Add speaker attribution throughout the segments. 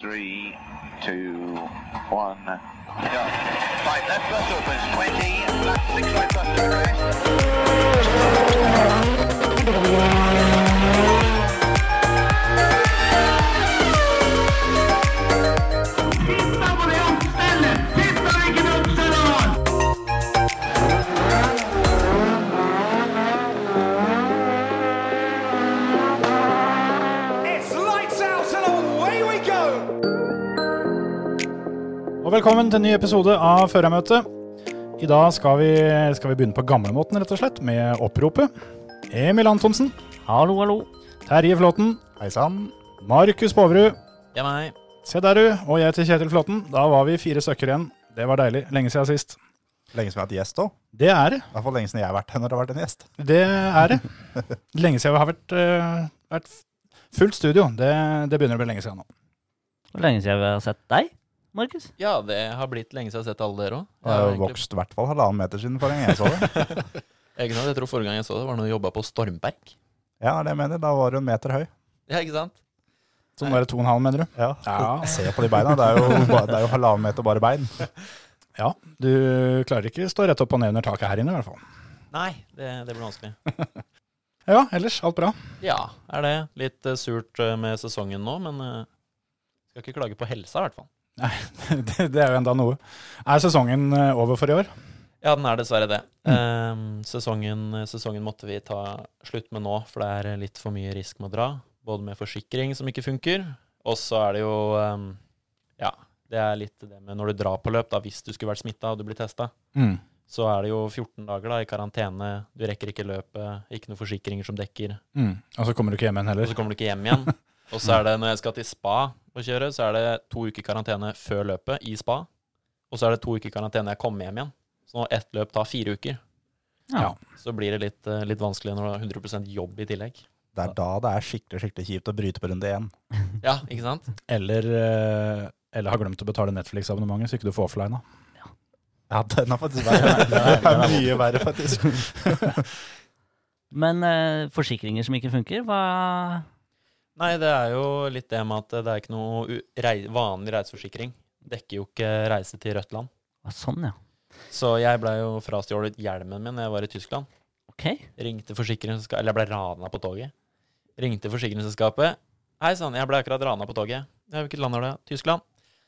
Speaker 1: three, two, one, go. Right, left bus opens 20, black six right bus to arrest.
Speaker 2: It's lights out and away we go!
Speaker 3: Og velkommen til en ny episode av Førermøtet. I dag skal vi, skal vi begynne på gamlemåten, rett og slett, med oppropet. Emil Antonsen.
Speaker 4: Hallo, hallo.
Speaker 3: Terje Flåten.
Speaker 5: Hei sann.
Speaker 3: Markus Påverud.
Speaker 4: Det er meg.
Speaker 3: Se der, du. Og jeg til Kjetil Flåten. Da var vi fire stykker igjen. Det var deilig. Lenge siden sist.
Speaker 5: Lenge siden jeg har hatt gjest òg.
Speaker 3: Det er det.
Speaker 5: I hvert fall lenge siden jeg har vært her når det har vært en gjest.
Speaker 3: Det er det. Lenge siden vi har vært, eh, vært fullt studio. Det, det begynner å bli lenge siden nå.
Speaker 4: Hvor lenge siden vi har sett deg, Markus?
Speaker 6: Ja, det har blitt lenge siden jeg har sett alle dere òg.
Speaker 5: Og jeg har jo vokst i hvert fall halvannen meter siden forrige gang jeg så det.
Speaker 6: Ikke sant? Jeg tror forrige gang jeg så det, var når jeg jobba på Stormberg.
Speaker 5: Ja, det er det jeg mener. Da var du en meter høy.
Speaker 6: Ja, ikke sant?
Speaker 3: Så nå er det to og en halv, mener du?
Speaker 5: Ja.
Speaker 3: Ja.
Speaker 5: Jeg ser på de beina. Det er jo, ba- det er jo halvannen meter bare bein.
Speaker 3: ja. Du klarer ikke stå rett opp og ned under taket her inne, i hvert fall.
Speaker 6: Nei, det, det blir vanskelig.
Speaker 3: Ja, ellers alt bra.
Speaker 6: Ja, er det. Litt eh, surt eh, med sesongen nå, men eh, skal ikke klage på helsa, i hvert fall.
Speaker 3: det, det er jo enda noe. Er sesongen eh, over for i år?
Speaker 6: Ja, den er dessverre det.
Speaker 5: Mm.
Speaker 6: Eh, sesongen, sesongen måtte vi ta slutt med nå, for det er litt for mye risk med å dra. Både med forsikring som ikke funker, og så er det jo eh, Ja, det er litt det med når du drar på løp, da, hvis du skulle vært smitta og du blir testa.
Speaker 5: Mm,
Speaker 6: så er det jo 14 dager da, i karantene. Du rekker ikke løpet, ikke noen forsikringer som dekker.
Speaker 3: Mm. Og så kommer du ikke hjem igjen
Speaker 6: Og
Speaker 3: heller.
Speaker 6: så kommer du ikke hjem igjen. Og så er det når jeg skal til spa og kjøre, så er det to uker karantene før løpet i spa. Og så er det to uker karantene når jeg kommer hjem igjen. Så nå ett løp tar fire uker.
Speaker 3: Ja.
Speaker 6: Så blir det litt, eh, litt vanskelig når du har 100 jobb i tillegg.
Speaker 5: Det er da det er skikkelig skikkelig kjipt å bryte på runde én.
Speaker 6: Ja, ikke sant?
Speaker 3: Eller, eh, eller har glemt å betale Netflix-abonnementet, så ikke du får offline. da.
Speaker 5: Ja, den er faktisk verre. Den er mye verre, faktisk.
Speaker 4: Men eh, forsikringer som ikke funker, hva
Speaker 6: Nei, det er jo litt det med at det er ikke noe u- rei vanlig reiseforsikring. Dekker jo ikke reise til rødt land.
Speaker 4: hva- Sånn, ja.
Speaker 6: Så jeg blei jo frastjålet hjelmen min når jeg var i Tyskland.
Speaker 4: Ok.
Speaker 6: Ringte forsikringsselskapet Eller jeg ble rana på toget. Ringte forsikringsselskapet. Hei sann, jeg ble akkurat rana på toget. Ja, Hvilket land er det? Tyskland.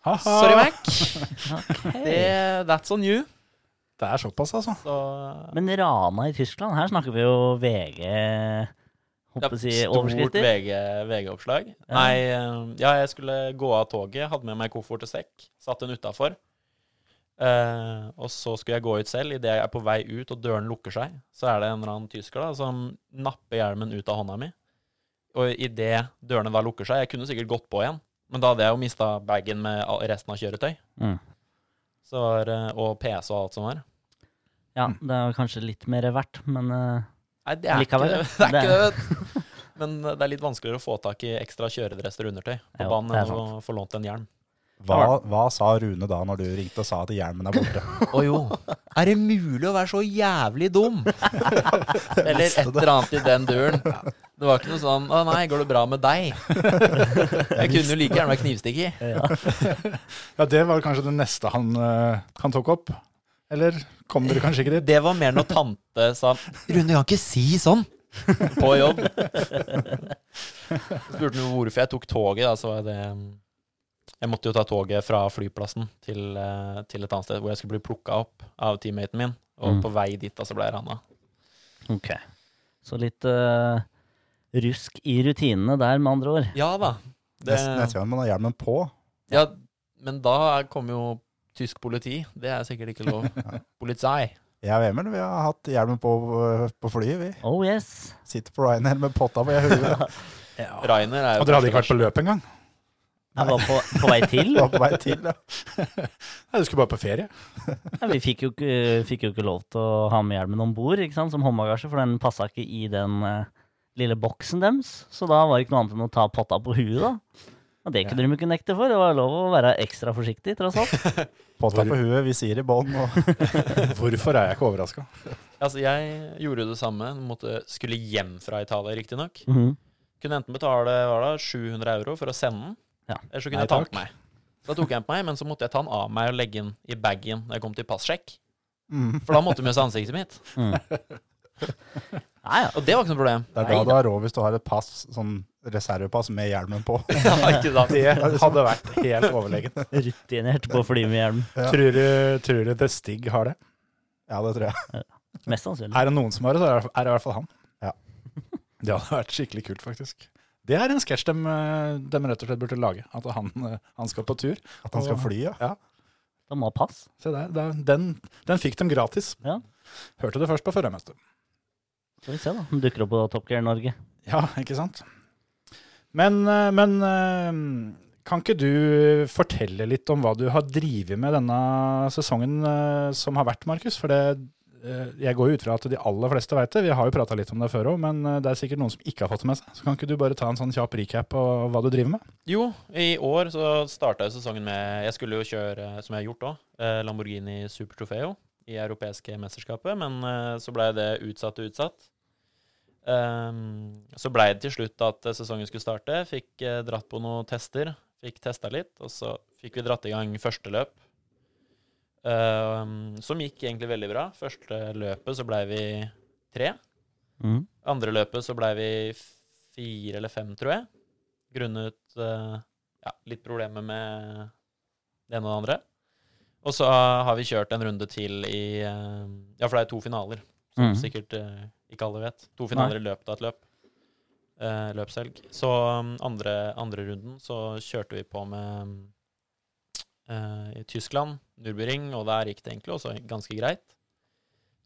Speaker 3: Ha-ha!
Speaker 6: Sorry, Mac.
Speaker 4: ok.
Speaker 6: Det, that's on you.
Speaker 3: Det er såpass, altså.
Speaker 6: Så
Speaker 4: Men Rana i Tyskland, her snakker vi jo VG
Speaker 6: det
Speaker 4: Håper å
Speaker 6: er
Speaker 4: si
Speaker 6: stort
Speaker 4: overskrifter.
Speaker 6: VG, VG-oppslag. Nei, eh, ja, jeg skulle gå av toget. Hadde med meg koffert og sekk. Satt den utafor. Eh, og så skulle jeg gå ut selv. Idet jeg er på vei ut og døren lukker seg, så er det en eller annen tysker da, som napper hjelmen ut av hånda mi. Og idet dørene da lukker seg Jeg kunne sikkert gått på igjen, men da hadde jeg jo mista bagen med all- resten av kjøretøy.
Speaker 4: Mm.
Speaker 6: Så var, eh, og PC og alt som var.
Speaker 4: Ja, det er jo kanskje litt mer verdt, men eh,
Speaker 6: Nei, det er ikke
Speaker 4: Likevel,
Speaker 6: det. Det er ikke det, vet du. Men eh, det er litt vanskeligere å få tak i ekstra kjøredresser og undertøy på
Speaker 4: Jo,
Speaker 6: banen
Speaker 4: det er
Speaker 6: enn å få lånt en hjelm.
Speaker 5: Hva, hva sa Rune da når du ringte og sa at hjelmen er borte?
Speaker 6: Å jo. Er det mulig å være så jævlig dum? Eller et eller annet i den duren. Det var ikke noe sånn 'Å nei, går det bra med deg?' Jeg kunne jo like gjerne vært knivstikker.
Speaker 3: Ja, Det var kanskje det neste han, eh, han tok opp. Eller kom dere kanskje ikke dit?
Speaker 6: Det var mer når tante sa 'Rune, du kan ikke si sånn' på jobb. Så spurte hun hvorfor jeg tok toget, da, så var det Jeg måtte jo ta toget fra flyplassen til, eh, til et annet sted hvor jeg skulle bli plukka opp av teammaten min, og
Speaker 4: Mm.
Speaker 6: på vei dit da så ble jeg rana.
Speaker 4: ok. Så litt eh, rusk i rutinene der, med andre ord.
Speaker 6: Ja da.
Speaker 5: Neste, neste
Speaker 6: Det,
Speaker 5: gang man har hjelmen på.
Speaker 6: ja, men da kommer jo tysk politi. Det er sikkert ikke lov. Polizei.
Speaker 5: Jeg og Emil vi har hatt hjelmen på øh, på flyet. Vi
Speaker 4: Oh yes.
Speaker 5: sitter på Ryanair med potta på hodet.
Speaker 6: Rainer er jo
Speaker 3: Og dere hadde ikke vært på løp engang?
Speaker 4: Jeg var på, på vei til.
Speaker 5: Var på vei til. ja.
Speaker 3: Nei, Du skulle bare på ferie.
Speaker 4: Ja, vi fikk jo, ikke, fikk jo ikke lov til å ha med hjelmen om bord som håndbagasje, for den passa ikke i den eh, lille boksen deres. Så da var det ikke noe annet enn å ta potta på huet, da. Og det kunne de jo ikke nekte for. Det var lov å være ekstra forsiktig, tross alt.
Speaker 5: Potta på huet, visir i bånn. og-
Speaker 3: Hvorfor er jeg ikke overraska?
Speaker 6: Altså, jeg gjorde jo det samme. Måtte, skulle hjem fra Italia, riktignok.
Speaker 4: Mhm.
Speaker 6: Kunne enten betale hva da, 700 euro for å sende den,
Speaker 4: Ja.
Speaker 6: Ellers så
Speaker 3: Nei,
Speaker 6: kunne jeg ta den
Speaker 3: takk.
Speaker 6: på meg. Så da tok jeg den på meg, men så måtte jeg ta den av meg og legge den i bagen når jeg kom til passsjekk.
Speaker 3: Mm.
Speaker 6: For da måtte de jo se ansiktet mitt.
Speaker 4: Mm. Nei, ja.
Speaker 6: Og det var ikke noe problem.
Speaker 5: Det er da du har råd hvis du har et pass, sånn reservepass med hjelmen på.
Speaker 6: Det var ikke da.
Speaker 5: Det hadde vært helt overlegent.
Speaker 4: Rutinert på å fly med hjelm.
Speaker 5: Ja.
Speaker 3: Tror, du, tror du The Stig har det?
Speaker 5: Ja, det tror jeg.
Speaker 4: Mest sannsynlig.
Speaker 3: Er det noen som har det, så er det- er det i hvert fall han.
Speaker 5: Ja.
Speaker 3: Det hadde vært skikkelig kult, faktisk. Det er en sketsj de, eh, de rett og slett burde lage. At han, eh, han skal på tur.
Speaker 5: At han skal fly, ja.
Speaker 4: De må ha pass.
Speaker 3: Se der, der den, den fikk dem gratis.
Speaker 4: Ja.
Speaker 3: Hørte det først på forrige mester.
Speaker 4: Skal vi se, da. De dukker opp på Top Gear Norge.
Speaker 3: Ja, ikke sant? Men, eh, men eh, kan ikke du fortelle litt om hva du har drevet med denne sesongen eh, som har vært, Markus? For det, eh, jeg går jo ut fra at de aller fleste veit det. Vi har jo prata litt om det før òg, men eh, det er sikkert noen som ikke har fått det med seg. Så kan ikke du bare ta en sånn kjapp recap på hva du driver med?
Speaker 6: Jo, i år så starta jo sesongen med Jeg skulle jo kjøre, som jeg har gjort òg, Lamborghini Super Trofeo i europeiske mesterskapet, men eh, så blei det utsatt og utsatt. Ehm, så blei det til slutt at eh, sesongen skulle starte. Fikk eh, dratt på noen tester, fikk testa litt, og så fikk vi dratt i gang første løp. Ehm, som gikk egentlig veldig bra. Første løpet så blei vi tre.
Speaker 4: Mm.
Speaker 6: Andre løpet så blei vi fire eller fem, tror jeg. Grunnet eh, ja, litt problemer med det ene og det andre. Og så har vi kjørt en runde til i eh, Ja, for det er to finaler, som
Speaker 4: Mhm.
Speaker 6: sikkert eh, ikke alle vet. To finaler i løpet av et løp. Eh, løpshelg. Så um, andre, andre runden så kjørte vi på med um, eh, i Tyskland, Nürburgring, og der gikk det egentlig også ganske greit.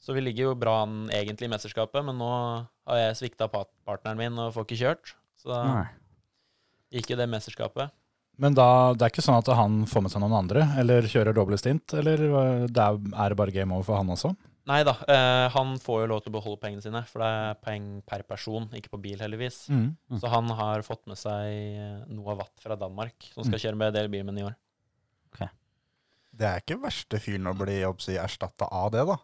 Speaker 6: Så vi ligger jo bra an egentlig i mesterskapet, men nå har jeg svikta pat- partneren min og får ikke kjørt. Så da
Speaker 4: Nei.
Speaker 6: gikk jo det mesterskapet.
Speaker 3: Men da, det er ikke sånn at han får med seg noen andre, eller kjører doble stint, eller eh, det er, er det bare game over for han også?
Speaker 6: Nei da, eh, han får jo lov til å beholde pengene sine, for det er penger per person, ikke på bil heldigvis. Så han har fått med seg eh, Noah Watt fra Danmark, som skal kjøre med DLB-en i år.
Speaker 5: Det er ikke verste fyren å bli erstatta av det, da.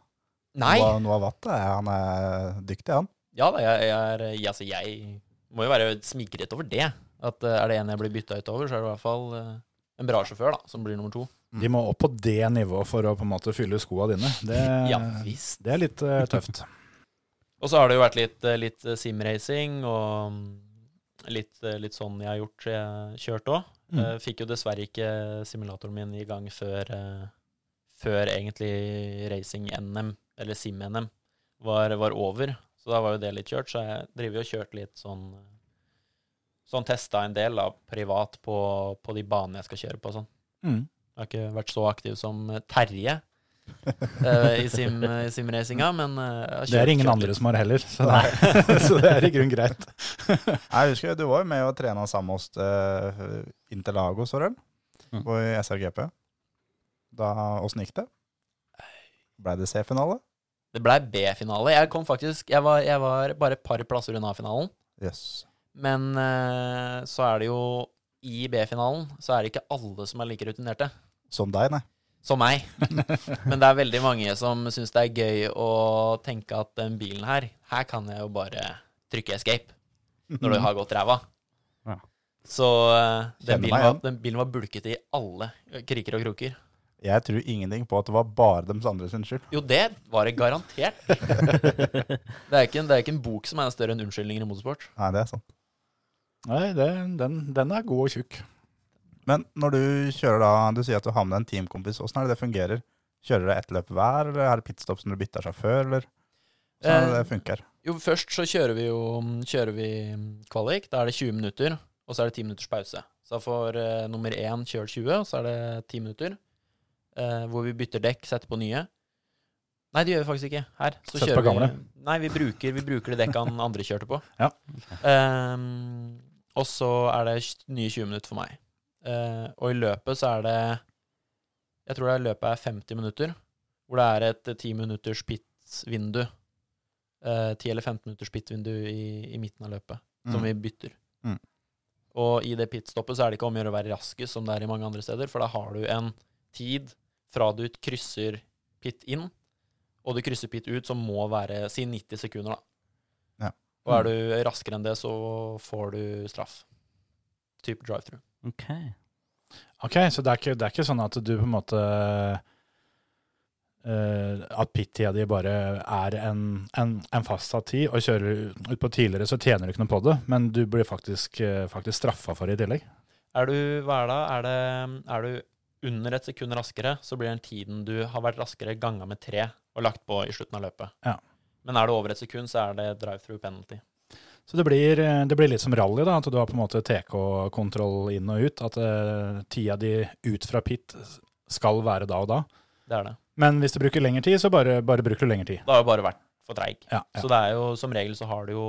Speaker 6: Nei!
Speaker 5: Noah, Noah Watt, eh, han er dyktig, han.
Speaker 6: Ja da, jeg, jeg er ja, altså, jeg må jo være smigret over det. At eh, er det en jeg blir bytta ut over, så er det i hvert fall eh, en bra sjåfør, da, som blir nummer to.
Speaker 3: De må opp på det nivået for å på en måte fylle skoa dine. Det,
Speaker 6: Ja visst.
Speaker 3: det er litt eh, tøft.
Speaker 6: Og så har det jo vært litt, eh, litt eh, simracing og mm, litt, eh, litt sånn jeg har gjort eh, kjørt òg.
Speaker 3: Mm.
Speaker 6: Fikk jo dessverre ikke simulatoren min i gang før, eh, før egentlig racing-NM, eller sim-NM, var, var over. Så da var jo det litt kjørt, så jeg driver jo og kjørt litt sånn eh, Sånn testa en del da, privat på, på de banene jeg skal kjøre på og sånn.
Speaker 3: Mm.
Speaker 6: Jeg har ikke vært så aktiv som eh, Terje eh, i sim- i simracinga, men eh, jeg har
Speaker 3: Det er
Speaker 6: kjørt-
Speaker 3: ingen
Speaker 6: kjørt
Speaker 3: andre som har heller, så det er, så det er i grunnen greit.
Speaker 5: Jeg husker Du var jo med og trena sammen med oss eh, Interlagos, var det vel?
Speaker 4: Mm.
Speaker 5: På SRGP. Da, Åssen gikk det? Ble det C-finale?
Speaker 6: Det blei B-finale. Jeg kom faktisk Jeg var, jeg var bare et par plasser unna finalen.
Speaker 5: Jøss.
Speaker 6: Men eh, så er det jo I B-finalen så er det ikke alle som er like rutinerte
Speaker 5: Som deg, nei.
Speaker 6: som meg. Men det er veldig mange som syns det er gøy å tenke at den bilen her, her kan jeg jo bare trykke escape når du har gått ræva.
Speaker 4: Ja.
Speaker 6: Så eh,
Speaker 5: Kjenner
Speaker 6: den, bilen
Speaker 5: meg
Speaker 6: var,
Speaker 5: igjen.
Speaker 6: den bilen var bulkete i alle kriker og kroker.
Speaker 5: Jeg tror ingenting på at det var bare deres andre sin skyld.
Speaker 6: Jo, det var det garantert. Det er ikke en, det er ikke en bok som er større enn unnskyldninger i motorsport.
Speaker 5: Nei, det er sant.
Speaker 3: Nei, det, den, den er god og tjukk.
Speaker 5: Men når du kjører da, du sier at du har med deg en teamkompis, åssen er det det fungerer? Kjører du ett løp hver, eller er det pitstop som du bytter seg før, eller? Sånn
Speaker 6: Eh,
Speaker 5: er det det funker.
Speaker 6: Jo, først så kjører vi jo kjører vi kvalik. Da er det 20 minutter, og så er det 10 minutters pause. Så da får eh, nummer én kjørt 20, og så er det 10 minutter. eh, hvor vi bytter dekk, setter på nye. Nei, det gjør vi faktisk ikke her. Så
Speaker 3: Setter
Speaker 6: kjører
Speaker 3: på gamle.
Speaker 6: Vi, nei, vi bruker, vi bruker det dekka han andre kjørte på.
Speaker 3: Ja.
Speaker 6: Ehm, og så er det tj- nye 20 minutter for meg. Eh, og i løpet så er det Jeg tror det er løpet er 50 minutter, hvor det er et eh, 10 minutters pit-vindu. Eh, 10 eller 15 minutters pit-vindu i, i midten av løpet, som vi bytter.
Speaker 5: Mm.
Speaker 6: Og i det pitstoppet så er det ikke om å gjøre å være raskest, som det er i mange andre steder, for da har du en tid fra du krysser pit inn, og du krysser pit ut, som må være si 90 sekunder, da.
Speaker 5: Ja. Mm.
Speaker 6: Og er du raskere enn det, så får du straff. Type drive-through.
Speaker 4: Ok.
Speaker 3: Ok, så det er ikke, det er ikke sånn at du på en måte eh, At pit-tida di bare er en, en, en fastsatt tid, og kjører du ut på tidligere, så tjener du ikke noe på det, men du blir faktisk, eh, faktisk straffa for det i tillegg.
Speaker 6: Er du, hva er det, er det Er du under et sekund raskere, så blir den tiden du har vært raskere, ganga med tre og lagt på i slutten av løpet.
Speaker 3: Ja.
Speaker 6: Men er du over et sekund, så er det drive-through penalty.
Speaker 3: Så det blir, eh, det blir litt som rally, da, at du har på en måte TK-kontroll inn og ut. At eh, tida di ut fra pit skal være da og da.
Speaker 6: Det er det.
Speaker 3: Men hvis du bruker lengre tid, så bare, bare bruker du lengre tid.
Speaker 6: Da har du bare vært for treig.
Speaker 3: Ja, ja.
Speaker 6: Så det er jo som regel så har du jo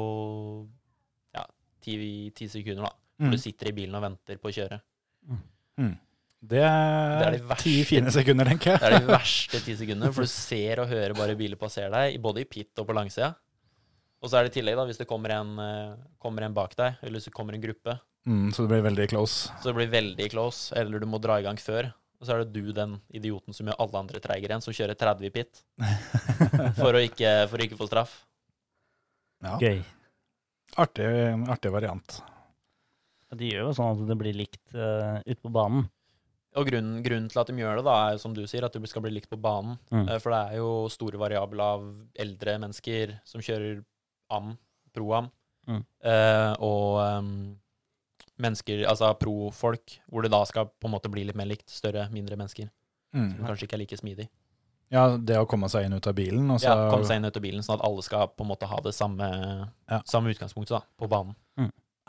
Speaker 6: ja, ti, ti sekunder, da. Hvor
Speaker 3: Mm.
Speaker 6: du sitter i bilen og venter på å kjøre.
Speaker 3: Det
Speaker 6: Det er
Speaker 3: er
Speaker 6: de verste-
Speaker 3: ti fine sekunder, tenker jeg.
Speaker 6: Det er de verste ti sekundene, for du ser og hører bare biler passere deg, både i pit og på langsida. Og så er det i tillegg, da, hvis det kommer en, eh, kommer en bak deg, eller hvis det kommer en gruppe,
Speaker 3: Mm, så det blir veldig close.
Speaker 6: så det blir veldig close, eller du må dra i gang før. Og så er det du, den idioten som gjør alle andre treigere enn, som kjører 30 i pit for å ikke, for å ikke få straff.
Speaker 3: Ja.
Speaker 4: Gøy.
Speaker 3: Artig, artig variant.
Speaker 4: De gjør jo sånn at det blir likt uh, ute på banen.
Speaker 6: Og grunnen, grunnen til at de gjør det, da, er jo som du sier, at du skal bli likt på banen.
Speaker 4: Mm.
Speaker 6: Eh, For det er jo store variabler av eldre mennesker som kjører AM, pro-AM,
Speaker 4: Mm.
Speaker 6: eh, og em, mennesker, altså pro-folk, hvor det da skal på en måte bli litt mer likt, større, mindre mennesker, som
Speaker 3: Mm.
Speaker 6: kanskje ikke er like smidig.
Speaker 3: Ja, det å komme seg inn ut av bilen, og så
Speaker 6: Ja, Komme seg inn ut av bilen, sånn at alle skal på en måte ha det samme,
Speaker 3: Ja.
Speaker 6: samme utgangspunktet da, på banen.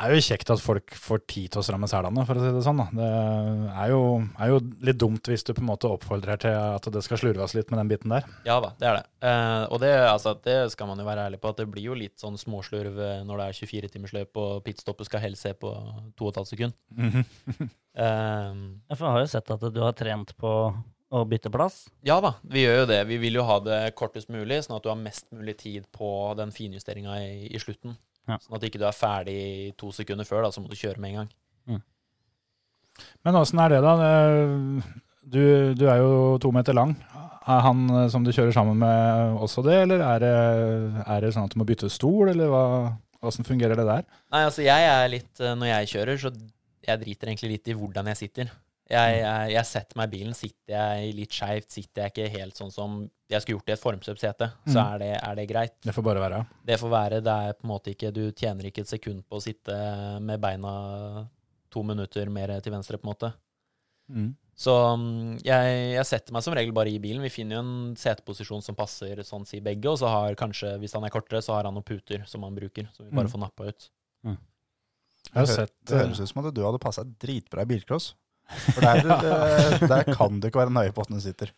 Speaker 3: er det jo kjekt at folk får tid til å stramme selene, for å si det sånn. Da. Det er jo, er jo litt dumt hvis du på en måte oppfordrer til at det skal slurves litt med den biten der.
Speaker 6: Ja da, det er det. Eh, og det, altså, det skal man jo være ærlig på, at det blir jo litt sånn småslurv eh, når det er 24-timersløp og pitstoppet skal helst se på 2,5 sekunder. Eh,
Speaker 4: Ja, for Jeg har jo sett at du har trent på å bytte plass.
Speaker 6: ja da, vi gjør jo det. Vi vil jo ha det kortest mulig, sånn at du har mest mulig tid på den finjusteringa i, i slutten.
Speaker 4: Ja.
Speaker 6: Sånn at ikke du er ferdig to sekunder før, da, så må du kjøre med en gang.
Speaker 3: Men åssen er det, da? Det- Du, du er jo to meter lang. Er han eh, som du kjører sammen med også det, eller er det, er det sånn at du må bytte stol, eller hva, åssen fungerer det der?
Speaker 6: Nei, altså jeg er litt eh, Når jeg kjører, så jeg driter egentlig litt i hvordan jeg sitter. Jeg,
Speaker 3: Mm.
Speaker 6: jeg, jeg setter meg i bilen. Sitter jeg litt skeivt, sitter jeg ikke helt sånn som jeg skulle gjort i et formsøpsete, så
Speaker 3: Mm.
Speaker 6: er det, er det greit.
Speaker 3: Det får bare være.
Speaker 6: Det får være. Det er på en måte ikke Du tjener ikke et sekund på å sitte med beina to minutter mer til venstre, på en måte.
Speaker 3: Mm.
Speaker 6: Så mm, jeg, jeg setter meg som regel bare i bilen. Vi finner jo en seteposisjon som passer sånn si begge, og så har kanskje, hvis han er kortere, så har han noen puter som han bruker, som vi bare
Speaker 3: Mm.
Speaker 6: får nappa ut.
Speaker 3: Jeg har
Speaker 5: Det hø-
Speaker 3: sett
Speaker 5: Det høres ut som at du hadde passa dritbra i bilcross. For der, eh, der kan du ikke være nøye på åssen du sitter.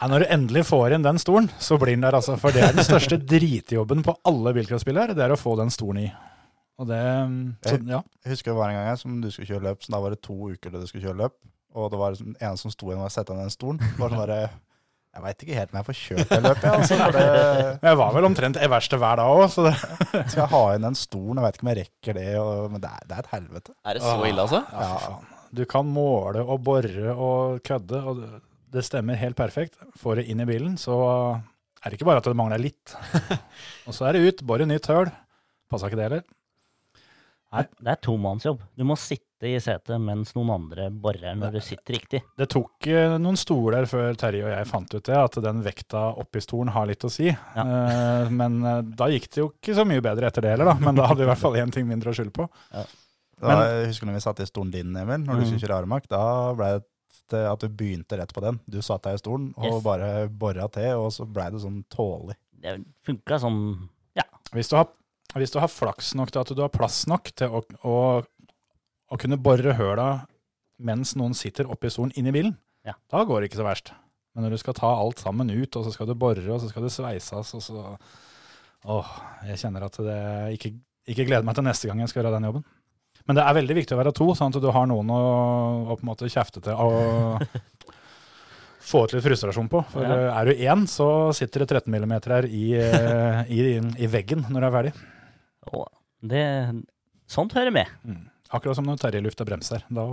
Speaker 3: Ja, eh, når du endelig får inn den stolen, så blir den der, altså. For det er den største dritjobben på alle bilcrossbiler, det er å få den stolen i. Og det mm, så, Ja.
Speaker 5: Jeg husker det var en gang jeg som du skulle kjøre løp, så da var det to uker til du skulle kjøre løp. Og det var liksom- en som sto igjen og sette ned den stolen. Det var sånn bare, Jeg veit ikke helt om jeg får kjørt det løpet, jeg, altså. For det,
Speaker 3: Jeg var vel omtrent i verste hver dag òg, så det
Speaker 5: skal jeg ha inn den stolen? Jeg veit ikke om jeg rekker det. Og, men det er, det er et helvete.
Speaker 6: Er det så ille, altså?
Speaker 3: Ja, fy faen. Du kan måle og bore og kødde, og det stemmer helt perfekt. Får det inn i bilen, så er det ikke bare at det mangler litt. Og så er det ut, bore nytt høl. Passa ikke det heller. Nei.
Speaker 4: Det er tomannsjobb. Du må sitte i setet mens noen andre borer når du sitter riktig.
Speaker 3: Det tok eh, noen stoler før Terje og jeg fant ut det, at den vekta oppi stolen har litt å si. Eh, men eh, da gikk det jo ikke så mye bedre etter det heller, da. Men da hadde vi i hvert fall én ting mindre å skylde på.
Speaker 5: Da, jeg husker når vi satt i stolen din, Emil, når du skulle kjøre Aremark. Da ble det at du begynte rett på den. Du satt deg i stolen og
Speaker 4: Yes.
Speaker 5: bare bora til, og så blei det sånn tålig.
Speaker 4: Det funka sånn Ja.
Speaker 3: Hvis du har, hvis du har flaks nok til at du har plass nok til å, å, å kunne bore høla mens noen sitter oppi stolen inni bilen,
Speaker 4: Ja.
Speaker 3: da går det ikke så verst. Men når du skal ta alt sammen ut, og så skal du bore, og så skal det sveises, og så Åh, jeg kjenner at det ikke, ikke gleder meg til neste gang jeg skal gjøre den jobben. Men det er veldig viktig å være to, sånn at du har noen å, å på en måte kjefte til og få ut litt frustrasjon på. For
Speaker 4: Ja.
Speaker 3: eh, er du én, så sitter det 13 mm her i, eh, i, i veggen når du er ferdig.
Speaker 4: Å, det Sånt hører med.
Speaker 3: Akkurat som når Terje lufter bremser. Da,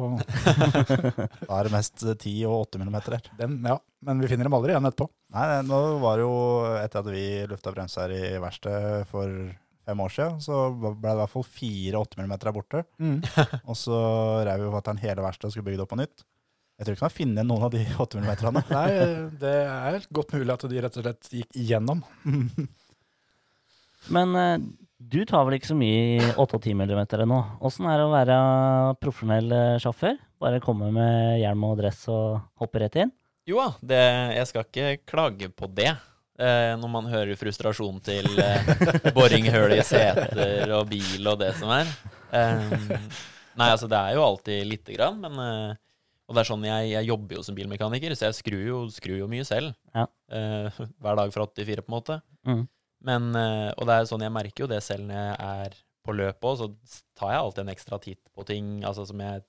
Speaker 5: Da er det mest 10 og 8 millimeter her.
Speaker 3: den, ja, men vi finner dem aldri igjen etterpå.
Speaker 5: Nei, nei, nå var det jo etter at vi lufta bremser i verkstedet for fem år siden, så ble det i hvert fall fire 8 mm der borte.
Speaker 3: Mm.
Speaker 5: Og så reiv jo fatter'n hele verkstedet og skulle bygge det opp på nytt. Jeg tror ikke han har funnet noen av de 8 mm-ene.
Speaker 3: Nei, det er godt mulig at de rett og slett gikk igjennom.
Speaker 4: Men eh, du tar vel ikke så mye i 8-10 mm ennå? Åssen er det å være profesjonell eh, sjåfør? Bare komme med hjelm og dress og hoppe rett inn?
Speaker 6: Jo da, det, jeg skal ikke klage på det. Eh, når man hører frustrasjonen til eh, boringhull i seter og bil og det som er. Eh, nei, altså det er jo alltid lite grann, men eh, Og det er sånn jeg, jeg jobber jo som bilmekaniker, så jeg skrur jo, skrur jo mye selv.
Speaker 4: Ja.
Speaker 6: Eh, hver dag fra 84, på en måte.
Speaker 4: Mm.
Speaker 6: Men, eh, og det er sånn, jeg merker jo det selv når jeg er på løpet òg, så tar jeg alltid en ekstra titt på ting altså som jeg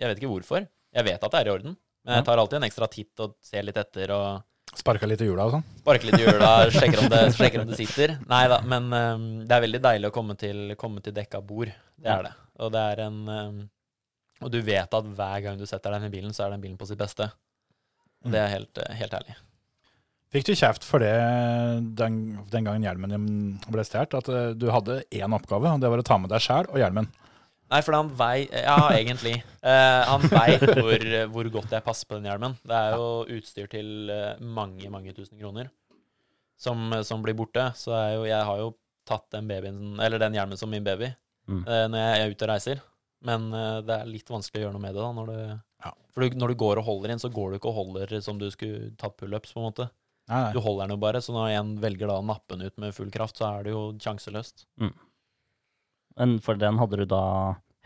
Speaker 6: Jeg vet ikke hvorfor. Jeg vet at det er i orden, men jeg tar alltid en ekstra titt og ser litt etter og
Speaker 3: Sparka litt i hjula og sånn.
Speaker 6: sparker litt i hjula, sjekker, om det- sjekker om det sitter. Nei da, men eh, det er veldig deilig å komme til, komme til dekka bord. Det er det. Og det er en eh, Og du vet at hver gang du setter deg inn i bilen, så er den bilen på sitt beste. Og det er helt, eh, helt ærlig.
Speaker 3: Fikk du kjeft for det den, den gangen hjelmen din ble stjålet? At eh, du hadde én oppgave, og det var å ta med deg sjæl og hjelmen.
Speaker 6: Nei, for han vei... Ja, egentlig. Eh, han veit hvor, hvor godt jeg passer på den hjelmen. Det er jo utstyr til eh, mange, mange tusen kroner som, som blir borte. Så er jo, jeg har jo tatt den, babyen, eller den hjelmen som min baby
Speaker 4: Mm.
Speaker 6: eh, når jeg er ute og reiser. Men eh, det er litt vanskelig å gjøre noe med det. da, når du,
Speaker 3: Ja.
Speaker 6: For du, når du går og holder inn, så går du ikke og holder som du skulle tatt pullups. på en måte.
Speaker 3: Nei,
Speaker 6: Du holder den jo bare, så når en velger da å nappe den ut med full kraft, så er det jo sjanseløst.
Speaker 4: Men for den hadde du da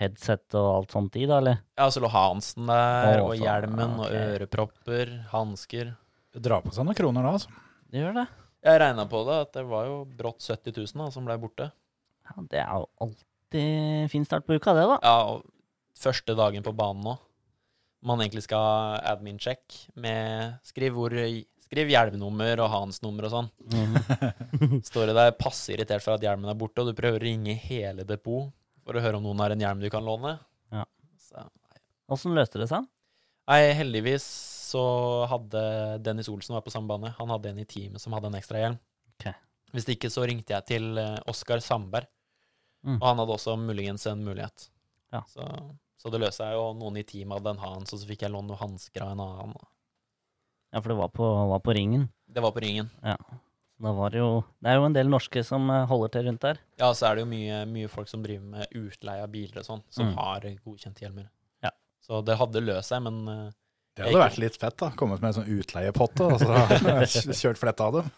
Speaker 4: headset og alt sånt i, da, eller?
Speaker 6: Ja, så lå Hansen der,
Speaker 4: Å,
Speaker 6: og
Speaker 4: så-
Speaker 6: hjelmen, og
Speaker 4: ok.
Speaker 6: ørepropper, hansker.
Speaker 3: nei. Dra på seg noen kroner da, altså.
Speaker 4: Det gjør det.
Speaker 6: Jeg regna på det, at det var jo brått 70 000 da, som ble borte.
Speaker 4: Ja, det er jo alltid fin start på uka, det, da.
Speaker 6: Ja, og første dagen på banen nå. Man egentlig skal ha admin-check med skriv, hvor, skriv hjelmnummer og Hans-nummer og sånn.
Speaker 4: Mm.
Speaker 6: Står det der passe irritert for at hjelmen er borte, og du prøver å ringe hele depot for å høre om noen har en hjelm du kan låne.
Speaker 4: Ja.
Speaker 6: Så.
Speaker 4: Åssen løste det seg?
Speaker 6: Nei, heldigvis så hadde Dennis Olsen var på samme bane. Han hadde en i teamet som hadde en ekstra hjelm.
Speaker 4: Ok.
Speaker 6: Hvis ikke så ringte jeg til eh, Oskar Sandberg,
Speaker 4: Mm.
Speaker 6: og han hadde også muligens en mulighet.
Speaker 4: Ja.
Speaker 6: Så, så det løste jeg jo. Noen i teamet hadde en hans, og så fikk jeg låne noen hansker av en annen.
Speaker 4: Ja, for det var på, var på ringen.
Speaker 6: Det var på ringen.
Speaker 4: Da var det, jo, det er jo en del norske som eh, holder til rundt der.
Speaker 6: Ja, så er det jo mye, mye folk som driver med utleie av biler og sånn, som
Speaker 4: Mm.
Speaker 6: har godkjente hjelmer.
Speaker 4: Ja.
Speaker 6: Så det hadde løst seg, men eh,
Speaker 3: Det hadde vært litt fett, da. Kommet med en sånn utleiepotte og så kjørt fletta av det.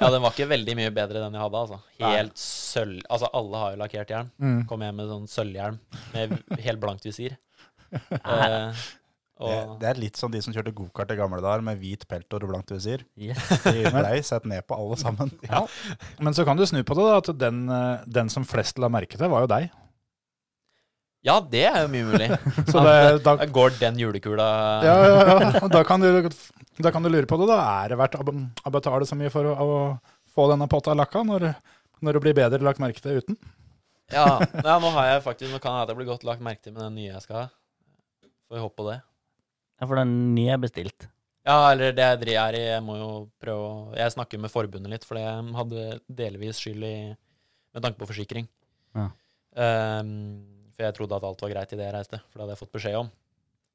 Speaker 6: ja, den var ikke veldig mye bedre enn jeg hadde, altså. Helt sølv Altså, alle har jo lakkert hjelm. Kom hjem med sånn sølvhjelm med helt blankt visir. Eh,
Speaker 5: Det,
Speaker 6: og
Speaker 5: det er litt som de som kjørte gokart i gamle dager med hvit peltor og blankt visir.
Speaker 4: Yes.
Speaker 5: De blei sett ned på alle sammen.
Speaker 3: Ja. Men så kan du snu på det, da. At den, eh, den som flest la merke til, var jo deg.
Speaker 6: ja, det er jo mye mulig.
Speaker 3: Så det, da,
Speaker 6: Da går den julekula
Speaker 3: ja, ja, ja. Da, kan du, da kan du lure på det. Da er det verdt å be- å betale så mye for å, å få denne potta lakka, når, når det blir bedre lagt merke til uten.
Speaker 6: ja. Nei, nå har jeg faktisk Nå kan jeg at jeg blir godt lagt merke til med den nye jeg skal ha. Får vi håpe på det.
Speaker 4: Ja, for den nye er bestilt.
Speaker 6: Ja, eller det jeg dri- er i Jeg må jo prøve å Jeg snakker med forbundet litt, for det hadde delvis skyld i Med tanke på forsikring.
Speaker 4: Ja.
Speaker 6: Ehm, for jeg trodde at alt var greit idet jeg reiste, for det hadde jeg fått beskjed om.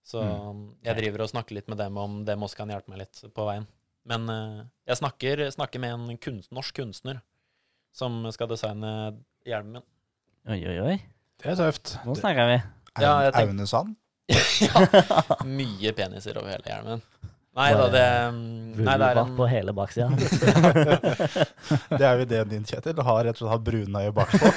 Speaker 6: Så
Speaker 4: Mm.
Speaker 6: um, jeg
Speaker 4: Ok.
Speaker 6: driver og snakker litt med dem om dem også kan hjelpe meg litt på veien. Men eh, jeg snakker, snakker med en kunst, norsk kunstner som skal designe hjelmen min.
Speaker 4: Oi, oi, oi.
Speaker 3: Det er tøft.
Speaker 4: Nå snakker vi.
Speaker 6: Ja, jeg tenk-
Speaker 5: Aune Sand.
Speaker 6: Mye peniser over hele hjelmen. Nei da, det um, Nei, det er
Speaker 4: Vulva
Speaker 6: en
Speaker 4: på hele baksida.
Speaker 5: Det er jo ideen din, Kjetil. Ha rett og slett ha brunøye bakpå.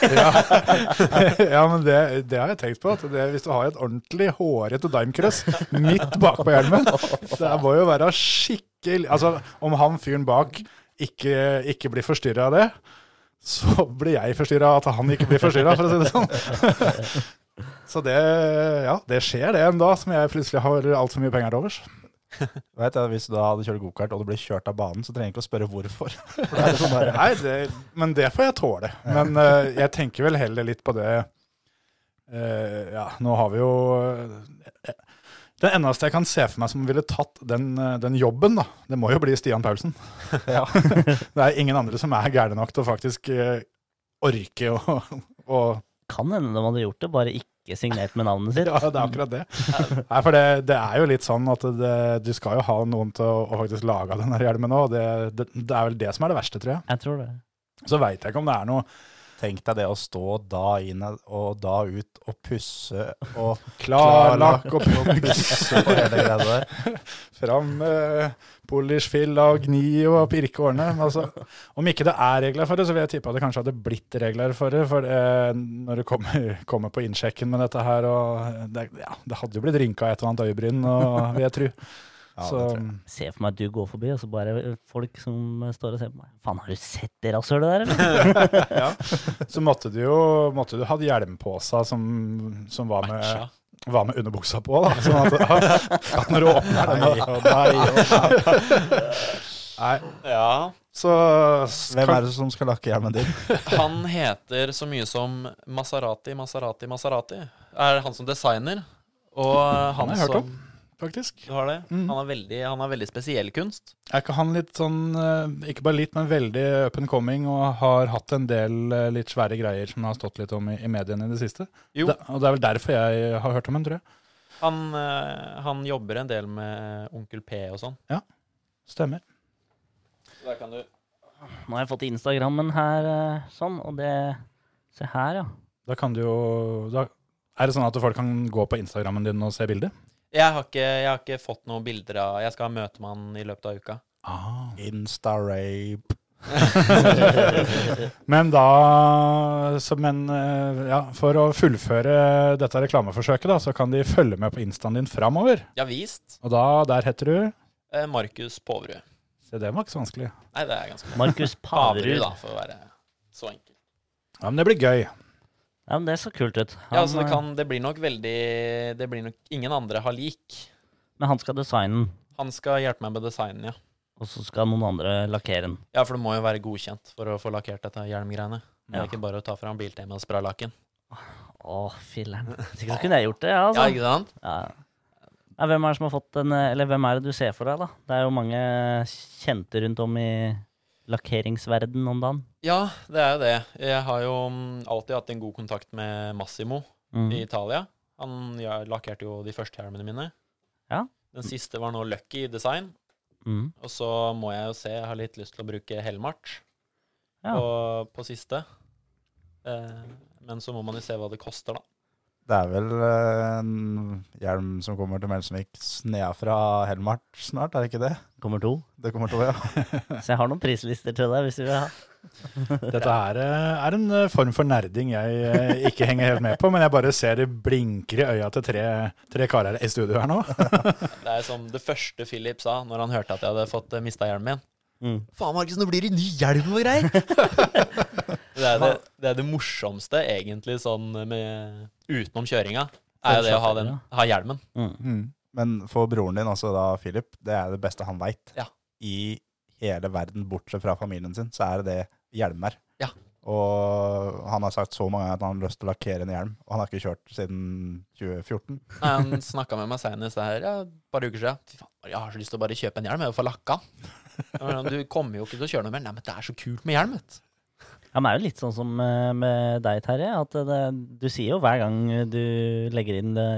Speaker 3: ja, men det, det har jeg tenkt på. At det, hvis du har et ordentlig hårete dimecross midt bakpå hjelmen, det må jo være skikkelig Altså, om han fyren bak ikke, ikke blir forstyrra av det, så blir jeg forstyrra av at han ikke blir forstyrra, for å si det sånn. Så det, ja, det skjer det en dag som jeg plutselig har altfor mye penger til overs.
Speaker 5: Vet jeg, hvis du da hadde kjørt gokart og du ble kjørt av banen, så trenger jeg ikke å spørre hvorfor. For da er det sånn der,
Speaker 3: Nei, det, men det får jeg tåle. Men eh, jeg tenker vel heller litt på det eh, Ja, nå har vi jo eh, Det eneste jeg kan se for meg som ville tatt den, eh, den jobben, da, det må jo bli Stian Paulsen.
Speaker 5: Ja.
Speaker 3: Det er ingen andre som er gærne nok til å faktisk eh, orke å å-
Speaker 4: Kan hende de hadde gjort det, bare ikke signert med navnet sitt.
Speaker 3: Ja, det er akkurat det. Nei, for det, det er jo litt sånn at det, du skal jo ha noen til å, å faktisk lage den her hjelmen òg. Det, det, det er vel det som er det verste, tror jeg.
Speaker 4: Jeg tror det.
Speaker 3: Så veit jeg ikke om det er noe
Speaker 5: Tenk deg det å stå da inn og da ut og pusse og
Speaker 3: klarlakk og
Speaker 5: pusse på hele greia der.
Speaker 3: fram eh, polish, fill og gni og pirke årene. Men Altså, om ikke det er regler for det, så vil jeg tippe at det kanskje hadde blitt regler for det. For eh, når du kommer, kommer på innsjekken med dette her, og eh, det, ja, det hadde jo blitt rynka et eller annet øyebryn, og- vil jeg tro.
Speaker 5: Ja, det
Speaker 3: så
Speaker 5: tror jeg.
Speaker 4: Se for meg at du går forbi, og så bare eh, folk som står og ser på meg. Faen, har du sett det rasshølet der, eller?
Speaker 3: så måtte du jo måtte du ha hjelm på seg som, som var med
Speaker 6: Matcha.
Speaker 3: var med underbuksa på, da. Sånn at, at når du åpner den da- Nei,
Speaker 6: Ja.
Speaker 3: så
Speaker 5: Hvem er det som skal lakke hjelmen din?
Speaker 6: Han heter så mye som Maserati, Maserati, Maserati. Er han som designer. Og han,
Speaker 3: Mm. har jeg hørt
Speaker 6: som
Speaker 3: faktisk.
Speaker 6: Du har det?
Speaker 3: Mm.
Speaker 6: Han, har veldig, han har veldig spesiell kunst.
Speaker 3: Er ikke han litt sånn, eh, ikke bare litt, men veldig up and coming, og har hatt en del eh, litt svære greier som det har stått litt om i, i mediene i det siste?
Speaker 6: Jo.
Speaker 3: Det, og det er vel derfor jeg har hørt om den, tror jeg.
Speaker 6: Han, eh, han jobber en del med Onkel P og sånn.
Speaker 3: Stemmer.
Speaker 6: Så der kan du
Speaker 4: Nå har jeg fått Instagrammen her, eh, sånn, og det Se her, ja.
Speaker 3: Da kan du jo da, Er det sånn at folk kan gå på Instagrammen din og se bildet?
Speaker 6: Jeg har ikke, jeg har ikke fått noen bilder av Jeg skal ha møte med han i løpet av uka.
Speaker 3: Ah.
Speaker 5: Insta-rape.
Speaker 3: Men da så, men, eh, ja, For å fullføre dette reklameforsøket, da, så kan de følge med på instaen din framover.
Speaker 6: Ja visst.
Speaker 3: Og da, der heter du
Speaker 6: Eh, Markus Poverud.
Speaker 3: Se, det var ikke så vanskelig.
Speaker 6: Nei, det er ganske
Speaker 4: Markus
Speaker 6: Paverud,
Speaker 4: Paverud.
Speaker 6: da, for å være så enkel.
Speaker 3: Ja, Men det blir gøy.
Speaker 4: Ja, men Det så kult ut. Han,
Speaker 6: Ja, altså det,
Speaker 4: eh,
Speaker 6: kan, det blir nok veldig Det blir nok ingen andre har lik.
Speaker 4: Men han skal designe den,
Speaker 6: Han skal hjelpe meg med designen, ja.
Speaker 4: og så skal noen andre lakkere den.
Speaker 6: Ja, for du må jo være godkjent for å få lakkert dette hjelmgreiene. Det
Speaker 4: Ja.
Speaker 6: er ikke bare å ta fram biltema og spraylakken.
Speaker 4: Å, filler'n. Hvis ikke så kunne jeg gjort det, ja, altså.
Speaker 6: Ja, ikke sant?
Speaker 4: Ja. Ja, hvem er det som har fått den, eh, eller hvem er det du ser for deg, da? Det er jo mange kjente rundt om i lakkeringsverden om dagen.
Speaker 6: Ja, det er jo det. Jeg har jo mm, alltid hatt en god kontakt med Massimo
Speaker 4: Mm.
Speaker 6: i Italia. Han ja, lakkerte jo de første hjelmene mine.
Speaker 4: Ja.
Speaker 6: Den siste var nå Lucky Design.
Speaker 4: Mm.
Speaker 6: Og så må jeg jo se, jeg har litt lyst til å bruke Helmart
Speaker 4: Ja.
Speaker 6: på, på siste. Eh, men så må man jo se hva det koster, da.
Speaker 5: Det er vel eh, en hjelm som kommer til Melsomvik nedafra Helmart snart, er det ikke det?
Speaker 4: Kommer to.
Speaker 5: Det kommer til å ja.
Speaker 4: Så jeg har noen prislister til deg, hvis du vil ha.
Speaker 3: Dette her eh, er en eh, form for nerding jeg eh, ikke henger helt med på, men jeg bare ser det blinker i øya til tre, tre karer i studio her nå.
Speaker 6: Det er som det første Philip sa når han hørte at jeg hadde fått mista hjelmen min.
Speaker 4: Mm.
Speaker 6: Faen, Markus, nå blir det ny hjelm og greier! det, er det, det er det morsomste, egentlig, sånn med, utenom kjøringa, er jo det å ha, den, ha hjelmen.
Speaker 5: Men for broren din, altså da Philip, det er det beste han veit.
Speaker 6: Ja.
Speaker 5: I hele verden, bortsett fra familien sin, så er det det hjelmer.
Speaker 6: Ja.
Speaker 5: Og han har sagt så mange ganger at han har lyst til å lakkere en hjelm, og han har ikke kjørt siden 2014.
Speaker 6: Nei, Han snakka med meg senest her ja, et par uker siden. Fy faen, jeg har så lyst til å bare kjøpe en hjelm, jeg vil få lakka den. Jeg mener, Du kommer jo ikke til å kjøre noe mer. Nei, men det er så kult med hjelm, vet du.
Speaker 4: Ja, men det er jo litt sånn som eh, med deg, Terje. at det, Du sier jo hver gang du legger inn det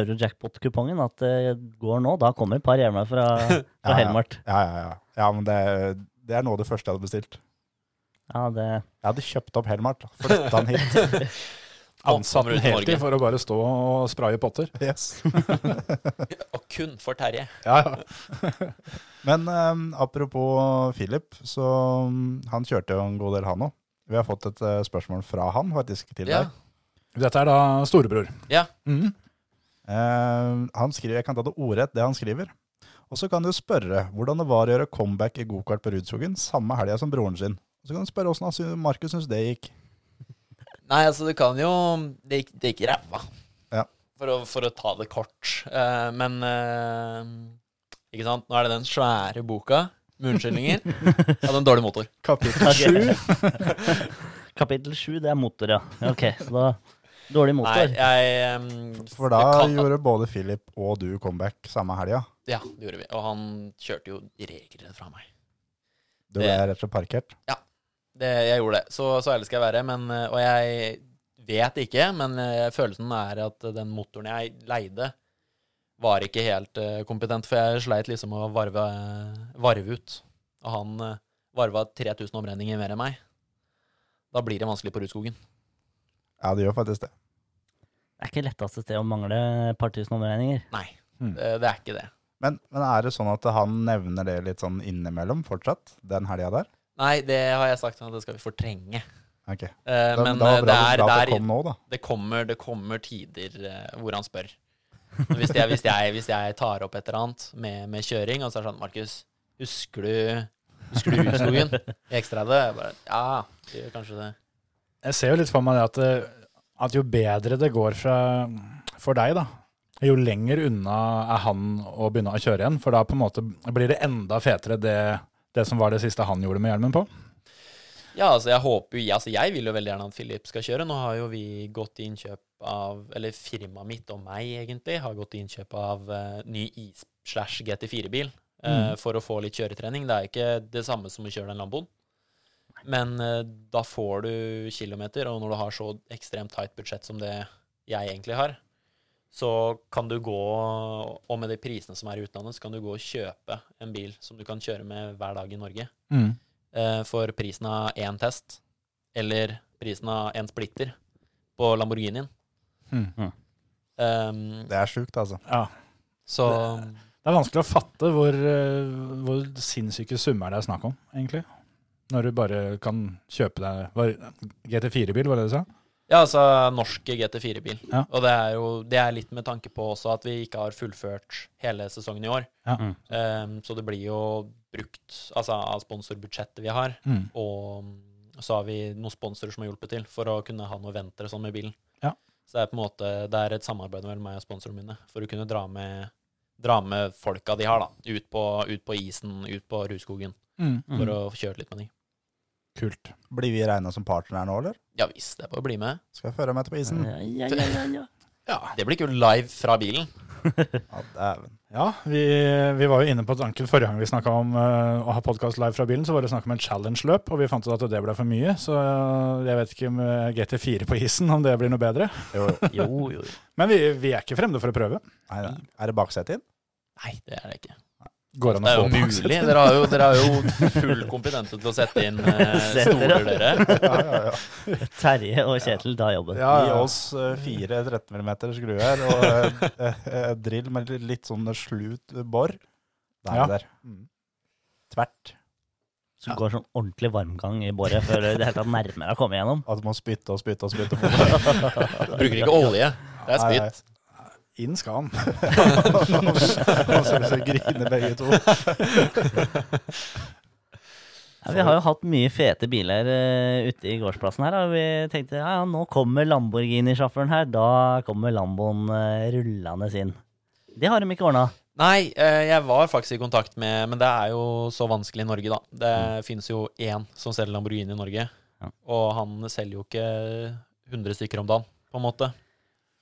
Speaker 4: euro-jackpot-kupongen at det går nå, da kommer et par hjelmer fra, fra
Speaker 5: Ja, ja.
Speaker 4: Helmart.
Speaker 5: Ja, ja, ja. ja men det, det er noe av det første jeg hadde bestilt.
Speaker 4: Ja, det,
Speaker 5: Jeg hadde kjøpt opp Helmart, flytta han hit.
Speaker 3: Ansatt
Speaker 6: Kommer ut i
Speaker 3: heltid
Speaker 6: Norge.
Speaker 3: for å bare stå og spraye potter.
Speaker 5: Yes.
Speaker 6: Og kun for Terje.
Speaker 3: Ja, ja.
Speaker 5: Men eh, apropos Philip, så mm, han kjørte jo en god del, han òg. Vi har fått et eh, spørsmål fra han faktisk til
Speaker 6: Ja.
Speaker 5: deg.
Speaker 3: Dette er da storebror.
Speaker 6: Ja.
Speaker 3: Mhm.
Speaker 5: Eh, han skriver, Jeg kan ta det ordrett, det han skriver. Og så kan du spørre hvordan det var å gjøre comeback i gokart på Rudskogen samme helga som broren sin. Og så kan du spørre åssen han sy- Markus syns det gikk.
Speaker 6: Nei, altså, du kan jo Det gikk, det gikk ræva.
Speaker 5: Ja.
Speaker 6: For, å, for å ta det kort. Eh, men eh, Ikke sant? Nå er det den svære boka med unnskyldninger. Jeg hadde en dårlig motor.
Speaker 3: Kapittel sju.
Speaker 4: kapittel sju, det er motor, ja. Ok, så da Dårlig
Speaker 6: Nei,
Speaker 4: motor.
Speaker 6: jeg ehm,
Speaker 5: For
Speaker 6: det
Speaker 5: da
Speaker 6: kan-
Speaker 5: gjorde både Philip og du comeback samme helga.
Speaker 6: Ja, det gjorde vi. Og han kjørte jo regelrett fra meg.
Speaker 5: Du ble
Speaker 6: Det-
Speaker 5: rett og slett parkert.
Speaker 6: Det, jeg gjorde det. Så, så ærlig skal jeg være. Men, eh, og jeg vet ikke, men eh, følelsen er at den motoren jeg leide, var ikke helt eh, kompetent. For jeg sleit liksom med å varve, eh, varve ut. Og han eh, varva 3000 omregninger mer enn meg. Da blir det vanskelig på Rudskogen.
Speaker 5: Ja, det gjør faktisk det.
Speaker 4: Det er ikke letteste sted å mangle et par tusen omregninger.
Speaker 6: Nei,
Speaker 3: Mm.
Speaker 6: Eh, det, det er ikke det.
Speaker 5: Men, men er det sånn at han nevner det litt sånn innimellom fortsatt, den helga der?
Speaker 6: Nei, det har jeg sagt at det skal vi fortrenge.
Speaker 5: Ok.
Speaker 6: Eh,
Speaker 5: Da,
Speaker 6: men
Speaker 5: da
Speaker 6: eh,
Speaker 5: var
Speaker 6: det
Speaker 5: bra,
Speaker 6: er
Speaker 5: bra at
Speaker 6: der
Speaker 5: det kom nå, da.
Speaker 6: det kommer, det kommer tider eh, hvor han spør. Hvis jeg, hvis, jeg, hvis jeg tar opp et eller annet med, med kjøring, og så er det sånn Markus, husker du Husker du Rudskogen i X30? Jeg bare, ja, det gjør kanskje det.
Speaker 3: Jeg ser jo litt for meg det at, det- at jo bedre det går fra, for deg, da, jo lenger unna er han å begynne å kjøre igjen. For da på en måte blir det enda fetere det, det som var det siste han gjorde med hjelmen på.
Speaker 6: Ja, altså jeg håper jo altså Jeg vil jo veldig gjerne at Philip skal kjøre. Nå har jo vi gått i innkjøp av Eller firmaet mitt og meg, egentlig, har gått i innkjøp av eh, ny is-slash-GT4-bil eh, for å få litt kjøretrening. Det er ikke det samme som å kjøre den Lamboen. Men eh, da får du kilometer, og når du har så ekstremt tight budsjett som det jeg egentlig har, så kan du gå, og med de prisene som er i utlandet, så kan du gå og kjøpe en bil som du kan kjøre med hver dag i Norge eh, for prisen av én test, eller prisen av én splitter på Lamborghinien.
Speaker 3: Mm.
Speaker 4: Mm.
Speaker 6: Um,
Speaker 5: Det er sjukt, altså.
Speaker 3: Ja.
Speaker 6: så
Speaker 3: Det er vanskelig å fatte hvor, eh, hvor sinnssyke summer det er snakk om, egentlig. Når du bare kan kjøpe deg var- GT4-bil, var det du sa?
Speaker 6: Ja, altså norsk GT4-bil.
Speaker 3: Ja.
Speaker 6: Og det er jo det er litt med tanke på også at vi ikke har fullført hele sesongen i år.
Speaker 3: Ja.
Speaker 4: Mm.
Speaker 6: Um, så det blir jo brukt altså, av sponsorbudsjettet vi har.
Speaker 3: Mm.
Speaker 6: Og um, så har vi noen sponsorer som har hjulpet til for å kunne ha noe ventre sånn med bilen.
Speaker 3: Ja.
Speaker 6: Så det er på en måte det er et samarbeid mellom meg og sponsorene mine for å kunne dra med, dra med folka de har, da. Ut på, ut på isen, ut på Rudskogen, for å få kjørt litt med de.
Speaker 3: Mm. Kult.
Speaker 5: Blir vi regna som partner nå, eller?
Speaker 6: Ja visst, det er bare å bli med.
Speaker 5: Skal jeg føre meg til
Speaker 6: Mm.
Speaker 5: på isen?
Speaker 4: Ja, ja, ja, ja, ja.
Speaker 6: Det blir kult live fra bilen.
Speaker 5: Ja, dæven.
Speaker 3: Ja, vi, vi var jo inne på tanken forrige gang vi snakka om eh, å ha podkast live fra bilen, så var det snakk om en challenge-løp, og vi fant ut at det ble for mye. Så eh, jeg vet ikke med GT4 på isen om det blir noe bedre.
Speaker 5: Jo, jo.
Speaker 4: Jo, jo, jo.
Speaker 3: Men vi, vi er ikke fremmede for å prøve.
Speaker 5: Nei, nei. Er det baksetet inn?
Speaker 6: Nei, det er det ikke.
Speaker 3: Går an å
Speaker 6: Det er
Speaker 3: få
Speaker 6: jo mulig. Dere har jo, dere har jo full kompetente til å sette inn eh,
Speaker 4: Setter, ja.
Speaker 6: stoler, dere.
Speaker 5: Ja, ja, ja.
Speaker 4: Terje og Kjetil tar jobben.
Speaker 3: Ja,
Speaker 5: Gi
Speaker 3: ja.
Speaker 5: oss eh, fire 13 mm skruer og eh, eh, drill med litt- litt sånn slut bor. Der,
Speaker 3: Ja.
Speaker 5: der.
Speaker 3: Mm.
Speaker 5: Tvert.
Speaker 4: Så det går sånn ordentlig varmgang i båret før det i det hele tatt nærmer deg å komme igjennom.
Speaker 5: At du må spytte og spytte og spytte.
Speaker 6: Bruker ikke olje. Det er spytt.
Speaker 3: Inn skal han.
Speaker 5: Og så så griner begge to.
Speaker 4: Ja, vi har jo hatt mye fete biler eh, ute i gårdsplassen her. Og vi tenkte ja, ja, nå kommer Lamborghini-sjåføren her. Da kommer Lamboen eh, rullende inn. Det har de ikke ordna.
Speaker 6: Nei, eh, jeg var faktisk i kontakt med Men det er jo så vanskelig i Norge, da. Det finnes jo én som selger Lamborghini i Norge.
Speaker 4: Mm. Ja.
Speaker 6: Og han selger jo ikke 100 stykker om dagen, på en måte.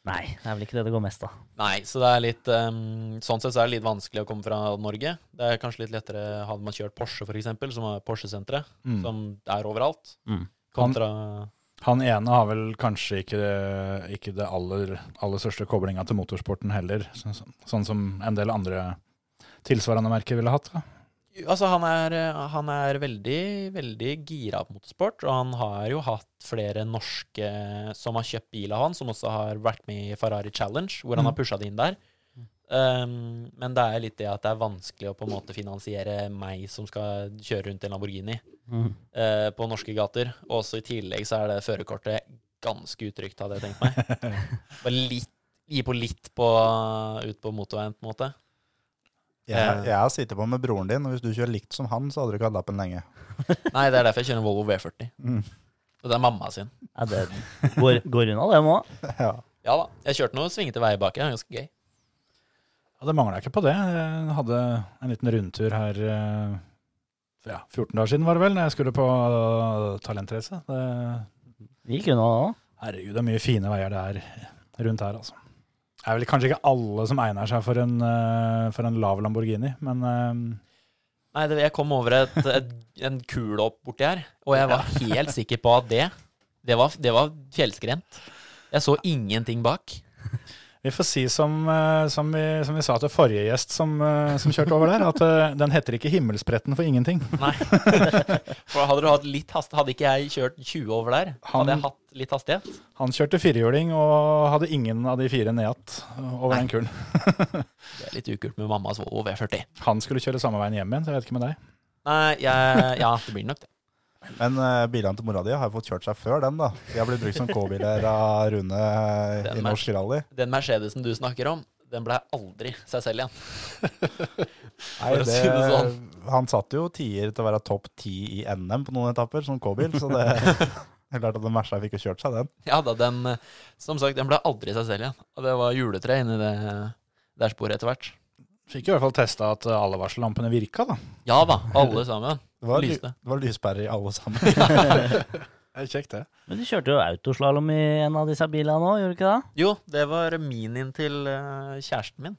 Speaker 4: Nei, det er vel ikke det det går mest av.
Speaker 6: Nei, så det er litt ehm, Sånn sett så er det litt vanskelig å komme fra Norge. Det er kanskje litt lettere hadde man kjørt Porsche, for eksempel, som er Porsche-senteret,
Speaker 3: Mm.
Speaker 6: som er overalt,
Speaker 4: Mm.
Speaker 6: kontra
Speaker 3: Han ene har vel kanskje ikke det, ikke det aller, aller største koblinga til motorsporten heller, sånn, som- sånn som en del andre tilsvarende merker ville hatt. Da.
Speaker 6: Altså, han er, han er veldig, veldig gira på motorsport, og han har jo hatt flere norske som har kjøpt bil av han, som også har vært med i Ferrari Challenge, hvor han har pusha det inn der. Um, men det er litt det at det er vanskelig å på en måte finansiere meg som skal kjøre rundt i en Lamborghini
Speaker 4: Mm.
Speaker 6: eh, på norske gater. Og også i tillegg så er det førerkortet ganske utrygt, hadde jeg tenkt meg. Bare litt, gi på litt på, ut på motorveien, på en måte.
Speaker 5: Jeg, jeg har sittet på med broren din, og hvis du kjører likt som han, så hadde du ikke hatt lappen lenge.
Speaker 6: Nei, det er derfor jeg kjører en Volvo V40.
Speaker 5: Mm.
Speaker 6: Og det er mamma sin.
Speaker 4: Ja, det går, går unna, det må.
Speaker 5: Ja.
Speaker 6: Ja da. Jeg kjørte noen svingete veier bak. Det er ganske gøy.
Speaker 3: Ja, det mangla ikke på det. Jeg hadde en liten rundtur her eh, for ja, 14 dager siden, var det vel, når jeg skulle på eh, talentrace. Det
Speaker 4: Det gikk unna da òg.
Speaker 3: Herregud, det er mye fine veier det er rundt her, altså. Det er vel kanskje ikke alle som egner seg for en, eh, for en lav Lamborghini, men eh,
Speaker 6: Nei, det, jeg kom over et, et, en kule opp borti her, og jeg var helt sikker på at det, det var, det var fjellskrent. Jeg så ingenting bak.
Speaker 3: Vi får si som, eh, som, vi, som vi sa til forrige gjest som, eh, som kjørte over der, at eh, den heter ikke Himmelspretten for ingenting.
Speaker 6: Nei. For hadde du hatt litt hast, hadde ikke jeg kjørt 20 over der,
Speaker 3: Han-
Speaker 6: hadde jeg hatt litt hastighet.
Speaker 3: Han kjørte firehjuling og hadde ingen av de fire ned igjen over den kulen.
Speaker 6: Det er litt ukult med mammas Volvo V40.
Speaker 3: Han skulle kjøre samme veien hjem igjen, så jeg vet ikke med deg.
Speaker 6: Nei, jeg, ja, det blir nok det.
Speaker 5: Men eh, bilene til mora di har jo fått kjørt seg før den, da. De har blitt brukt som K-biler av Rune eh,
Speaker 6: Den
Speaker 5: i
Speaker 6: er-
Speaker 5: norsk rally.
Speaker 6: Den Mercedesen du snakker om, den ble aldri seg selv igjen.
Speaker 5: Nei,
Speaker 6: For å si det sånn.
Speaker 5: Han satt jo tier til å være topp ti i NM på noen etapper som K-bil, så det det er klart at den Merca fikk jo kjørt seg, den.
Speaker 6: Ja da, den eh, Som sagt, den ble aldri seg selv igjen. Og det var juletre inni det der sporet etter hvert.
Speaker 3: Fikk i hvert fall testa at eh, alle varsellampene virka, da.
Speaker 6: Ja da, alle sammen.
Speaker 5: Det var, ly,
Speaker 6: Lyste.
Speaker 5: det var lyspærer i alle sammen.
Speaker 3: Det er kjekt, det.
Speaker 4: Men du kjørte jo autoslalåm i en av disse bilene òg, gjorde du ikke det?
Speaker 6: Jo, det var minien til eh, kjæresten min.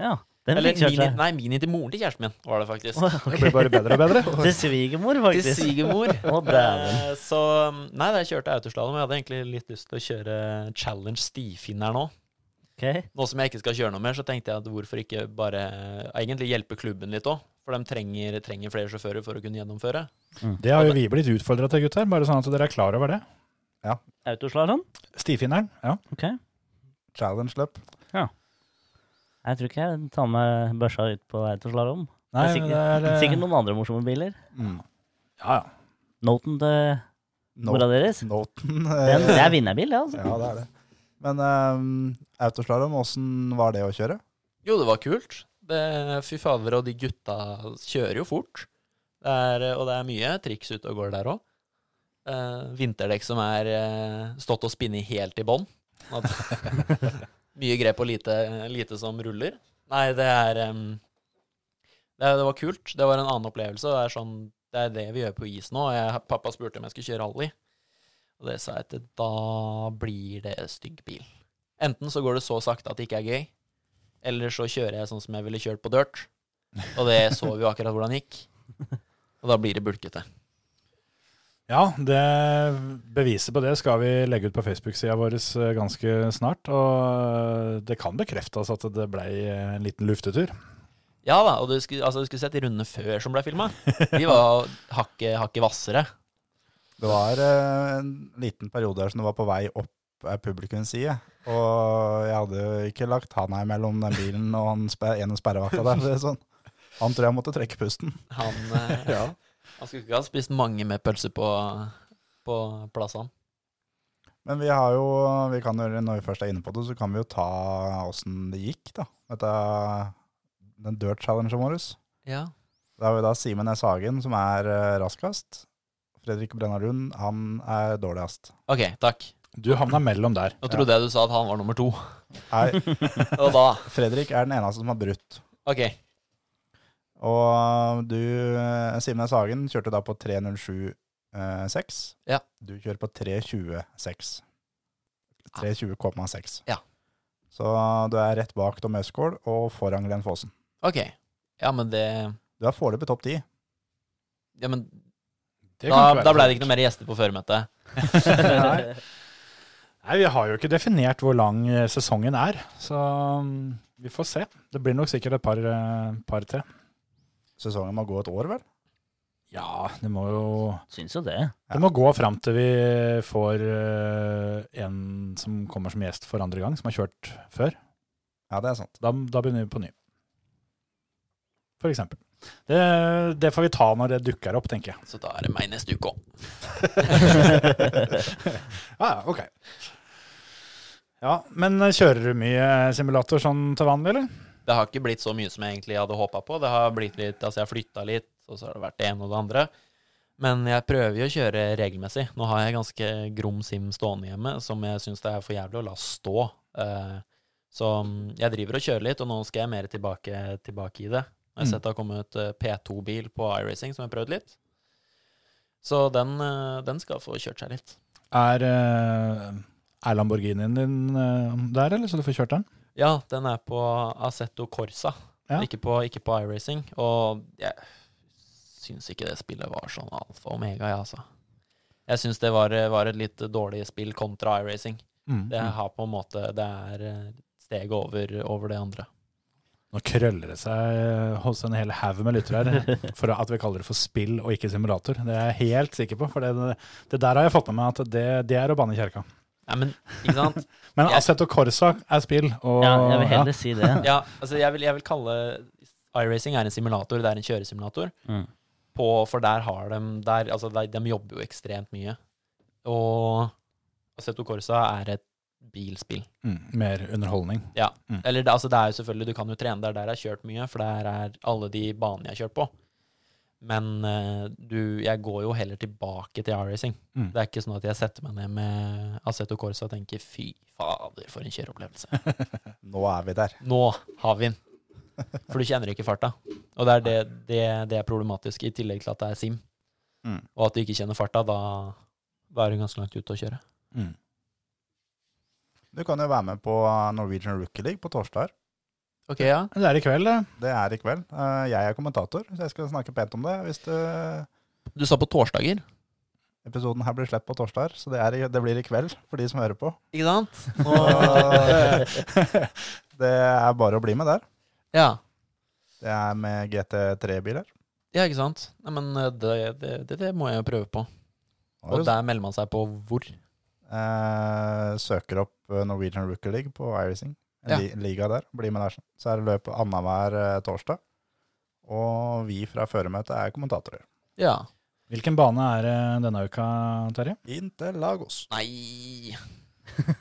Speaker 4: Ja. Den
Speaker 6: Eller
Speaker 4: fikk kjørt
Speaker 6: minien,
Speaker 4: seg.
Speaker 6: nei, minien til moren til kjæresten min, var det faktisk.
Speaker 4: Å, ok.
Speaker 3: Det blir bare bedre og bedre.
Speaker 4: Til svigermor,
Speaker 6: Til
Speaker 4: faktisk.
Speaker 6: svigermor.
Speaker 4: Å, dæven.
Speaker 6: Eh, Så um, Nei, da jeg kjørte autoslalåm. Jeg hadde egentlig litt lyst til å kjøre Challenge Stifinn her nå.
Speaker 4: Ok.
Speaker 6: Nå som jeg ikke skal kjøre noe mer, så tenkte jeg at hvorfor ikke bare eh, egentlig hjelpe klubben litt òg? For de trenger, trenger flere sjåfører for å kunne gjennomføre.
Speaker 3: Det har jo vi blitt utfordra til, gutter. Bare sånn at dere er klar over det.
Speaker 4: Autoslalåm?
Speaker 3: Stifinneren, ja.
Speaker 4: Ok.
Speaker 5: Challenge løp.
Speaker 4: Jeg tror ikke jeg tar med børsa ut på autoslalåm. Det
Speaker 3: Nei,
Speaker 4: er
Speaker 3: men
Speaker 4: sikkert,
Speaker 3: det er eh,
Speaker 4: sikkert noen andre morsomme biler.
Speaker 5: Mm.
Speaker 3: Ja, ja.
Speaker 4: Noten til mora
Speaker 5: Not-
Speaker 4: deres.
Speaker 5: Noten.
Speaker 4: Den,
Speaker 5: eh,
Speaker 4: det er vinnerbil, det, altså.
Speaker 5: Ja, det er det. Men eh, autoslalåm, åssen var det å kjøre?
Speaker 6: Jo, det var kult. Det, fy fader, og de gutta kjører jo fort. Det er, og det er mye triks ute og går der òg. vinterdekk som er eh, stått og spinnet helt i bånn. Sånn at- Mye grep og lite, lite som ruller. Nei, det er em, det, det var kult. Det var en annen opplevelse. Det er, sånn, det er det vi gjør på is nå. Jeg, pappa spurte om jeg skulle kjøre rally. Og det sa jeg til da blir det stygg bil. Enten så går det så sakte at det ikke er gøy, eller så kjører jeg sånn som jeg ville kjørt på dirt. Og det så vi jo akkurat hvordan gikk. Og da blir det bulkete.
Speaker 3: Ja, det beviset på det skal vi legge ut på Facebook-sida vår eh, ganske snart. Og eh, det kan bekreftes at det ble eh, en liten luftetur.
Speaker 6: Ja da, og du skulle, altså, du skulle sett de rundene før som ble filma. De var hakket hakket hvassere.
Speaker 5: Det var eh, en liten periode her som det var på vei opp eh, publikums side. Og jeg hadde jo ikke lagt handa mellom den bilen og han sper, en av sperrevakta der. Det er sånn. Han tror jeg måtte trekke pusten.
Speaker 6: Han, eh, han skulle ikke ha spist mange med pølser på, på plassene.
Speaker 5: Men vi har jo, vi kan jo, når vi først er inne på det, så kan vi jo ta åssen det gikk, da. Dette, den dirt challengen vår.
Speaker 6: Ja.
Speaker 5: Det er jo da Simen S. Hagen som er eh, raskest. Fredrik Brenna Lund, han er dårligst.
Speaker 6: OK, takk.
Speaker 3: Du havna mellom der.
Speaker 6: Nå trodde jeg du sa at han var nummer to.
Speaker 5: Nei,
Speaker 6: Og da
Speaker 5: Fredrik er den eneste som har brutt.
Speaker 6: OK.
Speaker 5: Og du, eh, Simen S. Hagen, kjørte da på 3.07,6.
Speaker 6: Ja.
Speaker 5: eh, Du kjører på 3.20,6. 3.20,6.
Speaker 6: Ja.
Speaker 5: Så du er rett bak Tom Østgaard og foran Glenn Fossen.
Speaker 6: OK. Ja, men det
Speaker 5: Du er foreløpig topp ti.
Speaker 6: Ja, men
Speaker 3: Det kan
Speaker 6: da,
Speaker 3: ikke være
Speaker 6: da ble
Speaker 3: så-
Speaker 6: det ikke noe mer gjester på føremøtet.
Speaker 3: Nei. Nei, vi har jo ikke definert hvor lang eh, sesongen er, så mm, vi får se. Det blir nok sikkert et par, eh, par til.
Speaker 5: Sesongen må gå et år, vel?
Speaker 3: Ja, det må jo
Speaker 4: Syns jo det.
Speaker 3: Det må gå fram til vi får eh, en som kommer som gjest for andre gang, som har kjørt før.
Speaker 5: Ja, det er sant.
Speaker 3: Da, da begynner vi på ny. For eksempel. Det, det får vi ta når det dukker opp, tenker jeg.
Speaker 6: Så da er det meg neste uke òg.
Speaker 3: Ja, ja, ok. Ja, Men eh, kjører du mye simulator sånn til vanlig, eller?
Speaker 6: Det har ikke blitt så mye som jeg egentlig hadde håpa på. Det har blitt litt, altså Jeg har flytta litt, og så har det vært det ene og det andre. Men jeg prøver jo å kjøre regelmessig. Nå har jeg ganske grom sim stående hjemme, som jeg syns det er for jævlig å la stå. Eh, Så mm, jeg driver og kjører litt, og nå skal jeg mer tilbake, tilbake i det. Jeg har
Speaker 3: Mm.
Speaker 6: sett det har kommet eh, P2-bil på iRacing, som jeg har prøvd litt. Så den, eh, den skal få kjørt seg litt.
Speaker 3: Er, eh, er Lamborghinien din eh, der, eller så du får kjørt den?
Speaker 6: Ja, den er på Assetto Corsa,
Speaker 3: Ja.
Speaker 6: ikke, på, ikke på iRacing. Og jeg syns ikke det spillet var sånn alfa og omega, jeg, altså. Jeg syns det var, var et litt dårlig spill kontra iRacing.
Speaker 3: Mm.
Speaker 6: Det har på en måte Det er eh, steget over, over det andre.
Speaker 3: Nå krøller det seg eh, hos en hel haug med lyttere her for at vi kaller det for spill og ikke simulator. Det er jeg helt sikker på, for det, det der har jeg fått med meg at det, det er å banne i kjerka.
Speaker 6: Nei, men ikke sant?
Speaker 3: Men
Speaker 6: Jeg-
Speaker 3: Assetto Corsa er spill, og
Speaker 4: Ja, jeg vil heller si det.
Speaker 6: Ja, altså jeg vil, jeg vil kalle iRacing er en simulator, det er en kjøresimulator.
Speaker 4: Mm.
Speaker 6: På, for der har de der, altså de, de jobber jo ekstremt mye. Og Assetto Corsa er et bilspill.
Speaker 3: mm, mer underholdning.
Speaker 6: Ja.
Speaker 3: Mm.
Speaker 6: Eller det, altså det er jo selvfølgelig, du kan jo trene der der jeg har kjørt mye, for der er alle de banene jeg har kjørt på. Men eh, du, jeg går jo heller tilbake til iRacing.
Speaker 3: Mm.
Speaker 6: Det er ikke sånn at jeg setter meg ned med Assetto Corsa og tenker fy fader, for en kjøreopplevelse.
Speaker 5: Nå er vi der.
Speaker 6: Nå har vi den. For du kjenner ikke farta. Og det er det, det, det er problematisk, i tillegg til at det er SIM.
Speaker 5: Mm.
Speaker 6: Og at du ikke kjenner farta, da, da er du ganske langt ute å kjøre.
Speaker 3: Mm.
Speaker 5: Du kan jo være med på Norwegian Rookie League på torsdag.
Speaker 6: Ok, ja.
Speaker 3: Men Det er i kveld, det.
Speaker 5: Det er i kveld. Eh, Jeg er kommentator, så jeg skal snakke pent om det. Hvis du,
Speaker 6: Du sa på torsdager,
Speaker 5: episoden her blir slett på torsdag, så det, er, i- det blir i kveld for de som hører på.
Speaker 6: ikke sant?
Speaker 5: Og det er bare å bli med der.
Speaker 6: ja.
Speaker 5: Det er med GT3-biler.
Speaker 6: ja, ikke sant? Nei, men eh, det, det, det, det må jeg jo prøve på. Og der melder man seg på hvor?
Speaker 5: Eh, søker opp Norwegian Rookie League på iRacing. En
Speaker 6: Ja.
Speaker 5: li liga der. Blir med der. sånn. Så er det løp annenhver eh, torsdag. Og vi fra føremøtet er kommentatorer.
Speaker 6: Ja.
Speaker 3: Hvilken bane er det denne uka, Terje?
Speaker 5: Interlagos.
Speaker 6: Nei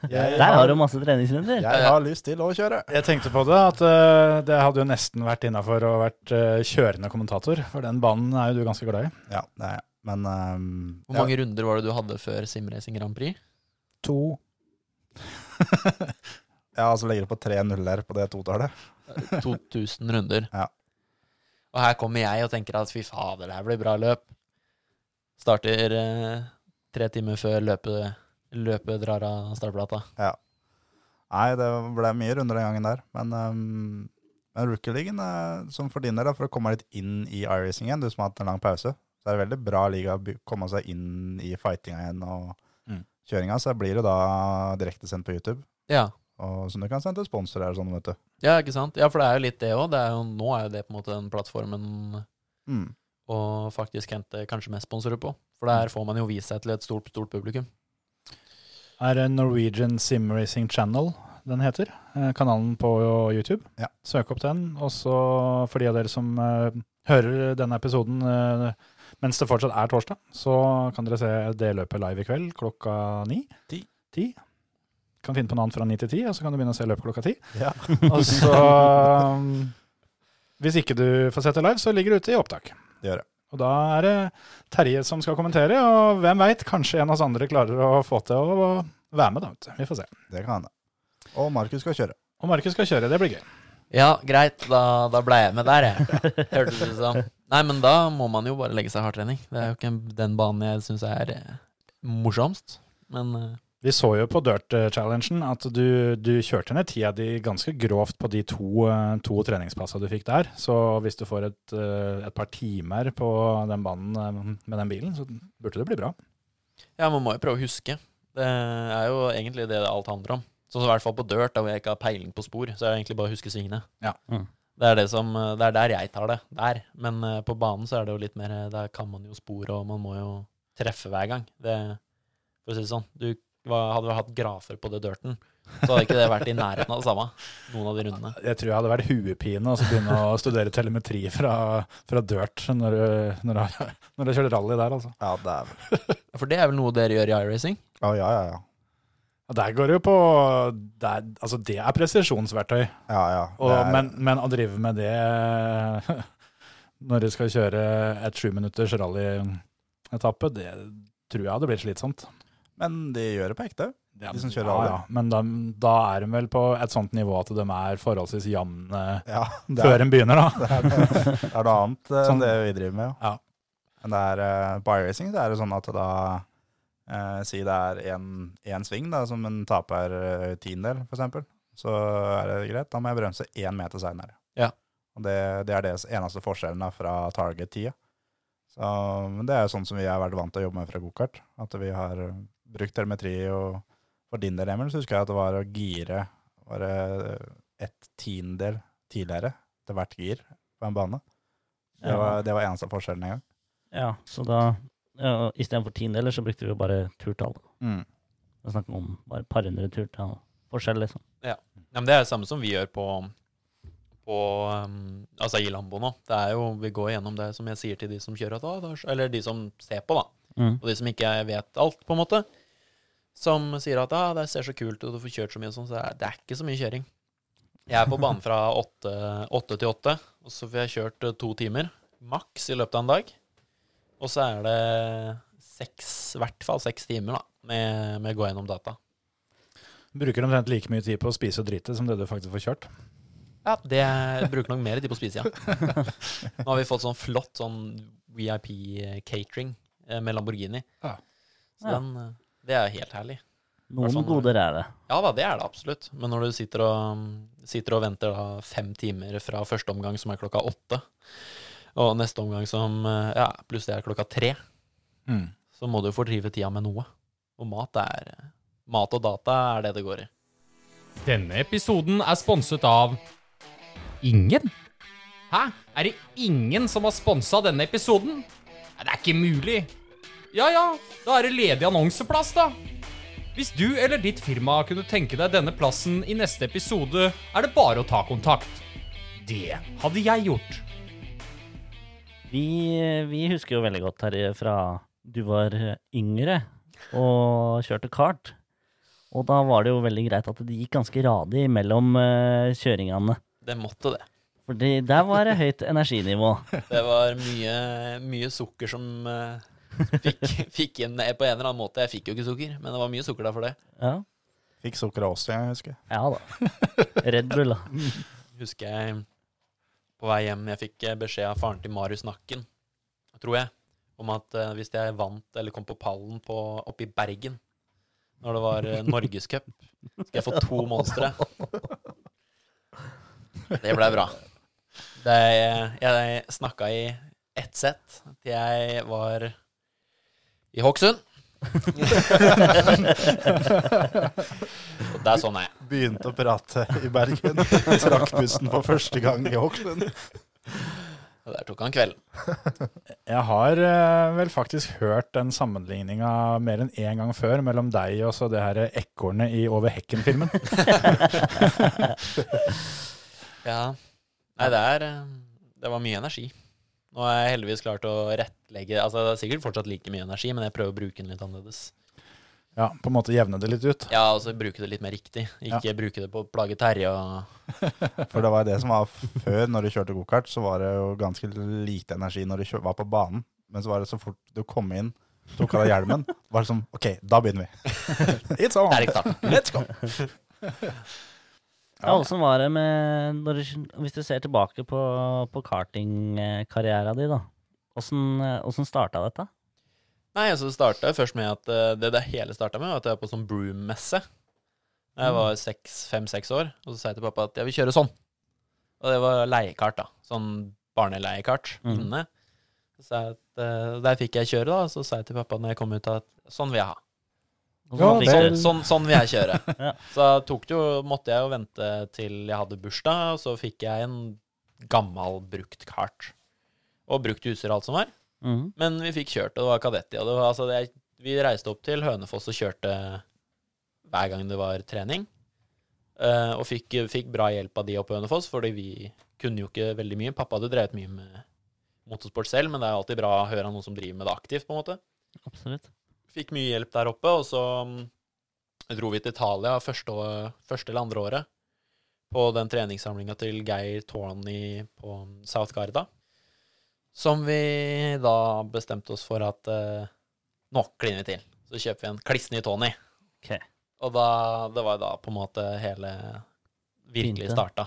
Speaker 5: Jeg
Speaker 4: Der har du masse treningsrunder.
Speaker 5: Jeg har lyst til å kjøre.
Speaker 3: Jeg tenkte på det, at eh, det hadde jo nesten vært innafor å vært eh, kjørende kommentator, for den banen er jo du ganske glad i.
Speaker 5: Ja, det er jeg. Men ehm,
Speaker 6: Hvor mange runder var det du hadde før Simracing Grand Prix?
Speaker 3: To.
Speaker 5: ja, ja, så legger det altså på tre nuller på det totallet.
Speaker 6: 2000 runder.
Speaker 5: Ja.
Speaker 6: Og her kommer jeg og tenker at fy fader, det her blir bra løp. Starter eh, tre timer før løpet, løpet drar av startplata.
Speaker 5: Nei, det ble mye runder den gangen der. Men, ehm, men rookie-ligaen, eh, som for din del, da, for å komme litt inn i iRacing igjen, du som har hatt en lang pause, så er det veldig bra liga å by- komme seg inn i fightinga igjen og
Speaker 3: Mm.
Speaker 5: kjøringa. Så blir det da direktesendt på YouTube,
Speaker 6: Ja.
Speaker 5: og som du kan sende til sponsorer og sånn, vet du.
Speaker 6: ja, ikke sant? Ja, for det er jo litt det òg. Nå er jo det på en måte den plattformen
Speaker 5: Mm.
Speaker 6: å faktisk hente kanskje mest sponsorer på. For der får man jo vist seg til et stort, stort publikum.
Speaker 3: er Norwegian Sim Racing Channel den heter. eh, Kanalen på YouTube.
Speaker 5: Ja.
Speaker 3: Søk opp den. Og så for de av dere som eh, hører denne episoden eh, mens det fortsatt er torsdag, så kan dere se det løpet live i kveld klokka ni.
Speaker 5: Ti.
Speaker 3: Ti. Kan finne på noe annet fra ni til ti, og så kan du begynne å se løpet klokka ti.
Speaker 5: Ja.
Speaker 3: Og så um, Hvis ikke du får sett det live, så ligger det ute i opptak.
Speaker 5: Det gjør det.
Speaker 3: Og da er det Terje som skal kommentere, og hvem veit, kanskje en av oss andre klarer å få til å være med, da. vet du. Vi får se.
Speaker 5: Det kan hende. Og Markus skal kjøre.
Speaker 3: Og Markus skal kjøre, det blir gøy.
Speaker 6: Ja, greit. Da, da ble jeg med der, jeg. Hørtes det ut som. Nei, men da må man jo bare legge seg hardtrening. Det er jo ikke den banen jeg syns er eh, morsomst. Men eh,
Speaker 3: Vi så jo på Dirt-challengen at du, du kjørte ned tida di ganske grovt på de to, eh, to treningspassa du fikk der. Så hvis du får et, eh, et par timer på den banen eh, med den bilen, så burde det bli bra.
Speaker 6: ja, man må jo prøve å huske. Det er jo egentlig det alt handler om. Så i hvert fall på dirt, der hvor jeg ikke har peiling på spor, så er det egentlig bare å huske svingene.
Speaker 3: Ja.
Speaker 4: Mm.
Speaker 6: Det er, det, som, eh, det er der jeg tar det. Der. Men eh, på banen så er det jo litt mer eh, Der kan man jo spor, og man må jo treffe hver gang. Det, for å si det sånn. Du hva- hadde jo hatt grafer på det dirten, så hadde ikke det vært i nærheten av det samme. Noen av de rundene.
Speaker 3: Jeg tror jeg hadde vært huepine å begynne å studere telemetri fra, fra dirt når du, når, du, har- når du kjører rally der, altså.
Speaker 5: Ja, det er
Speaker 6: For det er vel noe dere gjør i iRacing?
Speaker 5: Å, ja, ja, ja.
Speaker 3: Ja, Der går det jo på der, Altså, det er presisjonsverktøy.
Speaker 5: ja, ja.
Speaker 3: Og,
Speaker 5: Det er-
Speaker 3: men, men å drive med det når du skal kjøre et sjuminutters rallyetappe, det tror jeg hadde blitt slitsomt.
Speaker 5: men de gjør det på ekte. De som kjører rally.
Speaker 3: Ja, ja. Men da, da er de vel på et sånt nivå at de er forholdsvis jevne
Speaker 5: Ja, det er
Speaker 3: før en begynner, da.
Speaker 5: Det er, det er noe annet eh, enn
Speaker 3: Sånn.
Speaker 5: det vi driver med.
Speaker 3: Ja.
Speaker 5: Men det er, eh, på iRacing så er det sånn at da eh, Si det er én sving da, som en taper eh, tiendedel, f.eks. Så er det greit. Da må jeg bremse én meter seinere.
Speaker 6: Ja.
Speaker 5: Og det, det er det eneste forskjellen da, fra target-tida. Så, men det er jo sånn som vi har vært vant til å jobbe med fra gokart. At vi har eh, brukt telemetri. Og for din del, Emil, så husker jeg at det var å gire var det et tiendedel tidligere til hvert gir på en bane. Det
Speaker 4: Ja.
Speaker 5: var, det var eneste forskjellen en gang.
Speaker 4: Ja, så da ja, Istedenfor tiendedeler så brukte vi jo bare turtall. Det er snakk om bare et par hundre turtall forskjell, liksom.
Speaker 6: Ja, men det er det samme som vi gjør på, på um, Altså i Lambo nå. Det er jo, vi går gjennom det som jeg sier til de som kjører, at, «Å, det er så-» eller de som ser på, da.
Speaker 4: Mm.
Speaker 6: Og de som ikke vet alt, på en måte. Som sier at ah, 'det ser så kult ut, du får kjørt så mye' og sånn. Så det er- det er ikke så mye kjøring. Jeg er på banen fra åtte, åtte til åtte, og så får jeg kjørt eh, to timer maks i løpet av en dag. Og så er det seks, i hvert fall seks timer da, med, med å gå gjennom data.
Speaker 3: Bruker omtrent like mye tid på å spise og drite som det du faktisk får kjørt.
Speaker 6: Ja, det jeg bruker nok mer tid på å spise, ja. Nå har vi fått sånn flott sånn VIP-catering eh, med Lamborghini.
Speaker 3: Ja.
Speaker 6: Så den, eh, det er helt herlig.
Speaker 4: Noen
Speaker 6: Hvertfall-
Speaker 4: goder er det.
Speaker 6: Ja da, det er det absolutt. Men når du sitter og, mm, sitter og venter da fem timer fra første omgang, som er klokka åtte, og neste omgang som eh, Ja, pluss det er klokka tre, så må du jo fordrive tida med noe. Og mat er Mat og data er det det går i.
Speaker 7: Denne episoden er sponset av Ingen? Hæ? Er det ingen som har sponsa denne episoden? Nei, det er ikke mulig. Ja ja, da er det ledig annonseplass, da. Hvis du eller ditt firma kunne tenke deg denne plassen i neste episode, er det bare å ta kontakt. Det hadde jeg gjort.
Speaker 4: Vi, vi husker jo veldig godt Terje fra du var eh, yngre og kjørte kart. Og da var det jo veldig greit at det gikk ganske radig mellom eh, kjøringene.
Speaker 6: Det måtte det.
Speaker 4: For det- der var det høyt energinivå.
Speaker 6: Det var mye, mye sukker som eh, som fikk, fikk inn på en eller annen måte. Jeg fikk jo ikke sukker, men det var mye sukker der for det.
Speaker 4: Ja,
Speaker 5: Fikk sukker av oss, jeg husker.
Speaker 4: ja da. Red Bull, da.
Speaker 6: Husker jeg på vei hjem Jeg fikk eh, beskjed av faren til Marius Nakken, tror jeg, om at eh, hvis jeg vant eller kom på pallen på, oppe i Bergen når det var eh, Norgescup, skal jeg få to monstre. Det blei bra. Det, eh, jeg snakka i ett sett til jeg var i Hokksund. Og det er sånn jeg er.
Speaker 5: Begynte å prate i Bergen. Trakk pusten for første gang i Auckland.
Speaker 6: Og Der tok han kvelden.
Speaker 3: Jeg har eh, vel faktisk hørt den sammenligninga mer enn én gang før mellom deg og så det her ekornet i Over hekken-filmen.
Speaker 6: Ja. Nei, det er eh, Det var mye energi. Nå har jeg heldigvis klart å rettlegge Altså, det er sikkert fortsatt like mye energi, men jeg prøver å bruke den litt annerledes.
Speaker 3: Ja, på en måte jevne det litt ut.
Speaker 6: Ja, og så bruke det litt mer riktig. Ikke bruke det på å plage Terje og
Speaker 5: For det var det som var før, når du kjørte gokart, så var det jo ganske lite energi når du kjør, var på banen. Men så var det så fort du kom inn, tok av deg hjelmen, var det sånn OK, da begynner vi. It's on.
Speaker 6: Erik Tarten. Let's go!
Speaker 4: Ja, Åssen var det med når du, Hvis du ser tilbake på, på kartingkarriera di, da. Åssen åssen starta dette?
Speaker 6: Nei, altså, det starta først med at eh, Det det hele starta med, var at jeg var på sånn broom-messe. Da jeg var seks- fem-seks år, og så sa jeg til pappa at jeg vil kjøre sånn. Og det var leiekart, da. Sånn barneleiekart
Speaker 4: Mm.
Speaker 6: inne. Så sa jeg at eh, Der fikk jeg kjøre, da. Og så sa jeg til pappa når jeg kom ut, at sånn vil jeg ha.
Speaker 4: Åssen
Speaker 3: Ja,
Speaker 4: fikk
Speaker 6: Sånn,
Speaker 4: du-
Speaker 6: sånn, sånn vil jeg kjøre.
Speaker 4: Ja.
Speaker 6: Så tok det jo, måtte jeg jo vente til jeg hadde bursdag, og så fikk jeg en gammel brukt kart. Og brukt utstyr og alt som var.
Speaker 4: Mhm.
Speaker 6: Men vi fikk kjørt, og det var kadetti. Og det var, altså, det, vi reiste opp til Hønefoss og kjørte hver gang det var trening. Eh, og fikk, fikk bra hjelp av de oppe i Hønefoss, fordi vi kunne jo ikke veldig mye. Pappa hadde drevet mye med motorsport selv, men det er alltid bra å høre av noen som driver med det aktivt, på en måte
Speaker 4: Absolutt.
Speaker 6: fikk mye hjelp der oppe, og så mm, dro vi til Italia første, å- første eller andre året på den treningssamlinga til Geir Tårni på mm, South Garda. Som vi da bestemte oss for at eh, nå kliner vi til. Så kjøper vi en kliss ny Tony.
Speaker 4: Ok.
Speaker 6: Og da, det var da på en måte hele virkelig
Speaker 4: Begynte.
Speaker 6: starta.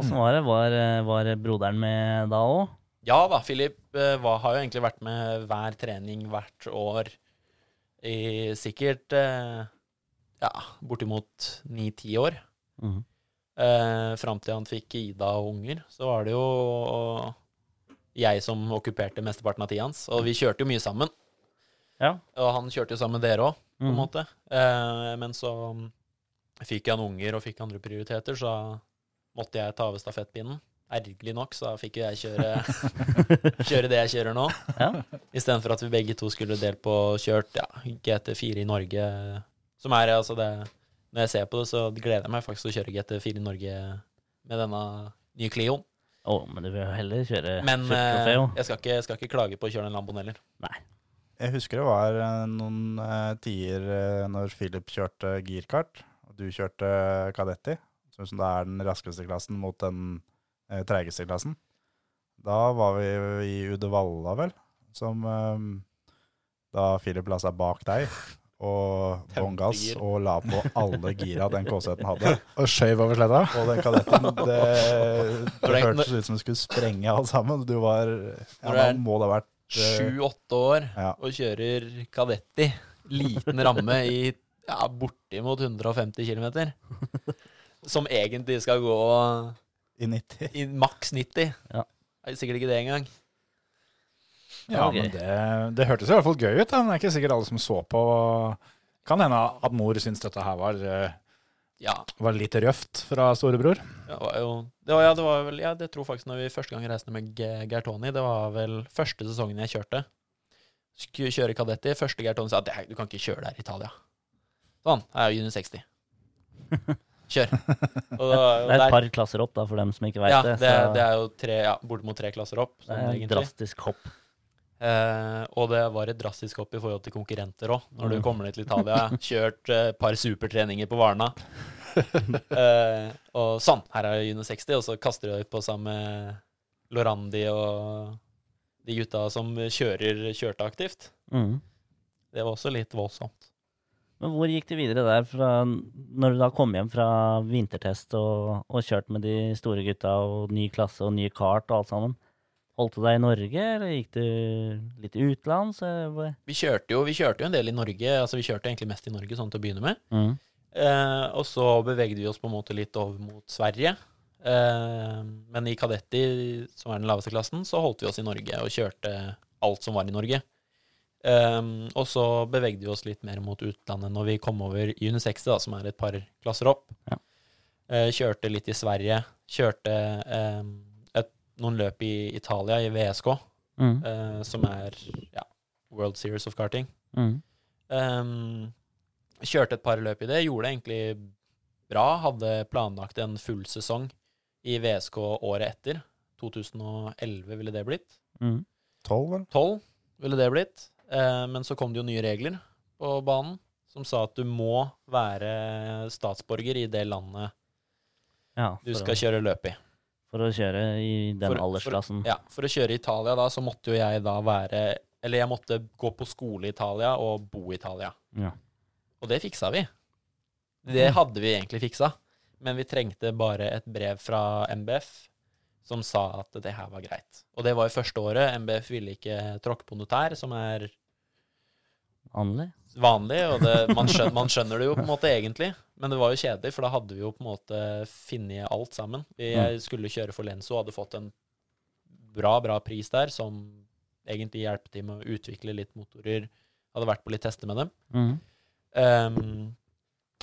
Speaker 4: Åssen var det? Var, eh, var broderen med da òg?
Speaker 6: Ja da, Philip eh, var, har jo egentlig vært med hver trening hvert år i sikkert eh, ja, bortimot ni-ti år.
Speaker 4: Mhm.
Speaker 6: Eh, Fram til han fikk Ida og unger, så var det jo jeg som okkuperte mesteparten av tida hans. Og vi kjørte jo mye sammen.
Speaker 4: Ja.
Speaker 6: Og han kjørte jo sammen med dere òg, på en
Speaker 4: Mhm.
Speaker 6: måte. Eh, men så mm, fikk han unger og fikk andre prioriteter, så måtte jeg ta over stafettpinnen. Ergerlig nok, så fikk jo jeg kjøre, kjøre det jeg kjører nå.
Speaker 4: Ja.
Speaker 6: Istedenfor at vi begge to skulle delt på kjørt ja, GT4 i Norge, som er altså det Når jeg ser på det, så gleder jeg meg faktisk til å kjøre GT4 i Norge med denne nye Clioen.
Speaker 4: Å, men du vil jo heller kjøre
Speaker 6: Men
Speaker 4: kjøre
Speaker 6: eh,
Speaker 4: trofeo.
Speaker 6: jeg, skal ikke, jeg skal ikke klage på å kjøre den Lamboen heller.
Speaker 5: Jeg husker det var eh, noen eh, tider eh, når Philip kjørte girkart, og du kjørte kadetti, som som da er den raskeste klassen mot den eh, treigeste klassen. Da var vi i Uddevalla, vel, som eh, da Philip la seg bak deg, og
Speaker 6: Tømte
Speaker 5: bånn gass,
Speaker 6: gir.
Speaker 5: og la på alle gira den KZ-en hadde.
Speaker 3: Og skøyv over sletta.
Speaker 5: Og den kadetten, det, det
Speaker 6: Når det-
Speaker 5: hørtes ut som du skulle sprenge alt sammen. Du var
Speaker 6: Når
Speaker 5: Ja,
Speaker 6: det er
Speaker 5: man må da ha vært eh,
Speaker 6: Sju-åtte år
Speaker 5: Ja.
Speaker 6: og kjører Kadetti, liten ramme i ja, bortimot 150 km. Som egentlig skal gå
Speaker 5: i 90.
Speaker 6: i maks 90.
Speaker 4: Ja.
Speaker 6: Det er Sikkert ikke det engang.
Speaker 3: Ja,
Speaker 4: Det var
Speaker 3: men
Speaker 4: gøy.
Speaker 3: det, det hørtes i hvert fall gøy ut. Da. Men det er ikke sikkert alle som så på. Kan hende at mor syns dette her var, eh,
Speaker 6: Ja,
Speaker 3: var litt røft fra storebror.
Speaker 6: det var jo det var, ja, det var vel, ja, det tror jeg faktisk når vi første gang reiste med Ge- Geir Tony, det var vel første sesongen jeg kjørte. Skulle kjøre Kadetti. Første Geir Tony sa at du kan ikke kjøre der i Italia. Sånn. Jeg er jo junior 60. Kjør. Og da,
Speaker 4: Det er et par klasser opp, da, for dem som ikke veit
Speaker 6: ja,
Speaker 4: det.
Speaker 6: det,
Speaker 4: så
Speaker 6: det er jo tre, ja, bortimot tre klasser opp.
Speaker 4: det
Speaker 6: Sånn,
Speaker 4: er et
Speaker 6: egentlig.
Speaker 4: drastisk hopp.
Speaker 6: Eh, og det var et drastisk hopp i forhold til konkurrenter òg. Når du
Speaker 4: Mm.
Speaker 6: kommer ned til Italia, kjørt eh, et par supertreninger på Varna. Eh, og sånn, her er Juno 60, og så kaster de deg på sammen med Lorandi og de gutta som kjører kjørte aktivt.
Speaker 4: Mm.
Speaker 6: Det var også litt voldsomt.
Speaker 4: Men hvor gikk du videre der fra når du da kom hjem fra vintertest og, og kjørt med de store gutta og ny klasse og nye kart og alt sammen? Holdt du deg i Norge, eller gikk du litt utenlands? eller hvor-
Speaker 6: Vi kjørte jo, vi kjørte jo en del i Norge, altså vi kjørte egentlig mest i Norge sånn til å begynne med.
Speaker 4: Mm.
Speaker 6: Eh, og så bevegde vi oss på en måte litt over mot Sverige. Eh, men i Kadetti, som er den laveste klassen, så holdt vi oss i Norge og kjørte alt som var i Norge. Eh, og så bevegde vi oss litt mer mot utlandet når vi kom over i Juni 60, da, som er et par klasser opp.
Speaker 4: Ja.
Speaker 6: Eh, kjørte litt i Sverige. Kjørte eh, et, noen løp i Italia, i VSK,
Speaker 4: Mm.
Speaker 6: eh, som er ja, World Series of Karting.
Speaker 4: Mm.
Speaker 6: Ehm, kjørte et par løp i det, gjorde det egentlig bra. Hadde planlagt en full sesong i VSK året etter. 2011 ville det blitt.
Speaker 4: Mm.
Speaker 5: 12, vel?
Speaker 6: 12 ville det blitt. Eh, men så kom det jo nye regler på banen som sa at du må være statsborger i det landet
Speaker 4: Ja,
Speaker 6: du
Speaker 4: for,
Speaker 6: skal
Speaker 4: å,
Speaker 6: kjøre løp i.
Speaker 4: for å kjøre i den
Speaker 6: For- for-
Speaker 4: aldersklassen.
Speaker 6: Ja, For å kjøre i Italia da, så måtte jo jeg da være Eller jeg måtte gå på skole i Italia og bo i Italia.
Speaker 4: Ja.
Speaker 6: Og det fiksa vi. Det hadde vi egentlig fiksa. Men vi trengte bare et brev fra MBF som sa at det her var greit. Og det var jo første året. MBF ville ikke tråkke på noe tær, som er
Speaker 4: Annerledes.
Speaker 6: vanlig, og det, man, skjønner, man skjønner det jo på en måte egentlig. Men det var jo kjedelig, for da hadde vi jo på en måte funnet alt sammen. Vi- Jeg skulle kjøre for Lenzo og hadde fått en bra, bra pris der, som egentlig hjelpet til med å utvikle litt motorer. Hadde vært på litt tester med dem.
Speaker 4: Mm.
Speaker 6: Ehm,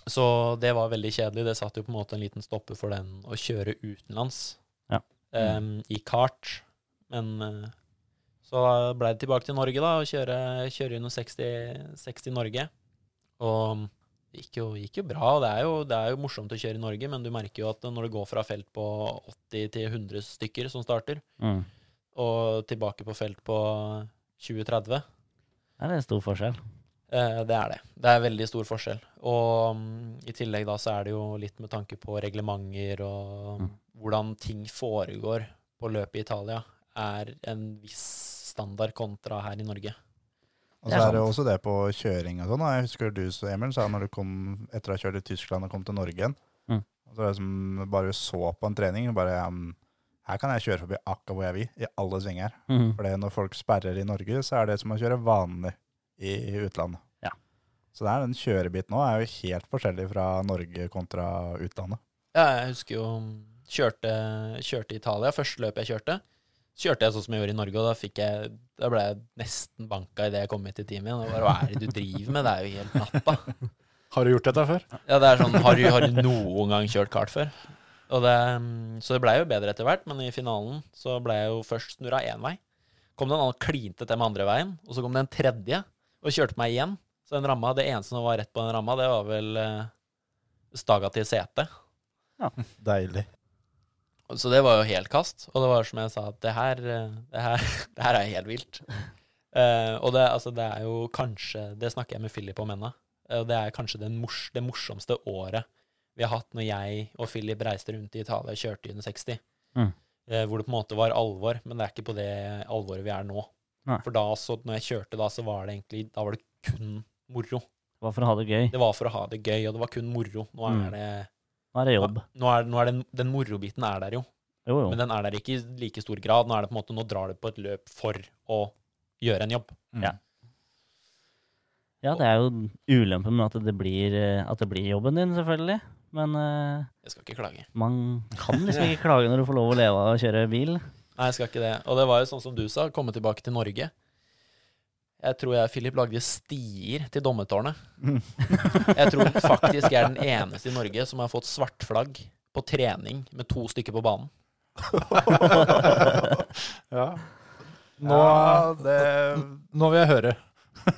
Speaker 6: så det var veldig kjedelig. Det satt jo på en måte en liten stopper for den å kjøre utenlands
Speaker 4: Ja.
Speaker 6: ehm, i kart. Men eh, så da ble det tilbake til Norge, da, og kjøre, kjøre under 60, 60 Norge. Og det gikk jo, gikk jo bra. og det er jo, det er jo morsomt å kjøre i Norge, men du merker jo at når det går fra felt på 80 til 100 stykker som starter,
Speaker 4: Mm.
Speaker 6: og tilbake på felt på 20-30
Speaker 4: Det er en stor forskjell.
Speaker 6: Eh, Det er det. Det er veldig stor forskjell. Og mm, i tillegg da så er det jo litt med tanke på reglementer og
Speaker 4: Mm.
Speaker 6: hvordan ting foregår på løpet i Italia, er en viss standard kontra her i Norge.
Speaker 5: Og så
Speaker 4: Det er
Speaker 5: er det
Speaker 4: sant.
Speaker 5: også det på kjøring og sånn. da. Jeg husker du, så Emil, sa når du kom etter å ha kjørt i Tyskland og kom til Norge igjen.
Speaker 4: Mm.
Speaker 5: Og så er det som bare du så på en trening bare um, Her kan jeg kjøre forbi akkurat hvor jeg vil, i alle svinger.
Speaker 4: Mm.
Speaker 5: For det når folk sperrer i Norge, så er det som å kjøre vanlig i utlandet.
Speaker 4: Ja.
Speaker 5: Så det er den kjørebiten nå er jo helt forskjellig fra Norge kontra utlandet.
Speaker 6: Ja, jeg husker jo mm, kjørte, kjørte i Italia, første løpet jeg kjørte. kjørte jeg sånn som jeg gjorde i Norge, og da, fikk jeg, da ble jeg nesten banka idet jeg kom hit til teamet igjen. Og bare, Hva er det du driver med? Det er jo helt natta.
Speaker 3: Har du gjort dette før?
Speaker 6: Ja, det er sånn, har du, har du noen gang kjørt kart før? Og det, mm, så det blei jo bedre etter hvert, men i finalen så ble jeg jo først snurra én vei. Kom det en annen klinte til med andre veien, og så kom det en tredje og kjørte meg igjen. Så den ramma, det eneste som var rett på den ramma, det var vel eh, staga til setet.
Speaker 5: Deilig.
Speaker 6: Så det var jo helt kast, og det var som jeg sa, at det her, eh, det her, det her er helt vilt. Eh, og det, altså, det er jo kanskje Det snakker jeg med Philip om ennå. eh, og det er kanskje den mors, det morsomste året vi har hatt når jeg og Philip reiste rundt i Italia og kjørte i under 60.
Speaker 4: Mm.
Speaker 6: Eh, hvor det på en måte var alvor, men det er ikke på det alvoret vi er nå.
Speaker 4: Nei.
Speaker 6: For da så, når jeg kjørte da, så var det egentlig Da var det kun moro.
Speaker 4: Bare for å ha det gøy.
Speaker 6: Det var for å ha det gøy, og det var kun moro. Nå er
Speaker 4: Mm.
Speaker 6: det
Speaker 4: Nå er det jobb.
Speaker 6: Nå er, nå er den, den morobiten er der jo.
Speaker 4: Jo, jo.
Speaker 6: Men den er der ikke i like stor grad. Nå, er det på en måte, nå drar du på et løp for å gjøre en jobb.
Speaker 4: Ja, det er jo ulempen med at det blir, eh, at det blir jobben din, selvfølgelig. Men eh,
Speaker 6: Jeg skal ikke klage.
Speaker 4: man kan liksom ikke klage når du får lov å leve av å kjøre bil.
Speaker 6: Nei, jeg skal ikke det. Og det var jo sånn som du sa, komme tilbake til Norge. Jeg tror jeg, Philip, lagde stier til dommetårnet. Jeg tror faktisk jeg er den eneste i Norge som har fått svartflagg på trening med to stykker på banen.
Speaker 3: Ja. Nå,
Speaker 5: Ja, det
Speaker 3: nå vil jeg høre.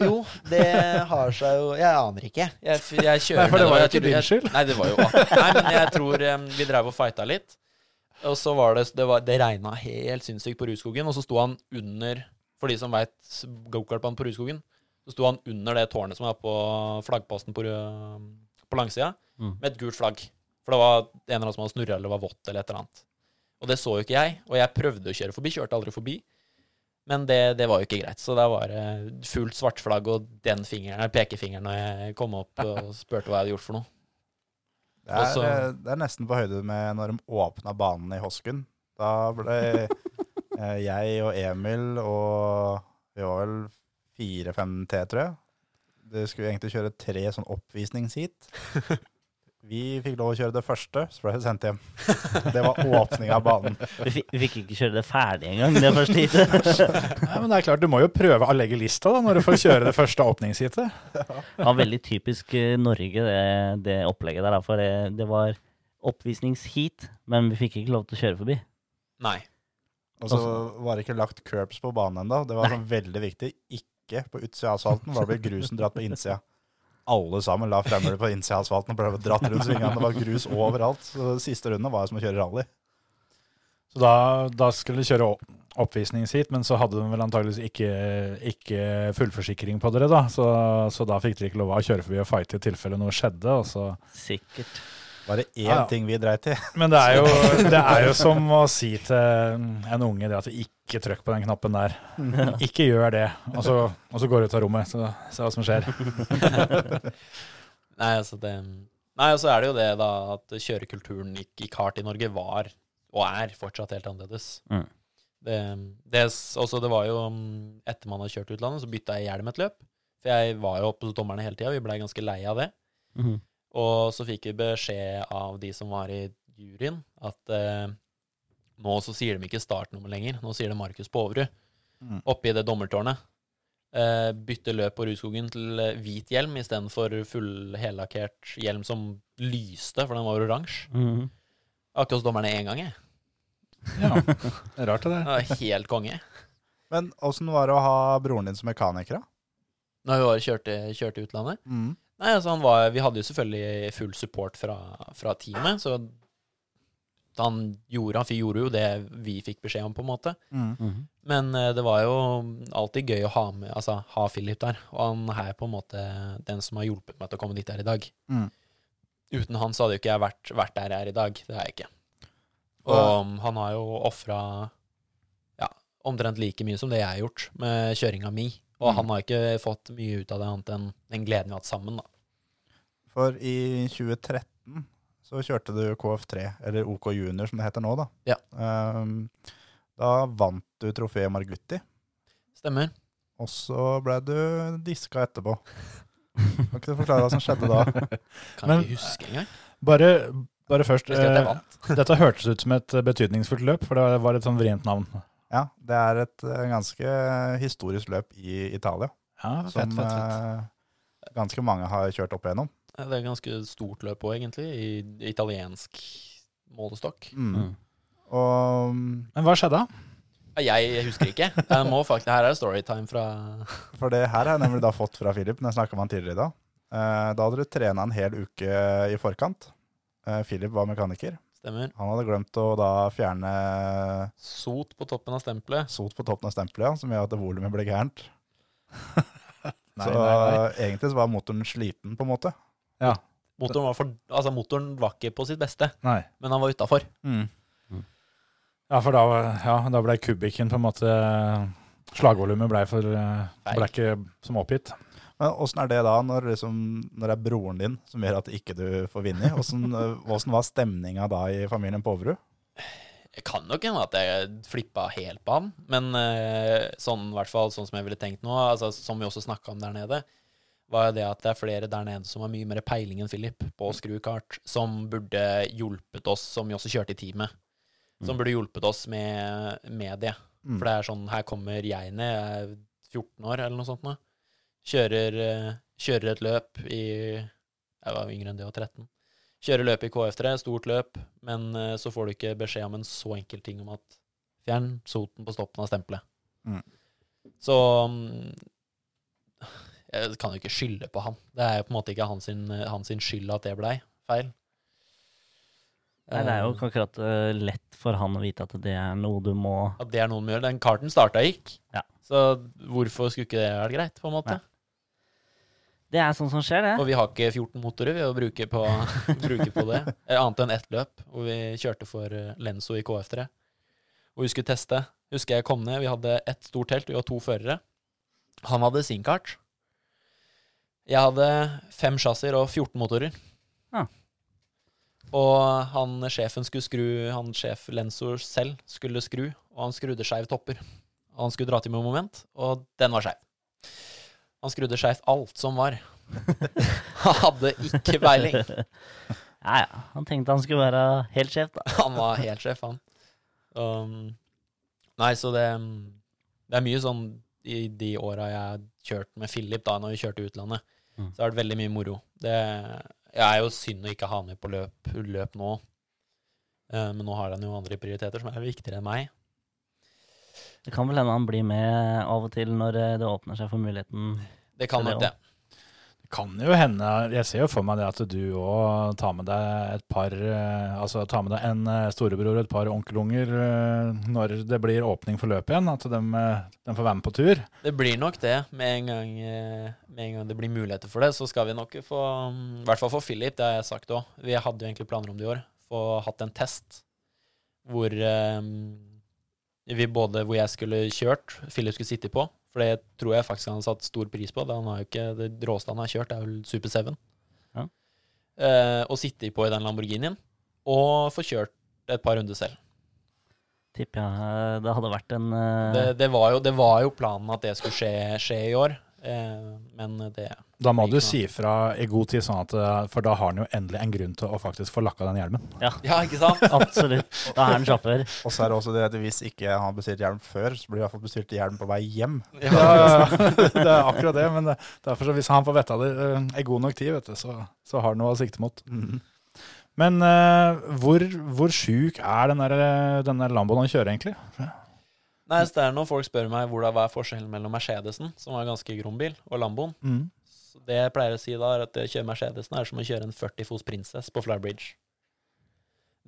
Speaker 6: Jo, det har seg jo Jeg aner ikke. Jeg, f- jeg kjører
Speaker 3: Nei, for det
Speaker 6: med
Speaker 3: var jo
Speaker 6: Jeg
Speaker 3: ikke
Speaker 6: tror-
Speaker 3: din
Speaker 6: jeg-
Speaker 3: skyld.
Speaker 6: Nei, det var jo Nei, men jeg tror em, vi drev og fighta litt. Og så var det Det, var- det regna helt sinnssykt på Rudskogen, og så sto han under For de som veit gokartbanen på Rudskogen, så sto han under det tårnet som er på flaggposten på, Ru- på langsida,
Speaker 4: Mm.
Speaker 6: med et gult flagg. For det var en eller annen som hadde snurra eller var vått eller et eller annet. Og det så jo ikke jeg, og jeg prøvde å kjøre forbi, kjørte aldri forbi. Men det, det var jo ikke greit, så da var det fullt svart flagg og den fingeren, nei, pekefingeren når jeg kom opp og spurte hva jeg hadde gjort for noe.
Speaker 5: Det er,
Speaker 6: Også-
Speaker 5: eh, det er nesten på høyde med når de åpna banen i Hosken. Da ble eh, jeg og Emil og vi var vel fire-fem T, tror jeg. Det skulle egentlig kjøre tre sånn oppvisningsheat. Vi fikk lov å kjøre det første, så ble vi sendt hjem. Det var åpning av banen.
Speaker 4: Vi, fikk- vi fikk ikke kjøre det ferdig engang, det første hitet.
Speaker 3: Nei, men det er klart, Du må jo prøve å legge lista da, når du får kjøre det første åpningsheatet.
Speaker 4: Det var veldig typisk eh, Norge, det, det opplegget der. da, For det, det var oppvisningsheat, men vi fikk ikke lov til å kjøre forbi.
Speaker 6: Nei.
Speaker 5: Og så var det ikke lagt curbs på banen ennå. Det var sånn veldig viktig. Ikke på utsida av asfalten, for da ble grusen dratt på innsida. Alle sammen la fremmede på innsida av asfalten og ble dratt rundt svingene. Det var grus overalt. Så siste runde var som å kjøre rally.
Speaker 3: Så da, da skulle du kjøre opp- oppvisningsheat, men så hadde de vel antageligvis ikke, ikke fullforsikring på dere, da. Så, så da fikk dere ikke lov å kjøre forbi og fighte i tilfelle noe skjedde. og så...
Speaker 4: Sikkert.
Speaker 5: Bare én
Speaker 3: Ja, ja.
Speaker 5: ting vi dreit i.
Speaker 3: Men det er, jo, det er jo som å si til en unge det at ikke trykk på den knappen der. Ikke gjør det. Og så, og så går du ut av rommet, så se hva som skjer.
Speaker 6: Nei, altså det Nei, og så er det jo det, da, at kjørekulturen i, i kart i Norge var, og er, fortsatt helt annerledes.
Speaker 4: Mm.
Speaker 6: Det, det, også det var jo mm, Etter man har kjørt utlandet, så bytta jeg hjelm et løp. For jeg var jo oppe hos dommerne hele tida, vi blei ganske lei av det.
Speaker 4: Mhm.
Speaker 6: Og så fikk vi beskjed av de som var i juryen, at eh, nå så sier de ikke startnummer lenger. Nå sier det Markus Poverud
Speaker 5: Mm.
Speaker 6: oppe i det dommertårnet. Eh, bytte løp på Rudskogen til eh, hvit hjelm istedenfor full hellakkert hjelm som lyste, for den var oransje.
Speaker 4: Mhm.
Speaker 6: Jeg har ikke hos dommerne én gang, jeg.
Speaker 3: Ja, det er rart det
Speaker 6: Det
Speaker 3: der.
Speaker 6: var helt konge.
Speaker 5: Men åssen var det å ha broren din som mekaniker, da?
Speaker 6: Når vi var kjørte, kjørte utlandet.
Speaker 5: Mm.
Speaker 6: Nei, altså han var, Vi hadde jo selvfølgelig full support fra, fra teamet, så han gjorde, han gjorde jo det vi fikk beskjed om, på en måte.
Speaker 3: Mm.
Speaker 4: Mhm.
Speaker 6: Men eh, det var jo alltid gøy å ha med, altså ha Philip der. Og han er på en måte den som har hjulpet meg til å komme dit jeg er i dag.
Speaker 5: Mm.
Speaker 6: Uten han så hadde jo ikke jeg vært, vært der jeg er i dag. Det er jeg ikke. Og um, han har jo ofra ja, omtrent like mye som det jeg har gjort med kjøringa mi.
Speaker 3: Mm.
Speaker 6: Og han har ikke fått mye ut av det annet enn den gleden vi har hatt sammen, da.
Speaker 5: For i 2013 så kjørte du KF3, eller OK Junior som det heter nå, da.
Speaker 6: Ja.
Speaker 5: Ehm, da vant du trofeet Margutti,
Speaker 6: Stemmer.
Speaker 5: og så ble du diska etterpå. Kan ikke du forklare hva som skjedde da?
Speaker 6: Kan
Speaker 3: Men-
Speaker 6: ikke huske engang.
Speaker 3: Bare, bare først
Speaker 6: Jeg husker at jeg
Speaker 3: eh,
Speaker 6: vant.
Speaker 3: Dette hørtes ut som et betydningsfullt løp, for det var et sånn vrient navn.
Speaker 5: Ja, det er et eh, ganske historisk løp i Italia.
Speaker 3: Ja,
Speaker 5: Som
Speaker 3: fett, fett, fett.
Speaker 5: eh, ganske mange har kjørt opp igjennom.
Speaker 6: Det er et ganske stort løp òg, egentlig, i italiensk målestokk.
Speaker 5: Mm.
Speaker 4: Mm.
Speaker 5: Og mm,
Speaker 3: Men hva skjedde?
Speaker 6: Nei, Jeg, jeg husker ikke. Jeg må faktisk, her er det storytime fra
Speaker 5: For det her har jeg nemlig da fått fra Philip, den snakka man tidligere i dag. Eh, Da hadde du trena en hel uke i forkant. Eh, Philip var mekaniker.
Speaker 6: Stemmer.
Speaker 5: Han hadde glemt å da fjerne
Speaker 6: Sot på toppen av stempelet.
Speaker 5: sot på toppen av stempelet, ja, som gjør at volumet ble gærent.
Speaker 3: Nei,
Speaker 5: så
Speaker 3: nei,
Speaker 5: egentlig så var motoren sliten, på en måte.
Speaker 6: Motoren var, for, altså, motoren var ikke på sitt beste,
Speaker 3: nei. nei.
Speaker 6: men han var utafor.
Speaker 3: Ja, for da, ja, da ble kubikken på en måte Slagvolumet ble, for, eh, ble ikke som oppgitt.
Speaker 5: Men åssen er det da, når, liksom, når det er broren din som gjør at ikke du får vinne? Åssen eh, åssen var stemninga da i familien på Overud?
Speaker 6: Jeg kan nok hende at jeg flippa helt på han, men eh, sånn, i hvert fall, sånn som jeg ville tenkt nå, altså, som vi også snakka om der nede, var jo det at det er flere der nede som har mye mer peiling enn Philip på screwkart, som burde hjulpet oss, som vi også kjørte i teamet, som burde hjulpet oss med, med det.
Speaker 5: Mm.
Speaker 6: For det er sånn, her kommer jeg ned, jeg er 14 år eller noe sånt nå, kjører, eh, kjører et løp i, jeg var yngre enn det, og 13 kjøre løp i KF3, stort løp, men eh, så får du ikke beskjed om en så enkel ting om at fjern soten på stoppen av stempelet.
Speaker 5: Mm.
Speaker 6: Så mm, jeg kan jo ikke skylde på han. Det er jo på en måte ikke hans, sin, hans sin skyld at det blei feil.
Speaker 4: Nei, det er jo
Speaker 6: Eh,
Speaker 4: ikke akkurat eh, lett for han å vite at det er noe du må
Speaker 6: At det er noe de gjør. Den karten starta og gikk,
Speaker 4: Ja.
Speaker 6: så hvorfor skulle ikke det være greit, på en måte?
Speaker 4: Nei. Det er sånn som skjer, det.
Speaker 6: Og vi har ikke 14 motorer vi å bruke på, bruke på det. Eh, Annet enn ett løp, hvor vi kjørte for eh, Lenso i KF3. Og vi skulle teste. Husker jeg kom ned, vi hadde ett stort telt, vi var to førere. Han hadde sin kart. Jeg hadde fem chassiser og 14 motorer.
Speaker 4: Ja.
Speaker 6: Og han sjefen skulle skru, han sjef Lenso selv skulle skru, og han skrudde skeiv topper. Og han skulle dra til med moment, og den var skeiv. Han skrudde skeivt alt som var. Han hadde ikke peiling.
Speaker 4: Ja, ja. Han tenkte han skulle være helt sjef, da.
Speaker 6: Han var helt sjef, han. Um, nei, så det Det er mye sånn i de åra jeg har kjørt med Philip, da, når vi kjørte i utlandet,
Speaker 4: Mm.
Speaker 6: så har det vært veldig mye moro. Det jeg er jo synd å ikke ha han med på løp, løp nå, Eh, men nå har han jo andre prioriteter som er viktigere enn meg.
Speaker 4: Det kan vel hende han blir med av og til når eh, det åpner seg for muligheten.
Speaker 6: Det kan
Speaker 4: Det er
Speaker 6: nok
Speaker 4: det
Speaker 6: det.
Speaker 3: Det kan jo hende Jeg ser jo for meg det at du òg tar med deg et par eh, Altså tar med deg en eh, storebror og et par onkelunger eh, når det blir åpning for løpet igjen. At de, får være med på tur.
Speaker 6: Det blir nok det. Med en gang, eh, med en gang det blir muligheter for det, så skal vi nok få mm, I hvert fall for Philip, det har jeg sagt òg. Vi hadde jo egentlig planer om det i år. Få hatt en test hvor eh, vi både Hvor jeg skulle kjørt, Philip skulle sitte på. For det tror jeg faktisk han har satt stor pris på. Det, han har jo ikke, det råeste han har kjørt, er vel Super 7.
Speaker 4: Ja.
Speaker 6: Eh, og sitte på i den Lamborghinien. Og få kjørt et par runder selv.
Speaker 4: Tipper jeg eh, det hadde vært en eh,
Speaker 6: Det, det, var, jo, det var jo planen at det skulle skje, skje i år, eh, men det
Speaker 3: Da må du si fra i god tid, sånn at, eh, for da har han jo endelig en grunn til å faktisk få lakka den hjelmen.
Speaker 6: Ja, ikke sant?
Speaker 4: Absolutt. Da er han sjåfør.
Speaker 5: Og så er det også det at hvis ikke han har bestilt hjelm før, så blir det i hvert fall bestilt hjelm på vei hjem.
Speaker 3: det er akkurat det, men det- derfor så hvis han får vite av det eh, i god nok tid, vet du, så, så har han noe å sikte mot. Men eh, hvor, hvor sjuk er den der, eh, den der Lamboen han kjører, egentlig?
Speaker 6: Nei, så det er når folk spør meg hvordan, hva er forskjellen mellom Mercedesen, som var en ganske grom bil, og Lamboen.
Speaker 3: Mm.
Speaker 6: Så det jeg pleier å si da, er at det å kjøre Mercedesen er som å kjøre en 40 fots prinsess på Flybridge.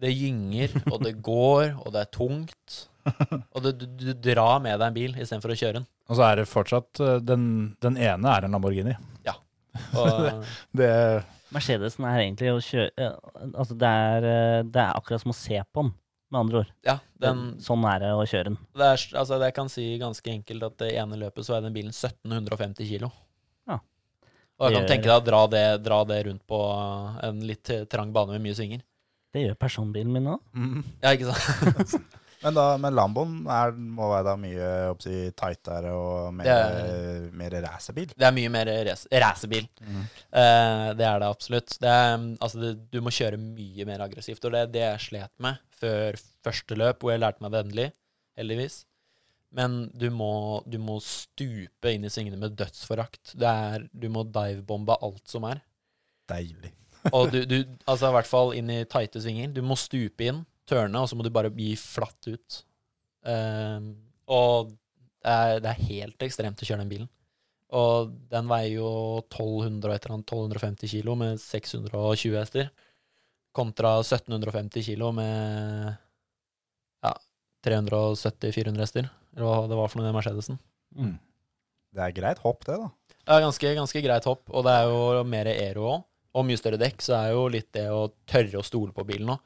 Speaker 6: Det gynger, og det går, og det er tungt. Og du, du, du drar med deg en bil istedenfor å kjøre den.
Speaker 3: Og så er det fortsatt eh, Den, den ene er en Lamborghini.
Speaker 6: Og,
Speaker 3: Det,
Speaker 4: Mercedesen er egentlig å kjøre eh, Altså, det er, eh, det er akkurat som å se på den, med andre ord.
Speaker 6: ja, den,
Speaker 4: sånn er det å kjøre den.
Speaker 6: det er, altså, jeg kan si ganske enkelt at det ene løpet så er den bilen 1750 kilo.
Speaker 4: Ja.
Speaker 6: Og jeg kan
Speaker 4: Det gjør-
Speaker 6: tenke deg å dra det, dra det rundt på en litt trang bane med mye svinger.
Speaker 4: Det gjør personbilen min òg.
Speaker 6: Ja, ikke sant?
Speaker 5: Men, da, men Lamboen er, må være da mye oppsi, tightere og mer,
Speaker 6: Det
Speaker 5: mer racerbil.
Speaker 6: Det er mye mer res- racerbil. Eh, det er det absolutt. Det er, mm, altså, det, du må kjøre mye mer aggressivt, og det er det jeg slet med før første løp, hvor jeg lærte meg det endelig, heldigvis. Men du må, du må stupe inn i svingene med dødsforakt. Det er, du må divebombe alt som er.
Speaker 5: Deilig.
Speaker 6: Og du, du altså i hvert fall inn i tighte svinger. Du må stupe inn, tørne, og så må du bare gi flatt ut. Ehm, og det er, det er helt ekstremt å kjøre den bilen. Og den veier jo 1200 og et eller annet, 1250 kilo med 620 hester. Kontra 1750 kilo med ja, 370-400 hester. Eller hva det var for noe i den Mercedesen.
Speaker 5: Det er greit hopp, det, da.
Speaker 6: Ja, ganske, ganske greit hopp, og det er jo mer aero òg. Og mye større dekk, så er jo litt det å tørre å stole på bilen òg.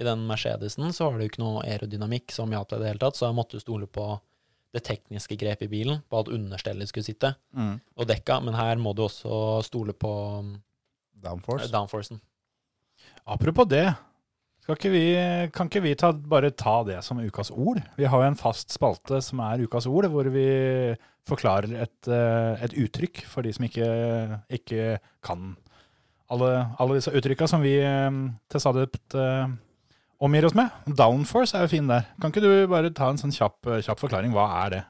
Speaker 6: I den Mercedesen så har du ikke noe aerodynamikk som Jaap i det hele tatt, så jeg måtte jo stole på det tekniske grepet i bilen, på at understellet skulle sitte,
Speaker 3: Mhm.
Speaker 6: og dekka. Men her må du også stole på eh,
Speaker 5: Downforce.
Speaker 6: downforcen.
Speaker 3: Apropos det, skal ikke vi, kan ikke vi ta, bare ta det som ukas ord? Vi har jo en fast spalte som er ukas ord, hvor vi forklarer et, eh, et uttrykk for de som ikke, ikke kan alle, alle disse uttrykka som vi eh, til stadighet eh, omgir oss med. Downforce er jo fin der. Kan ikke du bare ta en sånn kjapp, kjapp forklaring? Hva er det?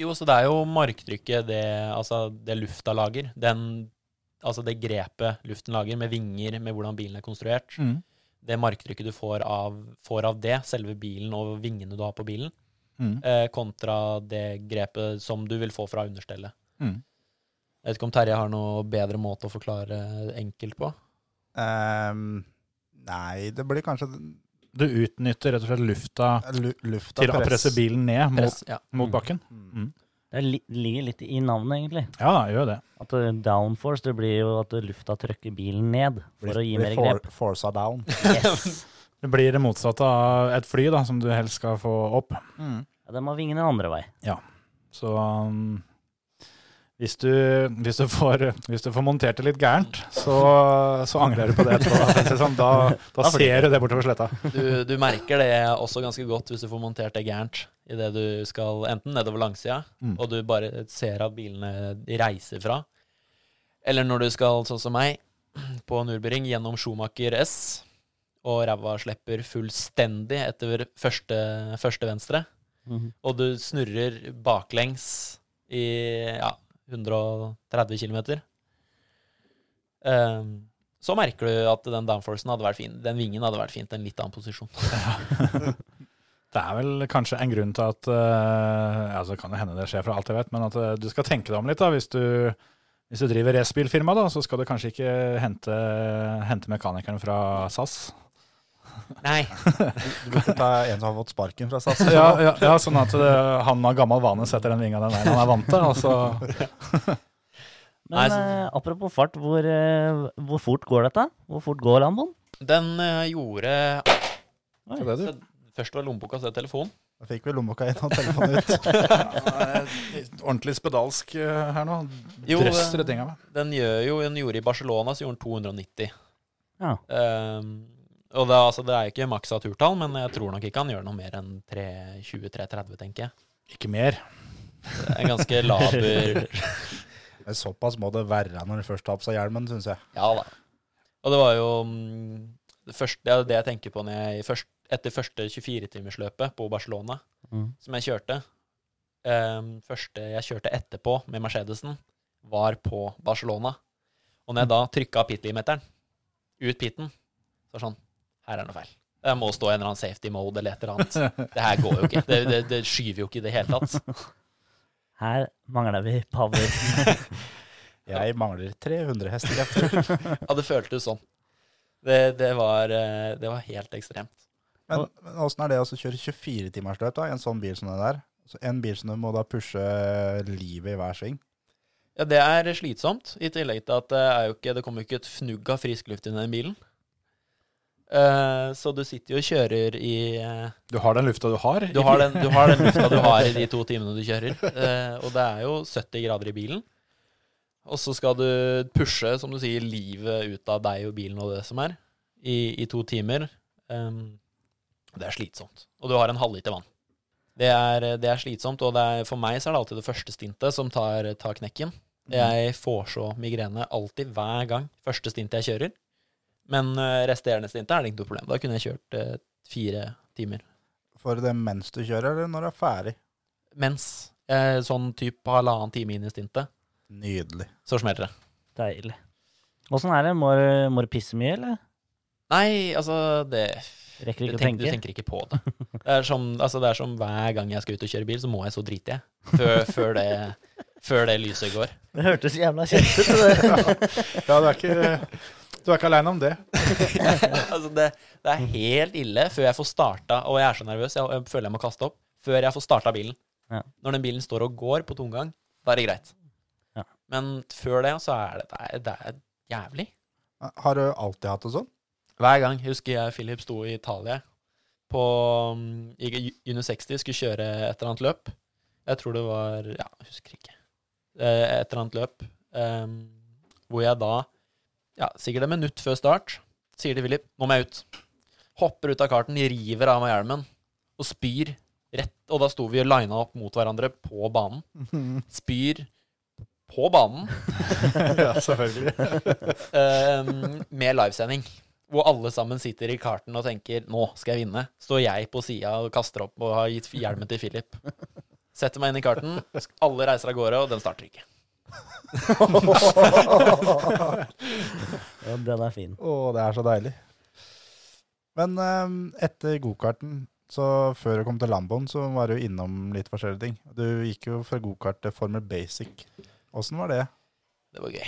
Speaker 6: Jo, så det er jo marktrykket, det, altså det lufta lager. Den, altså det grepet luften lager, med vinger, med hvordan bilen er konstruert. det marktrykket du får av, får av det, selve bilen og vingene du har på bilen,
Speaker 3: Mm.
Speaker 6: eh, kontra det grepet som du vil få fra understellet.
Speaker 3: Mm.
Speaker 6: Jeg vet ikke om Terje har noe bedre måte å forklare enkelt på.
Speaker 5: Ehm, nei, det blir kanskje
Speaker 3: Du utnytter rett og slett lufta
Speaker 5: lu- lufta
Speaker 3: til å presse bilen ned mot,
Speaker 6: Press, ja.
Speaker 3: mot bakken.
Speaker 4: Det li- ligger litt i navnet, egentlig.
Speaker 3: Ja, gjør det.
Speaker 4: At eh, downforce det blir jo at lufta trykker bilen ned for å gi mer grep.
Speaker 5: Forsa down.
Speaker 4: Yes.
Speaker 3: Det blir det motsatte av et fly, da, som du helst skal få opp.
Speaker 4: Ja, den må vingene andre vei.
Speaker 3: Så um, hvis, du, hvis, du får, hvis du får montert det litt gærent, så, så angrer du på det etterpå. Da, liksom, da, da ser du det bortover sletta.
Speaker 6: Du, du merker det også ganske godt hvis du får montert det gærent idet du skal enten nedover langsida,
Speaker 3: Mm.
Speaker 6: og du bare ser at bilene reiser fra, eller når du skal, sånn som meg, på Nürburgring gjennom Schumacher S, og ræva slipper fullstendig etter første, første venstre,
Speaker 4: Mhm.
Speaker 6: og du snurrer baklengs i ja, 130 km. ehm, så merker du at den downforcen hadde vært fin. Den vingen hadde vært fint i en litt annen posisjon.
Speaker 3: Det er vel kanskje en grunn til at eh, altså Kan det hende det skjer fra alt jeg vet, men at eh, du skal tenke deg om litt. da, Hvis du, hvis du driver racerbilfirma, da, så skal du kanskje ikke hente, hente mekanikeren fra SAS.
Speaker 6: Nei,
Speaker 5: Du burde ta en som har fått sparken fra SAS.
Speaker 3: Ja, ja, ja, sånn at det, han av gammel vane setter den vinga den veien han er vant til. Altså,
Speaker 4: Men
Speaker 6: Nei, så-
Speaker 4: eh, apropos fart, hvor, eh, hvor fort går dette? Hvor fort går Lamboen?
Speaker 6: den eh, gjorde
Speaker 4: Oi,
Speaker 5: det, du.
Speaker 6: så Først var lommeboka, så telefonen.
Speaker 5: Da fikk vi lommeboka inn og telefonen ut.
Speaker 3: ordentlig spedalsk eh, her nå.
Speaker 6: Jo,
Speaker 3: Drøsser
Speaker 6: eh,
Speaker 3: det tinga meg.
Speaker 6: den gjør jo Den gjorde i Barcelona, så gjorde den 290.
Speaker 4: Ja.
Speaker 6: Ehm, og det, er altså, det er jo ikke maksa turtall, men jeg tror nok ikke han gjør noe mer enn 3.23-30, tenker jeg.
Speaker 3: Ikke mer.
Speaker 6: Det er ganske laber
Speaker 5: Men Såpass må det være når du først tar på seg hjelmen, syns jeg.
Speaker 6: Ja da. Og det var jo mm, det, første, det, er det jeg tenker på når jeg, først, etter første 24-timersløpet på Barcelona,
Speaker 4: Mm.
Speaker 6: som jeg kjørte. Um, første jeg kjørte etterpå med Mercedesen, var på Barcelona. Og når jeg da trykka pitlimeteren ut piten, så var det sånn Her er det noe feil. Det må stå en eller annen safety mode eller et eller annet. Det her går jo ikke. Det, det, det skyver jo ikke i det hele tatt.
Speaker 4: Her mangler vi power.
Speaker 5: Jeg mangler 300 hestekrefter.
Speaker 6: Ja, det føltes sånn. Det, det, var, eh, det var helt ekstremt.
Speaker 5: Men men åssen er det å kjøre 24-timersløp da, i en sånn bil som den der? Så en bil som du må da pushe livet i hver sving.
Speaker 6: Ja, det er slitsomt, i tillegg til at det, er jo ikke, det kommer jo ikke et fnugg av frisk luft inn i den bilen. Eh, så du sitter jo og kjører i eh,
Speaker 3: Du har den lufta du har.
Speaker 6: du, har den, du har den lufta du har i de to timene du kjører. Eh, og det er jo 70 grader i bilen. Og så skal du pushe, som du sier, livet ut av deg og bilen og det som er, i, i to timer. Em, det er slitsomt. Og du har en halvliter vann. Det er, det er slitsomt, og det er, for meg så er det alltid det første stintet som tar, tar knekken. Jeg får så migrene alltid, hver gang. Første stint jeg kjører. Men eh, resterende stintet er det ikke noe problem. Da kunne jeg kjørt eh, fire timer.
Speaker 5: For det mens du kjører, eller når du er ferdig.
Speaker 6: mens eh, sånn type halvannen time inn i stintet,
Speaker 5: Nydelig.
Speaker 6: så smelter det.
Speaker 4: Deilig. Åssen er det? Må du- må du pisse mye, eller?
Speaker 6: Nei, altså det
Speaker 4: Rekker
Speaker 6: du
Speaker 4: ikke å
Speaker 6: tenker, du
Speaker 4: tenke.
Speaker 6: tenker ikke på det. Det er, som, altså, det er som hver gang jeg skal ut og kjøre bil, så må jeg så drite jeg. Før, før, det, før det lyset går.
Speaker 4: Det hørtes jævla kjent ut. det.
Speaker 5: Ja, du er ikke, du er ikke aleine om det.
Speaker 6: altså det, det er helt ille før jeg får starta, og jeg er så nervøs, jeg, jeg føler jeg må kaste opp, før jeg får starta bilen.
Speaker 4: Ja.
Speaker 6: Når den bilen står og går på tomgang, da er det greit.
Speaker 4: Ja.
Speaker 6: Men før det, så er det, det, er, det er jævlig.
Speaker 5: Har du alltid hatt det sånn?
Speaker 6: Hver gang husker jeg Philip sto i Italia på mm, i Juni 60, skulle kjøre et eller annet løp. Jeg tror det var Ja, jeg husker ikke. Eh, Et eller annet løp. em, hvor jeg da, ja, sikkert et minutt før start, sier til Philip 'Nå må jeg ut'. Hopper ut av karten, river av meg hjelmen og spyr rett Og da sto vi og lina opp mot hverandre på banen. Spyr på banen.
Speaker 5: ja, selvfølgelig.
Speaker 6: Ehm, med livesending. Hvor alle sammen sitter i karten og tenker 'nå skal jeg vinne'. Står jeg på sida og kaster opp og har gitt hjelmen til Philip. Setter meg inn i karten, alle reiser av gårde, og den starter ikke.
Speaker 4: Ja, den er fin.
Speaker 5: Å, det er så deilig. Men eh, etter gokarten, så før du kom til Lamboen, så var du innom litt forskjellige ting. Du gikk jo fra gokart til Formel Basic. Åssen var det?
Speaker 6: Det var gøy.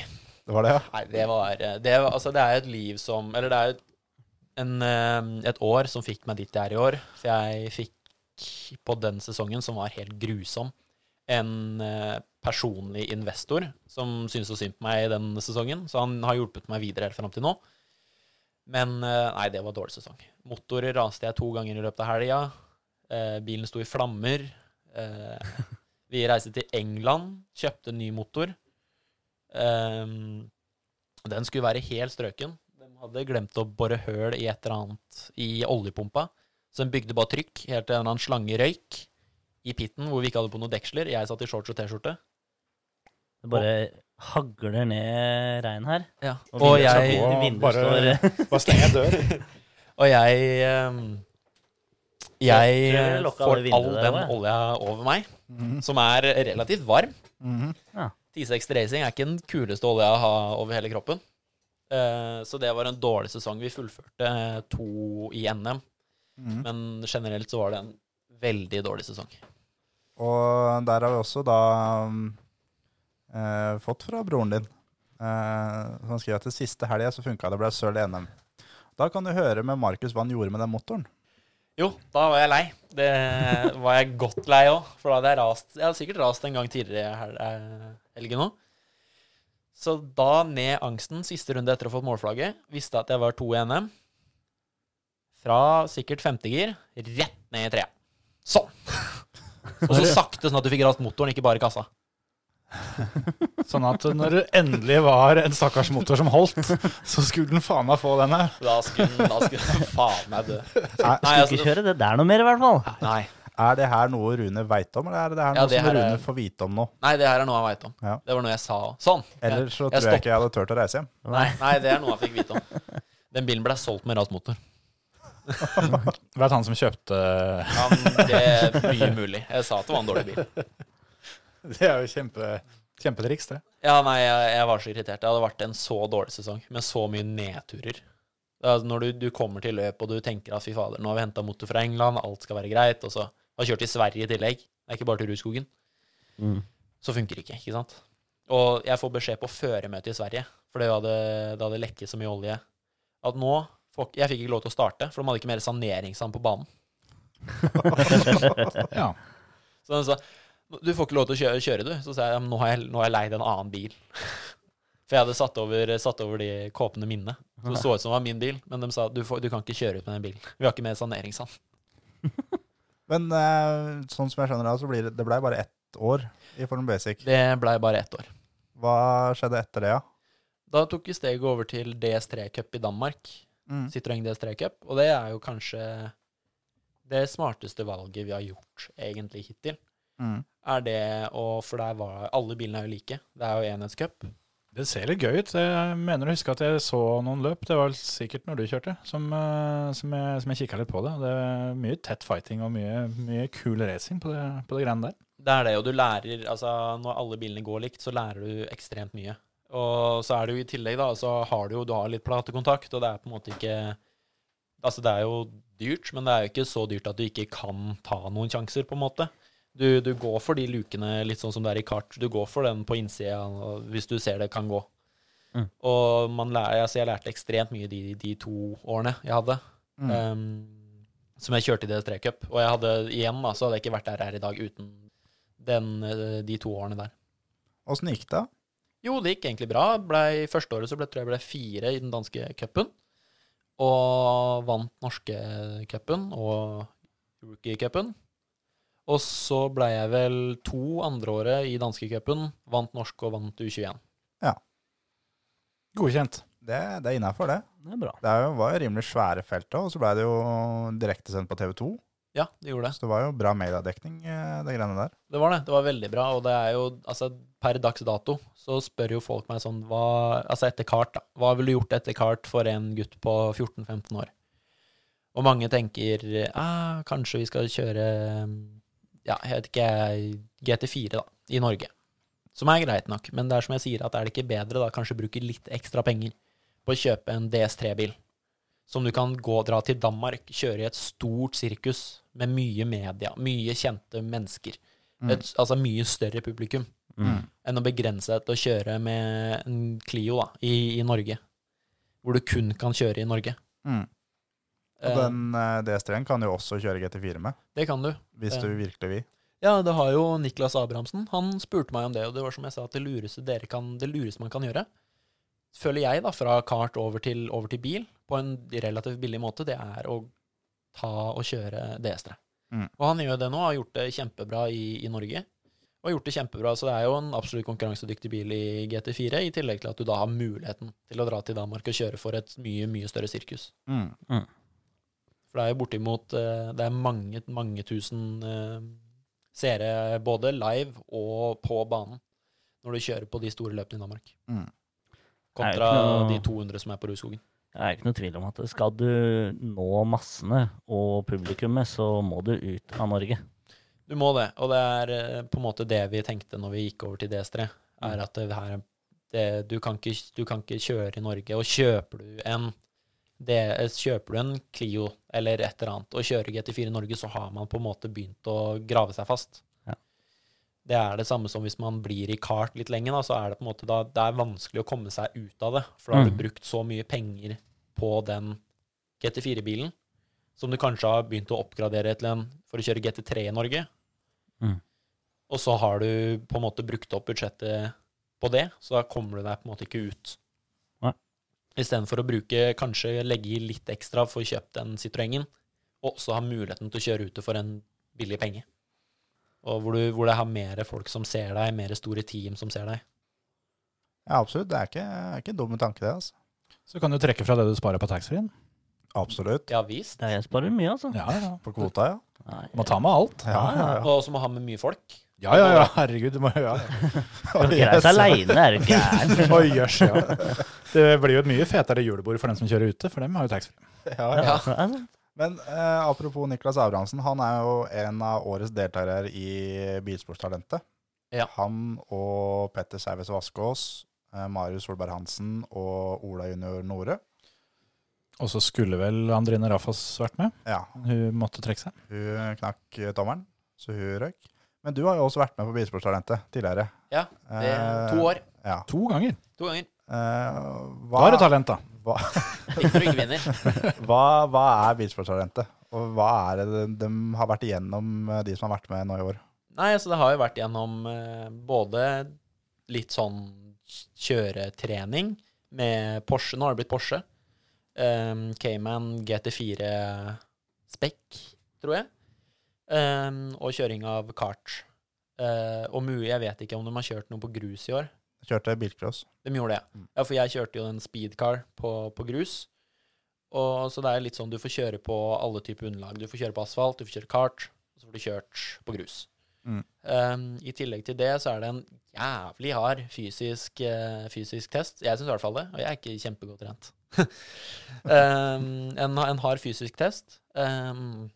Speaker 5: Det var det, ja?
Speaker 6: Nei, det var, det var Altså, det er et liv som Eller det er et- en, ehm, et år som fikk meg dit jeg er i år. For jeg fikk på den sesongen, som var helt grusom, en eh, personlig investor som syntes så synd på meg i den sesongen. Så han har hjulpet meg videre helt fram til nå. Men eh, nei, det var dårlig sesong. Motorer raste jeg to ganger i løpet av helga. Eh, bilen sto i flammer. Eh, vi reiste til England, kjøpte en ny motor. Ehm, den skulle være helt strøken. De hadde glemt å bore høl i et eller annet i oljepumpa. Så den bygde bare trykk, helt til en eller annen slange røyk i pitten hvor vi ikke hadde på noen deksler. Jeg satt i shorts og T-skjorte.
Speaker 4: Det bare hagler ned regn her.
Speaker 6: Og,
Speaker 4: vinduet-
Speaker 6: jeg
Speaker 4: vinduet
Speaker 3: bare-
Speaker 4: står
Speaker 3: Bare steng en dør.
Speaker 6: Og jeg ehm, Jeg
Speaker 4: Prøver å lokke
Speaker 6: får
Speaker 4: alle
Speaker 6: all
Speaker 4: vinduene
Speaker 6: den
Speaker 4: der, da.
Speaker 6: olja over meg, som er relativt varm.
Speaker 4: Ja.
Speaker 6: 1060 Racing er ikke den kuleste olja å ha over hele kroppen. Eh, Så det var en dårlig sesong. Vi fullførte to i NM, men generelt så var det en veldig dårlig sesong.
Speaker 5: Og der har vi også da mm, eh, fått fra broren din. Eh, han skriver at det siste helga så funka det, ble søl i NM. Da kan du høre med Markus hva han gjorde med den motoren.
Speaker 6: Jo, da var jeg lei. Det var jeg godt lei òg, for da hadde jeg rast. Jeg hadde sikkert rast en gang tidligere i hel- eh, helgen òg. Så da ned angsten siste runde etter å ha fått målflagget. Visste at jeg var to i NM. Fra sikkert femtegir rett ned i treet. Sånn! Og så sakte, sånn at du fikk rast motoren, ikke bare kassa.
Speaker 3: Sånn at når det endelig var en stakkars motor som holdt, så skulle den faen meg få den her.
Speaker 6: Da skulle da skulle faen meg dø. Nei,
Speaker 4: og
Speaker 6: altså,
Speaker 4: ikke kjøre det der noe mer, i hvert fall.
Speaker 6: nei.
Speaker 5: Er det her noe Rune veit om, eller er det
Speaker 6: Ja,
Speaker 5: her noe
Speaker 6: det
Speaker 5: som
Speaker 6: her er-
Speaker 5: Rune får vite om nå?
Speaker 6: nei, det her er noe jeg veit om.
Speaker 5: Ja.
Speaker 6: Det var noe jeg sa òg. Sånn.
Speaker 5: Ellers så tror jeg ikke jeg hadde turt å reise hjem.
Speaker 6: Nei. Nei, det er noe jeg fikk vite om. Den bilen ble solgt med rast motor.
Speaker 3: Veit han som kjøpte
Speaker 6: Ja, men det er mye mulig. Jeg sa at det var en dårlig bil.
Speaker 3: Det er jo kjempe, kjempetriks, det.
Speaker 6: Ja, nei, jeg, jeg var så irritert. Det hadde vært en så dårlig sesong med så mye nedturer. Det er Når du, du kommer til løp og du tenker at fy fader, nå har vi henta motor fra England, alt skal være greit, og så har jeg kjørt i Sverige i tillegg, det er ikke bare til Rudskogen,
Speaker 4: Mm.
Speaker 6: så funker det ikke, ikke sant? Og jeg får beskjed på føremøtet i Sverige, for det hadde, det hadde lekket så mye olje, at nå får- Jeg fikk ikke lov til å starte, for de hadde ikke mer saneringssand på banen.
Speaker 3: Ja.
Speaker 6: Så han sa du får ikke lov til å kjøre, kjøre du. Så sa jeg "Ja, men nå har jeg, nå har jeg leid en annen bil. For jeg hadde satt over, satt over de kåpene mine. Så det så ut som det var min bil, men de sa du, får, du kan ikke kjøre ut med den bilen. Vi har ikke mer saneringssand.
Speaker 5: Men eh, sånn som jeg skjønner det, så blir det, det ble bare ett år i Formel Basic.
Speaker 6: Det blei bare ett år.
Speaker 5: Hva skjedde etter det, da?
Speaker 6: Da tok vi steget over til DS3 Cup i Danmark.
Speaker 5: Mm.
Speaker 6: Citroën DS3 Cup. Og det er jo kanskje det smarteste valget vi har gjort egentlig hittil.
Speaker 5: Mm.
Speaker 6: Er det å For der var alle bilene er jo like. Det er jo enhetscup.
Speaker 3: Det ser litt gøy ut. Jeg mener å huske at jeg så noen løp. Det var sikkert når du kjørte, som, eh, som jeg, som jeg kikka litt på det. Det er mye tett fighting og mye, mye kul racing på det, på det greiene der.
Speaker 6: Det er det, og du lærer altså Når alle bilene går likt, så lærer du ekstremt mye. Og så er det jo i tillegg, da, så har du jo du har litt platekontakt, og det er på en måte ikke Altså, det er jo dyrt, men det er jo ikke så dyrt at du ikke kan ta noen sjanser, på en måte. Du, du går for de lukene, litt sånn som det er i kart. Du går for den på innsida og hvis du ser det kan gå.
Speaker 4: Mm.
Speaker 6: Og man lærer, altså jeg lærte ekstremt mye de, de to årene jeg hadde. Um, som jeg kjørte i DS3 Cup. Og jeg hadde igjen da, så hadde jeg ikke vært der jeg er i dag uten den, eh, de to årene der.
Speaker 5: Åssen gikk det?
Speaker 6: Jo, det gikk egentlig bra. Blei, første året så ble, tror jeg ble fire i den danske cupen. Og vant norske cupen og rookie-cupen. Og så blei jeg vel to andre året i danske cupen. Vant norsk og vant U21.
Speaker 3: Godkjent.
Speaker 5: Det, det er innafor, det.
Speaker 4: Det er bra.
Speaker 5: Det er jo- var jo rimelig svære felt òg, og så blei det jo direktesendt på TV 2.
Speaker 6: Ja, det gjorde det.
Speaker 5: Så det var jo bra mediedekning, eh, det greiene der.
Speaker 6: Det var det. Det var veldig bra. Og det er jo, altså, per dags dato så spør jo folk meg sånn hva, Altså etter kart, da. Hva ville du gjort etter kart for en gutt på 14-15 år? Og mange tenker ah, kanskje vi skal kjøre Ja, jeg vet ikke jeg, GT4, da. I Norge. Som er greit nok. Men det er som jeg sier, at er det ikke bedre da kanskje bruke litt ekstra penger på å kjøpe en DS3-bil? Som du kan gå og dra til Danmark, kjøre i et stort sirkus med mye media, mye kjente mennesker
Speaker 5: Mm.
Speaker 6: et, altså mye større publikum
Speaker 4: Mm.
Speaker 6: enn å begrense deg til å kjøre med en Clio da, i, i Norge, hvor du kun kan kjøre i Norge.
Speaker 5: Mm. Og
Speaker 6: Eh,
Speaker 5: den eh, DS3-en kan jo også kjøre GT4 med,
Speaker 6: det kan du.
Speaker 5: hvis
Speaker 6: Ja.
Speaker 5: du virkelig vil.
Speaker 6: Ja, det har jo Niklas Abrahamsen. Han spurte meg om det, og det var som jeg sa, at det lureste, dere kan, det lureste man kan gjøre, føler jeg da, fra kart over til, over til bil, på en relativt billig måte, det er å ta og kjøre DS3.
Speaker 5: Mm.
Speaker 6: Og han gjør det nå, har gjort det kjempebra i, i Norge, og har gjort det kjempebra, så det er jo en absolutt konkurransedyktig bil i GT4, i tillegg til at du da har muligheten til å dra til Danmark og kjøre for et mye, mye større sirkus.
Speaker 5: Mm.
Speaker 6: For det er jo bortimot eh, Det er mange, mange tusen eh, seere både live og på banen når du kjører på de store løpene i Danmark.
Speaker 5: Mm.
Speaker 6: Kontra
Speaker 4: Det er jo ikke noe-
Speaker 6: de 200 som er på Rudskogen.
Speaker 4: Det er ikke noe tvil om at skal du nå massene og publikummet, så må du ut av Norge.
Speaker 6: Du må det, og det er eh, på en måte det vi tenkte når vi gikk over til DS3,
Speaker 4: Mm.
Speaker 6: er at det her det, du, kan ikke, du kan ikke kjøre i Norge, og kjøper du en DS, kjøper du en Clio eller et eller annet og kjører GT4 i Norge, så har man på en måte begynt å grave seg fast.
Speaker 4: Ja.
Speaker 6: Det er det samme som hvis man blir i kart litt lenge, da, så er det på en måte da, det er vanskelig å komme seg ut av det. For da har
Speaker 4: Mm.
Speaker 6: du brukt så mye penger på den GT4-bilen, som du kanskje har begynt å oppgradere til en for å kjøre GT3 i Norge.
Speaker 4: Mm.
Speaker 6: Og så har du på en måte brukt opp budsjettet på det, så da kommer du deg på en måte ikke ut.
Speaker 4: Nei.
Speaker 6: Istedenfor å bruke, kanskje legge i litt ekstra for å kjøpe den Citroengen, og også ha muligheten til å kjøre ute for en billig penge. Og hvor, du, hvor det har mer folk som ser deg, mer store team som ser deg.
Speaker 5: Ja, absolutt. Det er ikke, er ikke en dum tanke, det. altså.
Speaker 3: Så kan du trekke fra det du sparer på taxfree-en.
Speaker 5: Absolutt.
Speaker 6: Ja visst.
Speaker 4: Det er- Jeg sparer mye, altså.
Speaker 3: Ja, ja.
Speaker 5: På kvota, ja.
Speaker 4: Nei,
Speaker 3: Må ta med alt.
Speaker 5: Ja, ja, ja.
Speaker 6: Og så må ha med mye folk.
Speaker 3: Ja, ja, ja. Herregud, du må ja.
Speaker 4: jeg skal reise aleine, er du gæren?
Speaker 3: Oi, jøss, ja. Det blir jo et mye fetere julebord for dem som kjører ute, for dem har jo taxfree.
Speaker 5: Ja, ja.
Speaker 4: Ja, altså.
Speaker 5: Men eh, apropos Niklas Abrahamsen, han er jo en av årets deltakere i Bilsportstalentet.
Speaker 6: Ja.
Speaker 5: Han og Petter Serves Vaskås, eh, Marius Solberg Hansen og Ola junior Nore.
Speaker 3: Og så skulle vel Andrine Raffas vært med.
Speaker 5: Ja,
Speaker 3: Hun måtte trekke seg.
Speaker 5: hun knakk tommelen, så hun røyk. Men du har jo også vært med på Bilsportstalentet tidligere.
Speaker 6: Ja, det er
Speaker 5: Eh.
Speaker 6: to år.
Speaker 5: Ja.
Speaker 3: To ganger.
Speaker 6: To ganger.
Speaker 5: Eh,
Speaker 3: Da er det
Speaker 5: hva,
Speaker 3: talent, da.
Speaker 5: hva,
Speaker 6: Ikke når du ikke vinner.
Speaker 5: hva, hva er Bilsportstalentet? Og hva er det de, de har vært igjennom, eh, de som har vært med nå i år?
Speaker 6: Nei, altså det har jo vært gjennom eh, både litt sånn kjøretrening med Porsche. Nå har det blitt Porsche. Um, Cayman GT4 Spec, tror jeg. Um, og kjøring av kart. Eh, og mulig, jeg vet ikke om de har kjørt noe på grus i år.
Speaker 5: Kjørte bilcross.
Speaker 6: De gjorde det. Ja, for jeg kjørte jo den speedcar på, på grus. Og så det er litt sånn du får kjøre på alle typer underlag. Du får kjøre på asfalt, du får kjøre kart, og så får du kjørt på grus.
Speaker 5: Mm.
Speaker 6: Um, I tillegg til det så er det en jævlig hard fysisk, eh, fysisk test. Jeg syns i hvert fall det, og jeg er ikke kjempegodt trent. um, en, en hard fysisk ehm, test um,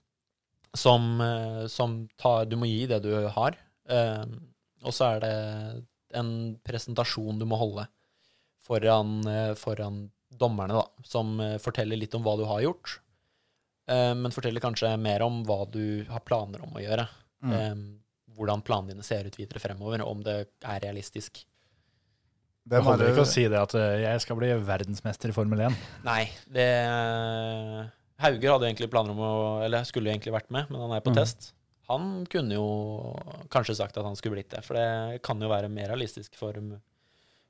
Speaker 6: som, eh, som tar Du må gi det du har. Ehm, og så er det en presentasjon du må holde foran, eh, foran dommerne, da, som eh, forteller litt om hva du har gjort, eh, men forteller kanskje mer om hva du har planer om å gjøre. Ehm, hvordan planene dine ser ut videre fremover, og om det er realistisk.
Speaker 3: Det
Speaker 5: Hvem er
Speaker 3: holder
Speaker 5: det-
Speaker 3: ikke å si det at eh, jeg skal bli verdensmester i Formel 1.
Speaker 6: Nei, det Hauger hadde egentlig planer om å Eller skulle egentlig vært med, men han er på
Speaker 4: Mhm.
Speaker 6: test. Han kunne jo kanskje sagt at han skulle blitt det, for det kan jo være mer realistisk for,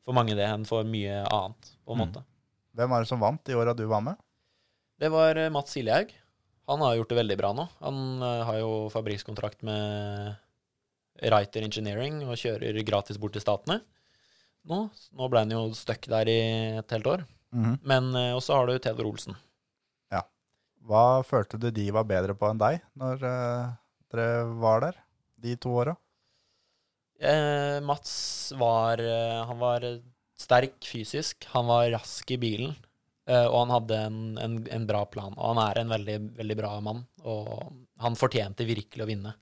Speaker 6: for mange det enn for mye annet, på en
Speaker 3: Mhm.
Speaker 6: måte.
Speaker 5: Hvem er det som vant de åra du var med?
Speaker 6: Det var eh, Mats Siljehaug. Han har gjort det veldig bra nå. Han eh, har jo fabrikkskontrakt med Writer Engineering og kjører gratis bort til statene. Nå, nå ble han jo stuck der i et helt år.
Speaker 3: Mhm.
Speaker 6: Men eh, også har du Theodor Olsen.
Speaker 5: Hva følte du de var bedre på enn deg når eh, dere var der de to åra?
Speaker 6: Eh, Mats var eh, Han var sterk fysisk. Han var rask i bilen. eh, og han hadde en, en, en bra plan. Og han er en veldig, veldig bra mann. Og han fortjente virkelig å vinne.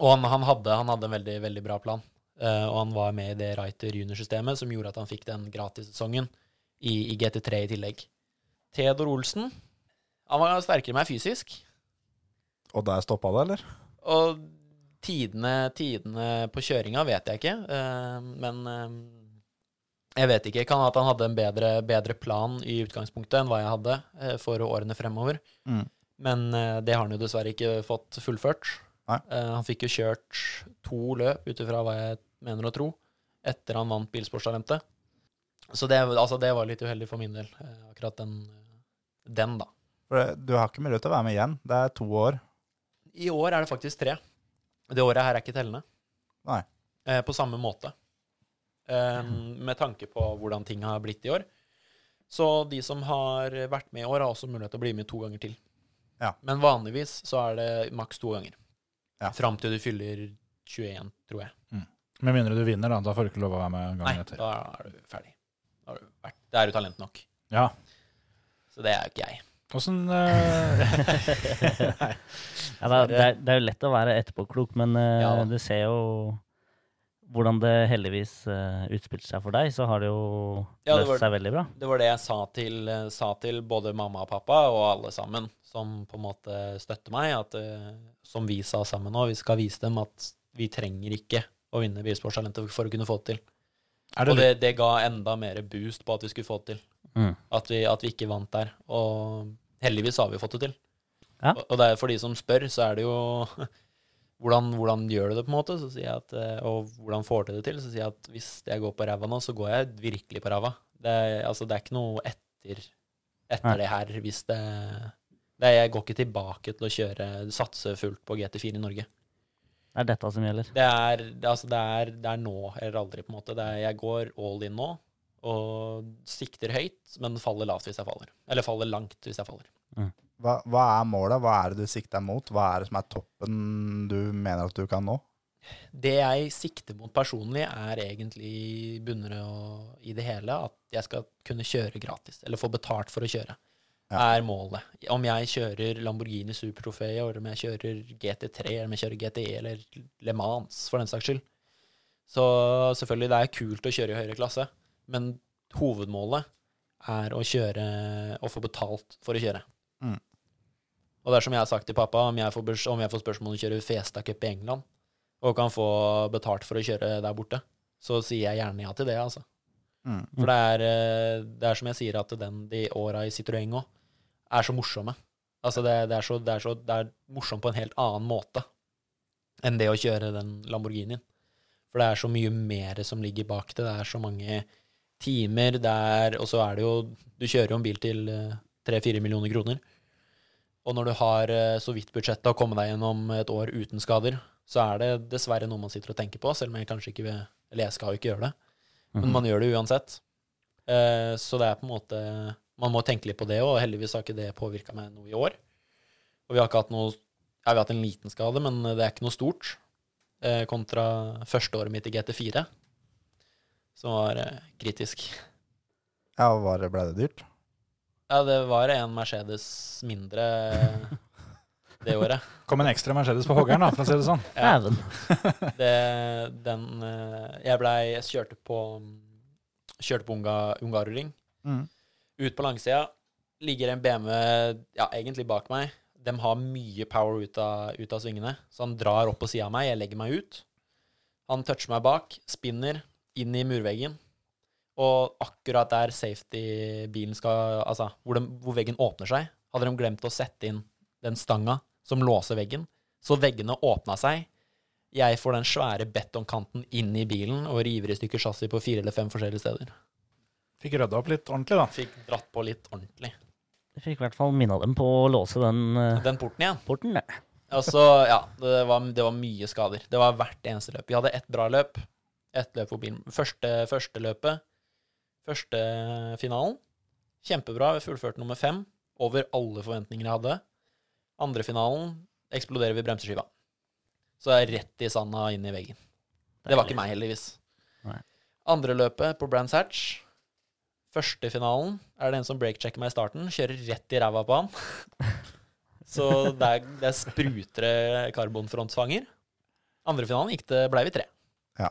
Speaker 6: Og han, han, hadde, han hadde en veldig, veldig bra plan. Eh, og han var med i det Writer Junior-systemet som gjorde at han fikk den gratissesongen i, i GT3 i tillegg. Theodor Olsen Han var sterkere enn meg fysisk.
Speaker 5: Og der stoppa det, eller?
Speaker 6: Og tidene, tidene på kjøringa vet jeg ikke, eh, men eh, jeg vet ikke. Kan ha at han hadde en bedre, bedre plan i utgangspunktet enn hva jeg hadde eh, for årene fremover.
Speaker 5: Mm.
Speaker 6: Men eh, det har han jo dessverre ikke fått fullført.
Speaker 5: Nei.
Speaker 6: Eh, han fikk jo kjørt to løp, ut ifra hva jeg mener å tro, etter han vant Bilsportstalentet. Så det, altså, det var litt uheldig for min del, eh, akkurat den, den, da.
Speaker 5: For det- du har ikke mulighet til å være med igjen. Det er to år.
Speaker 6: I år er det faktisk tre. Det året her er ikke tellende.
Speaker 5: Nei.
Speaker 6: Eh, på samme måte. Eh, med tanke på hvordan ting har blitt i år. Så de som har vært med i år, har også mulighet til å bli med to ganger til.
Speaker 5: Ja.
Speaker 6: Men vanligvis så er det maks to ganger.
Speaker 5: Ja.
Speaker 6: Fram til du fyller 21, tror jeg.
Speaker 3: Med mindre du vinner, da. Da får du ikke lov å være med
Speaker 6: Nei,
Speaker 3: gangen etter.
Speaker 6: da er du ferdig. Da har du vært. Det er jo talent nok.
Speaker 3: Ja.
Speaker 6: Så det er jo ikke jeg.
Speaker 3: Åssen eh,
Speaker 4: Ja, det, er, det, er, det er jo lett å være etterpåklok, men eh,
Speaker 6: Ja da.
Speaker 4: du ser jo hvordan det heldigvis uh, utspilte seg for deg, så har det jo
Speaker 6: Ja, det
Speaker 4: løst
Speaker 6: var-
Speaker 4: seg veldig bra.
Speaker 6: Det var det jeg sa til, sa til både mamma og pappa og alle sammen, som på en måte støtter meg, at, eh, som vi sa sammen nå, vi skal vise dem at vi trenger ikke å vinne Bilsportstalentet for å kunne få det til.
Speaker 3: er,
Speaker 6: Og
Speaker 3: det,
Speaker 6: det, det ga enda mer boost på at vi skulle få det til.
Speaker 4: Mm.
Speaker 6: At vi, at vi ikke vant der. Og heldigvis har vi fått det til.
Speaker 4: Ja.
Speaker 6: Og, og det er for de som spør, så er det jo hvordan, hvordan gjør du det, på en måte? Så sier jeg at, eh, og hvordan får du det til? Så sier jeg at hvis jeg går på ræva nå, så går jeg virkelig på ræva. Det, er- altså, det er ikke noe etter,
Speaker 4: Nei.
Speaker 6: etter det her hvis det, det Jeg går ikke tilbake til å kjøre, satse fullt på GT4 i Norge.
Speaker 4: Det er dette som gjelder.
Speaker 6: Det er, det, altså det, er, det er nå eller aldri, på en måte. Det er, jeg går all in nå og sikter høyt, men faller lavt hvis jeg faller. Eller faller langt hvis jeg faller.
Speaker 5: Hva, hva er målet? Hva er det du sikter mot? Hva er det som er toppen du mener at du kan nå?
Speaker 6: Det jeg sikter mot personlig, er egentlig bunner og i det hele at jeg skal kunne kjøre gratis, eller få betalt for å kjøre,
Speaker 5: Ja.
Speaker 6: er målet. Om jeg kjører Lamborghini Supertrofé, eller om jeg kjører GT3, eller om jeg kjører GTE, eller Le Mans, for den saks skyld. Så selvfølgelig, det er kult å kjøre i høyere klasse, men hovedmålet er å kjøre, å få betalt for å kjøre.
Speaker 5: Mm.
Speaker 6: Og det er som jeg har sagt til pappa, om jeg får, bes- om jeg får spørsmål om å kjøre Fiesta Cup i England, og kan få betalt for å kjøre der borte, så sier jeg gjerne ja til det, altså.
Speaker 5: Mm.
Speaker 6: For det er, eh, det er som jeg sier, at den, de åra i Citroën òg er så morsomme. Altså, det, det, er så, det, er så, det er morsomt på en helt annen måte enn det å kjøre den Lamborghinien. For det er så mye mer som ligger bak det. Det er så mange timer, det er Og så er det jo Du kjører jo en bil til eh, tre-fire millioner kroner. Og når du har eh, så vidt budsjettet å komme deg gjennom et år uten skader, så er det dessverre noe man sitter og tenker på, selv om jeg kanskje ikke vil Eller jeg skal jo ikke gjøre det, men man gjør det uansett. Eh, Så det er på en måte Man må tenke litt på det, og heldigvis har ikke det påvirka meg noe i år. Og vi har ikke hatt noe Ja, vi har hatt en liten skade, men det er ikke noe stort. eh, Kontra førsteåret mitt i GT4, som var eh, kritisk.
Speaker 5: Ja, og hva ble det dyrt?
Speaker 6: Ja, det var en Mercedes mindre det året.
Speaker 3: Kom en ekstra Mercedes på hoggeren, da, for å si det sånn.
Speaker 6: Ja.
Speaker 4: Dæven.
Speaker 6: Det, den eh, Jeg blei Jeg kjørte på Kjørte på unga, ungarering.
Speaker 3: Mm.
Speaker 6: Ut på langsida ligger en BMW ja, egentlig bak meg. De har mye power ut av, ut av svingene, så han drar opp på sida av meg. Jeg legger meg ut. Han toucher meg bak, spinner inn i murveggen. Og akkurat der safety-bilen skal Altså, hvor, de, hvor veggen åpner seg, hadde de glemt å sette inn den stanga som låser veggen. Så veggene åpna seg. Jeg får den svære betongkanten inn i bilen og river i stykker chassis på fire eller fem forskjellige steder.
Speaker 3: Fikk rydda opp litt ordentlig, da.
Speaker 6: Fikk dratt på litt ordentlig.
Speaker 4: Jeg fikk i hvert fall minna dem på å låse den eh,
Speaker 6: Den porten igjen.
Speaker 4: porten. ja.
Speaker 6: Og så, ja, det var, det var mye skader. Det var hvert eneste løp. Vi hadde ett bra løp. Ett løp på bilen. Første, første løpet, første finalen, kjempebra. Vi fullførte nummer fem over alle forventninger jeg hadde. Andre finalen eksploderer vi bremseskiva. Så jeg er rett i sanda inn i veggen. Det var ikke meg, heldigvis.
Speaker 4: Nei.
Speaker 6: Andre løpet på Brands Hatch. Første finalen er det en som breakchecker meg i starten, kjører rett i ræva på han. Så der, der spruter det karbonfrontsfanger. Andre finalen gikk det, blei vi tre.
Speaker 5: Ja.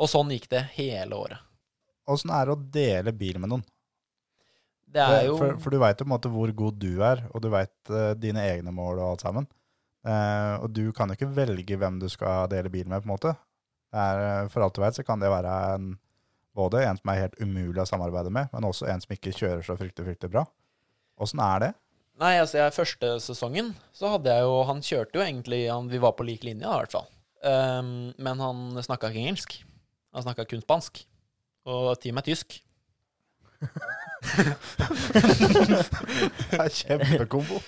Speaker 6: Og sånn gikk det hele året.
Speaker 5: Åssen er det å dele bil med noen?
Speaker 6: Det er jo
Speaker 5: For, for du veit på en måte hvor god du er, og du veit dine egne mål og alt sammen. Eh, og du kan jo ikke velge hvem du skal dele bil med, på en måte. Det er, eh, for alt du veit, så kan det være en, både en som er helt umulig å samarbeide med, men også en som ikke kjører så fryktelig, fryktelig bra. Åssen er det?
Speaker 6: Nei, altså, jeg, første sesongen så hadde jeg jo Han kjørte jo egentlig han, Vi var på lik linje, da, i hvert fall. Ehm, men han snakka ikke engelsk. Han snakka kun spansk. Og teamet er tysk.
Speaker 5: Det er kjempekombo.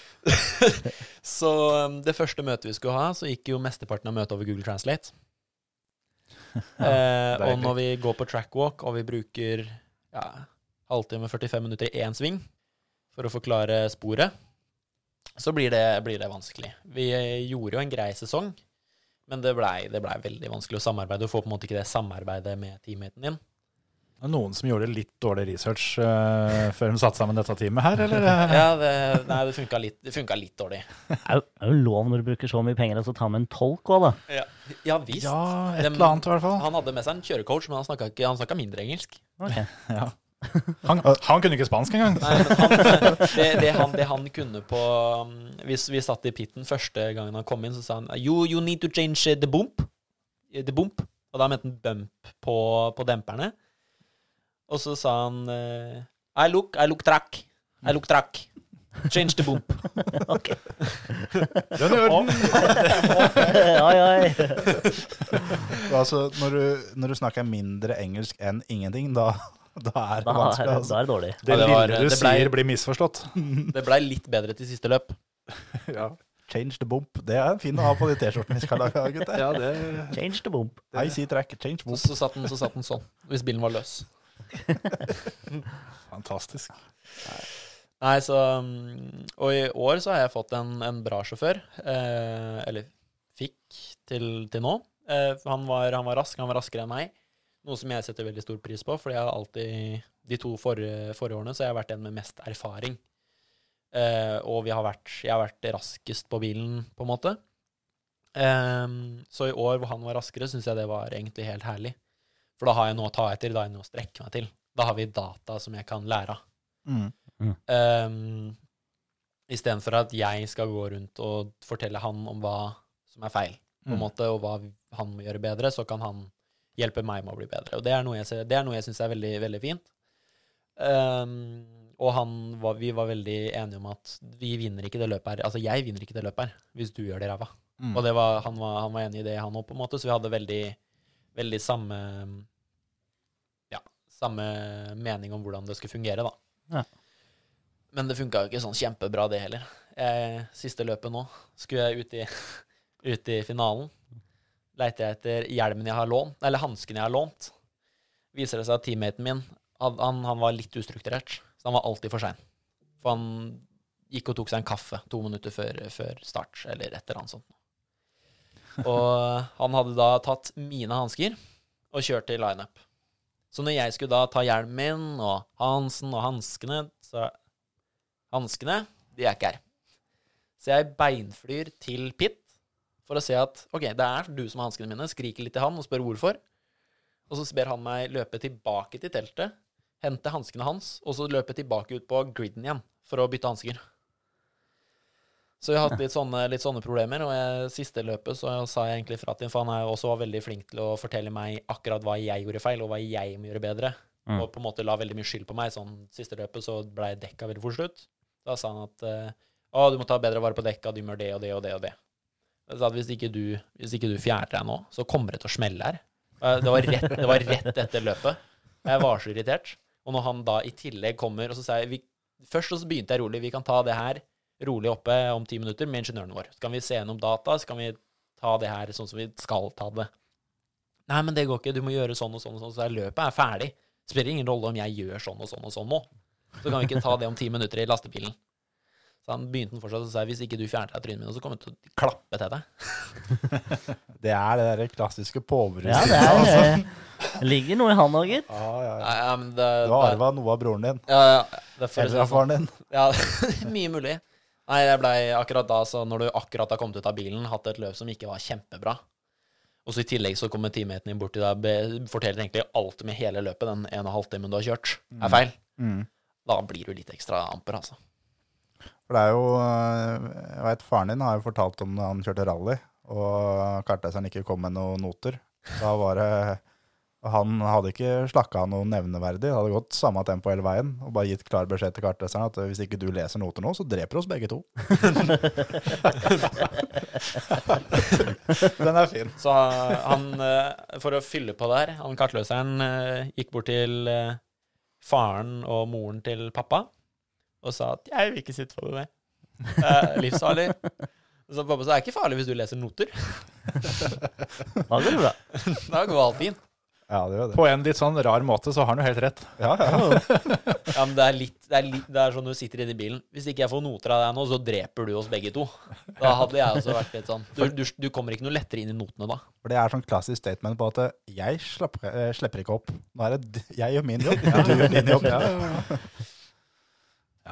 Speaker 6: Så um, det første møtet vi skulle ha, så gikk jo mesteparten av møtet over Google Translate. eh, og
Speaker 3: deilig.
Speaker 6: når vi går på trackwalk, og vi bruker ja, halvtime 45 minutter i én sving for å forklare sporet, så blir det, blir det vanskelig. Vi eh, gjorde jo en grei sesong, men det blei det blei veldig vanskelig å samarbeide. Du får på en måte ikke det samarbeidet med teammaten din.
Speaker 3: Det er noen som gjorde litt dårlig research eh, før de satte sammen dette teamet her, eller?
Speaker 6: Ja, det, nei, det funka litt, det funka litt dårlig.
Speaker 4: Det er jo- det er jo lov når du bruker så mye penger, og så ta med en tolk òg, da.
Speaker 6: Ja, ja visst.
Speaker 3: Ja, et
Speaker 6: Dem-
Speaker 3: eller annet i hvert fall.
Speaker 6: Han hadde med seg en kjørecoach, men han snakka ikke- han snakka mindre engelsk.
Speaker 4: Ok.
Speaker 3: Ja. Han, han kunne ikke spansk engang.
Speaker 6: Nei, men han, det, det, han, det han kunne på um, Hvis vi satt i pitten første gangen han kom inn, så sa han You, you need to change the bump. Eh, The bump. Og da mente han bump på, på demperne. Og så sa han eh, I look, I look track. I look track. Change the bump.
Speaker 3: Den i orden.
Speaker 4: Oi, oi.
Speaker 5: Altså, når du, når du snakker mindre engelsk enn ingenting, da, da er det
Speaker 4: Da er,
Speaker 5: vanskelig.
Speaker 4: det-
Speaker 5: Altså.
Speaker 4: da er det dårlig.
Speaker 3: Det
Speaker 6: Ja, det var-
Speaker 3: lille du
Speaker 6: det ble-
Speaker 3: sier, blir misforstått.
Speaker 6: Det blei litt bedre til siste løp.
Speaker 5: Change the bump. Det er en fin å ha på de T-skjortene vi skal lage, gutter.
Speaker 4: Change the bomb.
Speaker 5: I see track, change
Speaker 6: Så,
Speaker 5: bump.
Speaker 6: så, satt den, så satt den sånn, hvis bilen var løs.
Speaker 3: Fantastisk.
Speaker 6: Nei, så um, Og i år så har jeg fått en, en bra sjåfør. Eh, eller fikk til, til nå. Eh, for han, var, han var rask. Han var raskere enn meg. Noe som jeg setter veldig stor pris på, fordi jeg har alltid De to forrige, forrige årene så har jeg vært den med mest erfaring. Eh, og vi har vært, jeg har vært raskest på bilen, på en måte. Ehm, så i år hvor han var raskere, syns jeg det var egentlig helt herlig. For da har jeg noe å ta etter, da har jeg noe å strekke meg til. Da har vi data som jeg kan lære av. Um, Istedenfor at jeg skal gå rundt og fortelle han om hva som er feil, på
Speaker 3: Mm.
Speaker 6: en måte, og hva han må gjøre bedre, så kan han hjelpe meg med å bli bedre. Og det er noe jeg, ser- det er noe jeg syns er veldig, veldig fint. Um, og han var, vi var veldig enige om at vi vinner ikke det løpet her. Altså, jeg vinner ikke det løpet her hvis du gjør det ræva.
Speaker 3: Mm.
Speaker 6: Og det var, han, var, han var enig i det, han òg, på en måte, så vi hadde veldig, veldig samme Ja, samme mening om hvordan det skulle fungere, da. Men det funka jo ikke sånn kjempebra, det heller. Eh, siste løpet nå skulle jeg ut i, ut i finalen. Leite jeg etter hjelmen jeg har lånt, eller hansken jeg har lånt. Viser det seg at teammaten min han, han- han var litt ustrukturert, så han var alltid for sein. For han gikk og tok seg en kaffe to minutter før, før start, eller et eller annet sånt. Og han hadde da tatt mine hansker og kjørt til lineup. Så når jeg skulle da ta hjelmen min og Hansen og hanskene, så Hanskene, de er ikke her. Så jeg beinflyr til Pitt for å se at ok, det er du som har hanskene mine, skriker litt til han og spør hvorfor. Og så ber han meg løpe tilbake til teltet, hente hanskene hans, og så løpe tilbake ut på griden igjen for å bytte hansker. Så vi har hatt litt sånne, litt sånne problemer, og jeg, siste løpet så sa jeg egentlig fra til ham, for han er jo også veldig flink til å fortelle meg akkurat hva jeg gjorde feil, og hva jeg må gjøre bedre.
Speaker 4: Mm.
Speaker 6: Og på en måte la veldig mye skyld på meg. Sånn siste løpet så blei dekka veldig fort slutt. Da sa han at eh, å, du må ta bedre vare på dekka, du må gjøre det og det og det og det. Jeg sa at hvis ikke du, hvis ikke du fjerner deg nå, så kommer det til å smelle her. Eh, Det var rett, det var rett etter løpet. Jeg var så irritert. Og når han da i tillegg kommer, og så sa jeg vi, Først så begynte jeg rolig. Vi kan ta det her rolig oppe om ti minutter med ingeniøren vår. Så kan vi se gjennom data, så kan vi ta det her sånn som vi skal ta det. Nei, men det går ikke. Du må gjøre sånn og sånn og sånn. Så løpet er ferdig. Det spiller ingen rolle om jeg gjør sånn og sånn og sånn nå. Så kan vi ikke ta det om ti minutter i lastebilen. Så han begynte den fortsatt og sa hvis ikke du fjerner deg trynet mitt, så kommer jeg til å klappe til deg.
Speaker 5: Det er det der klassiske påbruket.
Speaker 4: Ja, det er, eh, ligger noe i han òg, gitt.
Speaker 5: Ja, ja, ja.
Speaker 6: Nei, ja, men det,
Speaker 5: Du har arva noe av broren din.
Speaker 6: Ja, ja. Det er for å si
Speaker 5: Eller
Speaker 6: det
Speaker 5: av
Speaker 6: sånn.
Speaker 5: faren din.
Speaker 6: Ja, mye mulig. Nei, jeg blei akkurat da, så når du akkurat har kommet ut av bilen, hatt et løp som ikke var kjempebra, og så i tillegg så kommer teammaten din bort til deg og be- forteller egentlig alt med hele løpet, den en og en halv timen du har kjørt, er feil.
Speaker 5: Mm.
Speaker 6: Da blir du litt ekstra amper, altså.
Speaker 5: For det er jo øh, Jeg vet, faren din har jo fortalt om da han kjørte rally, og kartleseren ikke kom med noen noter. Da var det Han hadde ikke slakka av noe nevneverdig. Det hadde gått samme tempo hele veien og bare gitt klar beskjed til kartleseren at øh, hvis ikke du leser noter nå, så dreper du oss begge to. Den er fin.
Speaker 6: Så han, eh, for å fylle på der, han kartløseren eh, gikk bort til eh, faren og moren til pappa og sa at 'jeg vil ikke sitte på det med'. Eh, Livsfarlig. Så pappa sa 'det er ikke farlig hvis du leser noter'.
Speaker 4: Da går det bra.
Speaker 6: Da går alt fint.
Speaker 5: Ja, det gjør det.
Speaker 3: På en litt sånn rar måte så har han jo helt rett.
Speaker 5: Ja, ja.
Speaker 6: Ja, men det er litt, det er litt det er sånn du sitter inne i bilen. Hvis ikke jeg får noter av deg nå, så dreper du oss begge to. Da hadde jeg også vært litt sånn. Du, du, du kommer ikke noe lettere inn i notene da.
Speaker 5: For det er sånn klassisk statement på at øh, jeg slapper, øh, slipper ikke opp. Nå er det d- jeg gjør min jobb, du gjør din jobb.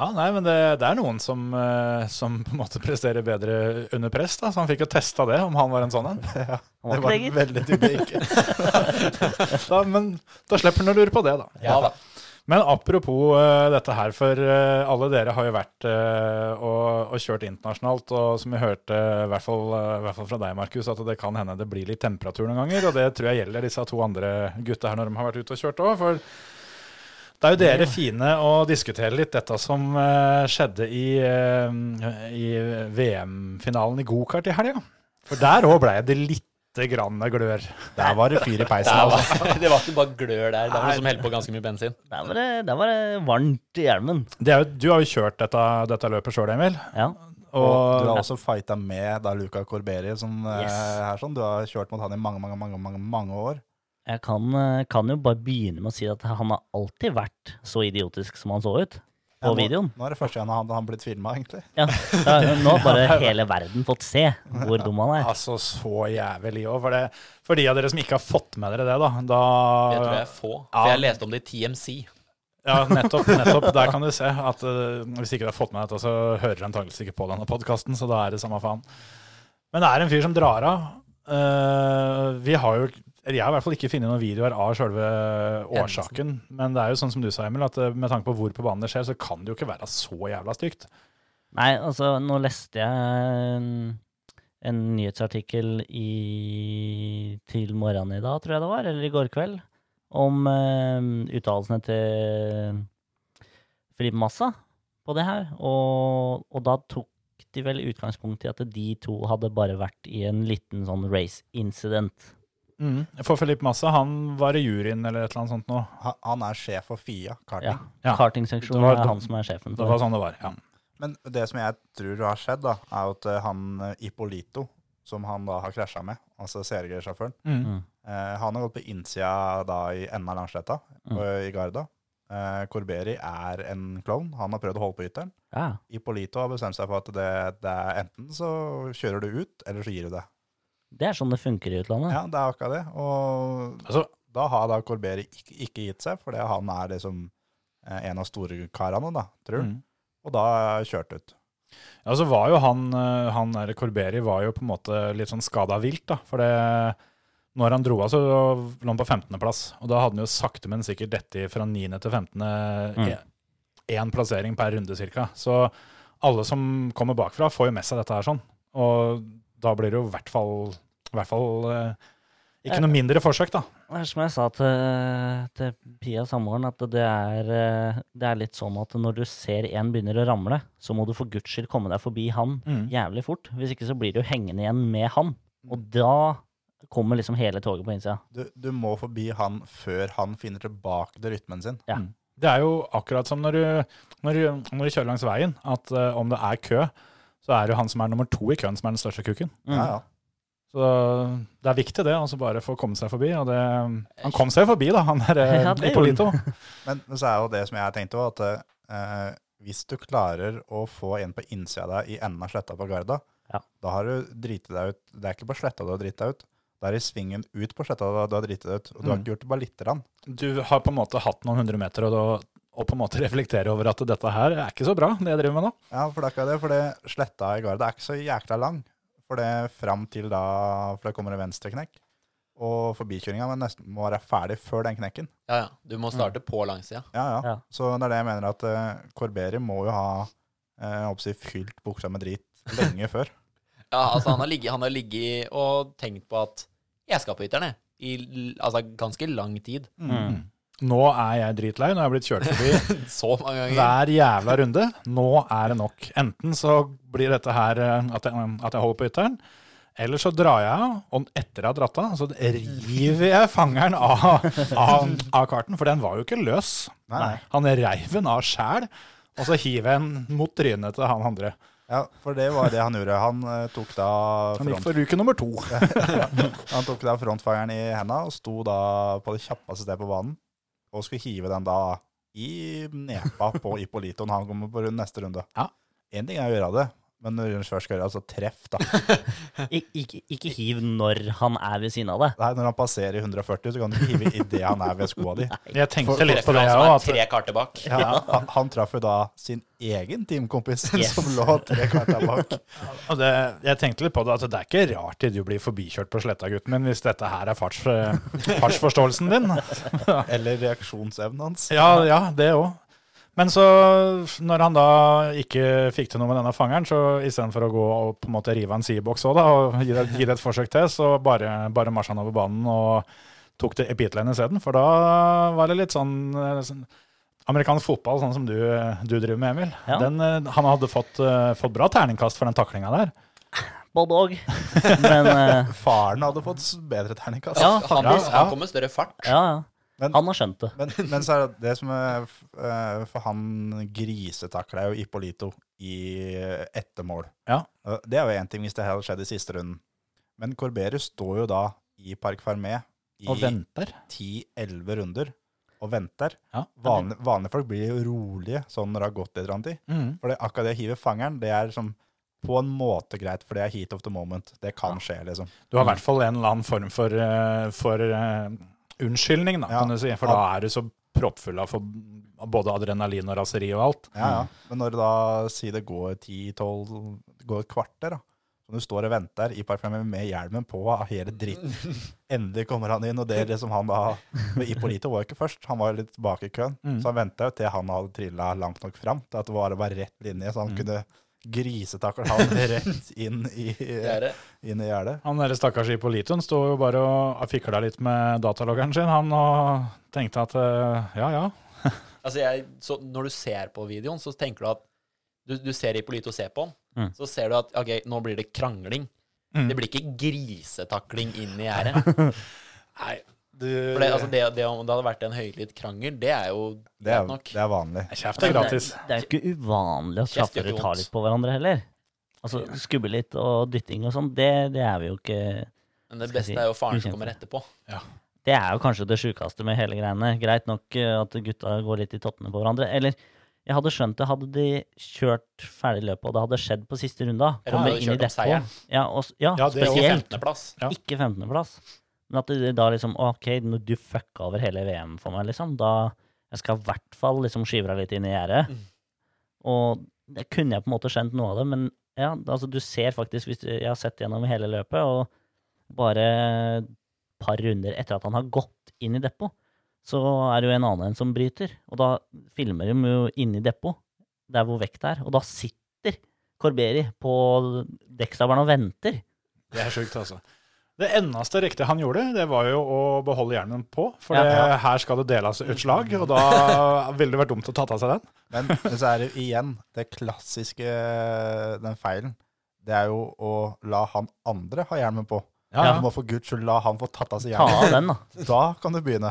Speaker 3: Ja, nei, men det, det er noen som, eh, som på en måte presterer bedre under press, da, så han fikk jo testa det, om han var en sånn en.
Speaker 4: Han
Speaker 5: Det
Speaker 4: var
Speaker 5: var
Speaker 4: ikke det, gitt.
Speaker 5: veldig tydelig ikke.
Speaker 3: Da, men da slipper han å lure på det, da.
Speaker 6: Ja da.
Speaker 3: Men apropos eh, dette her, for eh, alle dere har jo vært eh, og, og kjørt internasjonalt, og som vi hørte, i hvert fall, eh, i hvert fall fra deg, Markus, at det kan hende det blir litt temperatur noen ganger, og det tror jeg gjelder disse to andre gutta her når de har vært ute og kjørt òg, for det er jo dere fine å diskutere litt dette som eh, skjedde i, eh, i VM-finalen i gokart i helga. For der òg blei det lite grann glør.
Speaker 5: Der var det fyr i peisen.
Speaker 6: Det
Speaker 5: Altså.
Speaker 6: var, det var ikke bare glør der. Det var noen som heldte på ganske mye bensin.
Speaker 4: Der var det, der var det varmt i hjelmen.
Speaker 3: Det er jo, du har jo kjørt dette, dette løpet sjøl, Emil.
Speaker 4: Ja.
Speaker 5: Og
Speaker 3: Og,
Speaker 5: du har også fighta med da Luca Corberi, som eh,
Speaker 4: Yes.
Speaker 5: er sånn. Du har kjørt mot han i mange, mange, mange mange, mange år.
Speaker 4: Jeg kan, eh, kan jo bare begynne med å si at han har alltid vært så idiotisk som han så ut
Speaker 5: Ja,
Speaker 4: på videoen.
Speaker 5: Nå, nå er det første gang han har blitt filma, egentlig.
Speaker 4: Ja. Ja, Nå har bare hele verden fått se hvor dum han er.
Speaker 3: Altså, så jævlig òg. For, det- for de av dere som ikke har fått med dere det, da, da
Speaker 6: Det tror jeg er få.
Speaker 3: Ja.
Speaker 6: For jeg leste om det i TMC.
Speaker 3: Ja, nettopp. nettopp, Der kan du se at eh, hvis ikke du har fått med deg dette, så hører du antakeligvis ikke på denne podkasten, så da er det samme faen. Men det er en fyr som drar av. Eh, vi har jo eller jeg har i hvert fall ikke funnet noen videoer av sjølve årsaken. Men det er jo sånn som du sa, Emil, at eh, med tanke på hvor på banen det skjer, så kan det jo ikke være så jævla stygt.
Speaker 4: Nei, altså, nå leste jeg en, en nyhetsartikkel i, til morgenen i dag, tror jeg det var, eller i går kveld, om eh, uttalelsene til Filip Massa på det her. Og, og da tok de vel utgangspunkt i at de to hadde bare vært i en liten sånn race incident.
Speaker 5: Mm.
Speaker 3: For Filip Massa, han var i juryen eller et eller annet sånt nå.
Speaker 5: Han, han er sjef for FIA karting.
Speaker 4: Ja.
Speaker 3: Ja. Det
Speaker 4: Kartingseksjonen
Speaker 3: var-
Speaker 4: er han som er sjefen
Speaker 3: Det
Speaker 4: for
Speaker 3: var
Speaker 4: det.
Speaker 3: sånn det var. ja.
Speaker 5: Men det som jeg tror har skjedd, da, er jo at eh, han eh, Ippolito, som han da har krasja med, altså CRG-sjåføren,
Speaker 3: Mm.
Speaker 5: eh, han har gått på innsida da i enden av Langsletta,
Speaker 4: Mm.
Speaker 5: og i Garda. Eh, Corberi er en klovn. Han har prøvd å holde på ytteren.
Speaker 3: sånn-
Speaker 4: Ja.
Speaker 5: Ippolito har bestemt seg for at det, det er enten så kjører du ut, eller så gir du det.
Speaker 4: Det er sånn det funker i utlandet.
Speaker 5: Ja, det er akkurat det. Og
Speaker 3: Mm. Altså,
Speaker 5: da har da Corberi ikke, ikke gitt seg, fordi han er liksom eh, en av storekarene, da, tror jeg.
Speaker 3: Mm.
Speaker 5: Og da er jeg kjørt ut.
Speaker 3: Ja, så var jo han, eh, han der Corberi var jo på en måte litt sånn skada vilt, da. For det, når han dro av, så lå han på 15.-plass. Og da hadde han jo sakte, men sikkert dette fra 9. til 15. Én plassering per runde, cirka. Så alle som kommer bakfra, får jo med seg dette her sånn. Og da blir det jo i hvert fall, i hvert fall eh, ikke noe mindre forsøk, da.
Speaker 4: Det er som jeg sa til, til Pia samboeren, at det er, eh, det er litt sånn at når du ser en begynner å ramle, så må du for guds skyld komme deg forbi han
Speaker 3: Mm.
Speaker 4: jævlig fort. Hvis ikke så blir du hengende igjen med han. Og da kommer liksom hele toget på innsida.
Speaker 5: Du, du må forbi han før han finner tilbake til rytmen sin.
Speaker 4: Ja.
Speaker 3: Det er jo akkurat som når du, når du, når du kjører langs veien, at eh, om det er kø, så er det jo han som er nummer to i køen, som er den største kuken.
Speaker 4: Mm.
Speaker 5: Ja, ja.
Speaker 3: Så det er viktig det, altså bare for å komme seg forbi. Og det, han kom seg jo forbi, da, han der eh,
Speaker 4: Ja, det gjorde
Speaker 3: Ippolito.
Speaker 5: Men, men så er jo det som jeg har tenkt òg, at eh, hvis du klarer å få en på innsida av deg i enden av sletta på Garda,
Speaker 4: Ja.
Speaker 5: da har du driti deg ut. Det er ikke på sletta du har driti deg ut, det er i svingen ut på sletta du har driti deg ut. Og du har
Speaker 3: Mm.
Speaker 5: ikke gjort det bare lite grann.
Speaker 3: Du har på en måte hatt noen hundre meter, og, da, og på en måte reflekterer over at dette her er ikke så bra, det jeg driver med nå.
Speaker 5: Ja, for det er ikke det, for det sletta i Garda er ikke så jækla lang. For det fram til da, for det kommer en venstreknekk. Og forbikjøringa må nesten må være ferdig før den knekken.
Speaker 6: Ja, ja. Du må starte på langsida.
Speaker 5: Ja, ja.
Speaker 4: Ja.
Speaker 5: Så det er det jeg mener at eh, Corberi må jo ha eh, jeg håper å si, fylt buksa med drit lenge før.
Speaker 6: Ja, altså, han har ligget, han har ligget og tenkt på at jeg skal på hytteren, jeg. I l- altså, ganske lang tid.
Speaker 4: Mm.
Speaker 3: Nå er jeg dritlei, nå er jeg blitt kjørt forbi
Speaker 6: Så mange ganger.
Speaker 3: hver jævla runde. Nå er det nok. Enten så blir dette her eh, at jeg, at jeg holder på ytteren, eller så drar jeg av, og etter jeg har dratt av, så river jeg fangeren av, av, av karten, for den var jo ikke løs.
Speaker 5: Nei, nei.
Speaker 3: Han reiv den av sjæl, og så hiv jeg den mot trynet til han andre.
Speaker 5: Ja, for det var det han gjorde. Han eh, tok da
Speaker 3: Han gikk
Speaker 5: front,
Speaker 3: for uke nummer to.
Speaker 5: han tok da frontfangeren i henda og sto da på det kjappeste stedet på banen og skulle hive den da i nepa på Ippolito når han kommer på rund- neste runde.
Speaker 3: Ja.
Speaker 5: En ting er å gjøre det, men når du først skal gjøre det, så treff, da.
Speaker 4: Ik ikke, ikke hiv når han er ved siden av deg.
Speaker 5: Nei, når han passerer i 140, så kan du ikke hive i det han er ved skoa di.
Speaker 3: Jeg tenkte litt på
Speaker 6: Treffer
Speaker 3: det,
Speaker 6: han
Speaker 3: jeg
Speaker 6: som er
Speaker 3: òg.
Speaker 6: tre karter bak.
Speaker 5: Ja, han, han traff jo da sin egen teamkompis
Speaker 4: Yes.
Speaker 5: som lå tre kvarter bak.
Speaker 3: Jeg tenkte litt på det, at det er ikke rart du blir forbikjørt på sletta, gutten min, hvis dette her er farts, eh, fartsforståelsen din.
Speaker 5: Eller reaksjonsevnen hans.
Speaker 3: Ja, ja det òg. Men så, når han da ikke fikk til noe med denne fangeren, så istedenfor å gå og på en måte rive av en sideboks òg, da, og gi det, gi det et forsøk til, så bare, bare marsja han over banen og tok til epitlene isteden. For da var det litt sånn, eh, sånn Amerikansk fotball, sånn som du, du driver med, Emil.
Speaker 4: Ja.
Speaker 3: Den, eh, han hadde fått, eh, fått bra terningkast for den taklinga der.
Speaker 4: Både òg. Men eh,
Speaker 5: Faren hadde fått bedre terningkast.
Speaker 4: ja,
Speaker 6: Han,
Speaker 4: faktisk.
Speaker 6: han kom med større fart.
Speaker 4: Ja, ja.
Speaker 5: Men-
Speaker 4: Han har skjønt det.
Speaker 5: Men, men så er det det som er eh, For han grisetakla jo Ippolito i eh, etter mål.
Speaker 3: Ja.
Speaker 5: Eh, Det er jo én ting hvis det hadde skjedd i siste runden. Men Corberus står jo da i Parc Fermé i
Speaker 3: Og venter.
Speaker 5: 10-11 runder og venter.
Speaker 3: Ja.
Speaker 5: Vanlig, vanlige folk blir jo rolige sånn når det har gått litt grann tid.
Speaker 3: Mhm.
Speaker 5: For det, akkurat det å hive fangeren, det er som på en måte greit, for det er heat of the moment. Det kan skje, liksom.
Speaker 3: Du har i hvert fall en eller annen form for, eh, for eh, unnskyldning, da,
Speaker 5: Ja.
Speaker 3: kan du si. For da er du så proppfull av for både adrenalin og raseri og alt.
Speaker 5: Ja, ja. Men når det da si det går 10-12, det går et kvarter, da. Og du står og venter i parfymen med hjelmen på av hele dritten. Endelig kommer han inn, og det er det som han da Men Ippolito var jo ikke først, han var jo litt bak i køen. Så han venta jo til han hadde trilla langt nok fram til at det var bare rett linje, så han kunne grisetakle han rett inn i,
Speaker 6: Gjerdet.
Speaker 5: inn i gjerdet.
Speaker 3: Han der stakkars Ippolitoen sto jo bare og fikla litt med dataloggeren sin, han, og tenkte at eh, ja, ja.
Speaker 6: Altså jeg, så når du ser på videoen, så tenker du at du, du ser Ippolito se på han.
Speaker 4: Mm.
Speaker 6: Så ser du at ok, nå blir det krangling.
Speaker 3: Mm.
Speaker 6: Det blir ikke grisetakling inn i gjerdet.
Speaker 3: Nei, du
Speaker 6: For det, altså det, det om det hadde vært en høylytt krangel, det er jo
Speaker 5: Det er,
Speaker 6: greit nok.
Speaker 5: det er vanlig.
Speaker 3: Kjeft er gratis.
Speaker 4: Det er jo ikke uvanlig
Speaker 6: Kjeft
Speaker 4: at
Speaker 6: gjør
Speaker 4: slappere
Speaker 6: ikke
Speaker 4: tar
Speaker 6: vondt.
Speaker 4: litt på hverandre heller. Altså skubbe litt og dytting og sånn, det, det er vi jo ikke
Speaker 6: Men det
Speaker 4: Skal jeg si,
Speaker 6: beste er jo faren
Speaker 4: ukjent.
Speaker 6: som kommer etterpå.
Speaker 4: Det er jo kanskje det sjukeste med hele greiene. Greit nok eh, at gutta går litt i tottene på hverandre. Eller jeg hadde skjønt det, hadde de kjørt ferdig løpet, og det hadde skjedd på siste runda
Speaker 6: Eller
Speaker 4: Komme
Speaker 6: hadde de
Speaker 4: inn i
Speaker 6: kjørt om
Speaker 4: depot.
Speaker 6: seieren.
Speaker 4: Ja, og, s- ja,
Speaker 3: Ja, det er jo
Speaker 4: spesielt.
Speaker 6: 15.-plass.
Speaker 3: Ja.
Speaker 4: Ikke 15.-plass. Men at det da liksom OK, nå- du fucka over hele VM for meg, liksom. Da jeg skal i hvert fall liksom skyve deg litt inn i gjerdet. Og det kunne jeg på en måte skjønt noe av det, men ja, altså du ser faktisk hvis du, Jeg har sett gjennom hele løpet, og bare et par runder etter at han har gått inn i depot, så er det jo en annen som bryter. Og da filmer de jo inne i depot, der hvor vekta er, og da sitter Corberi på dekkstabelen og venter.
Speaker 3: Det er sjukt, altså. Det eneste riktige han gjorde, det var jo å beholde hjelmen på. For
Speaker 4: Ja.
Speaker 3: det, her skal det deles ut slag, og da ville det vært dumt å ta av seg den.
Speaker 5: Men så er det igjen det klassiske, eh, den feilen. Det er jo å la han andre ha hjelmen på.
Speaker 3: Ja, ja.
Speaker 5: Du må for guds skyld la han få tatt av seg
Speaker 4: Ta
Speaker 5: hjelmen.
Speaker 4: av den, da.
Speaker 5: Da kan du begynne.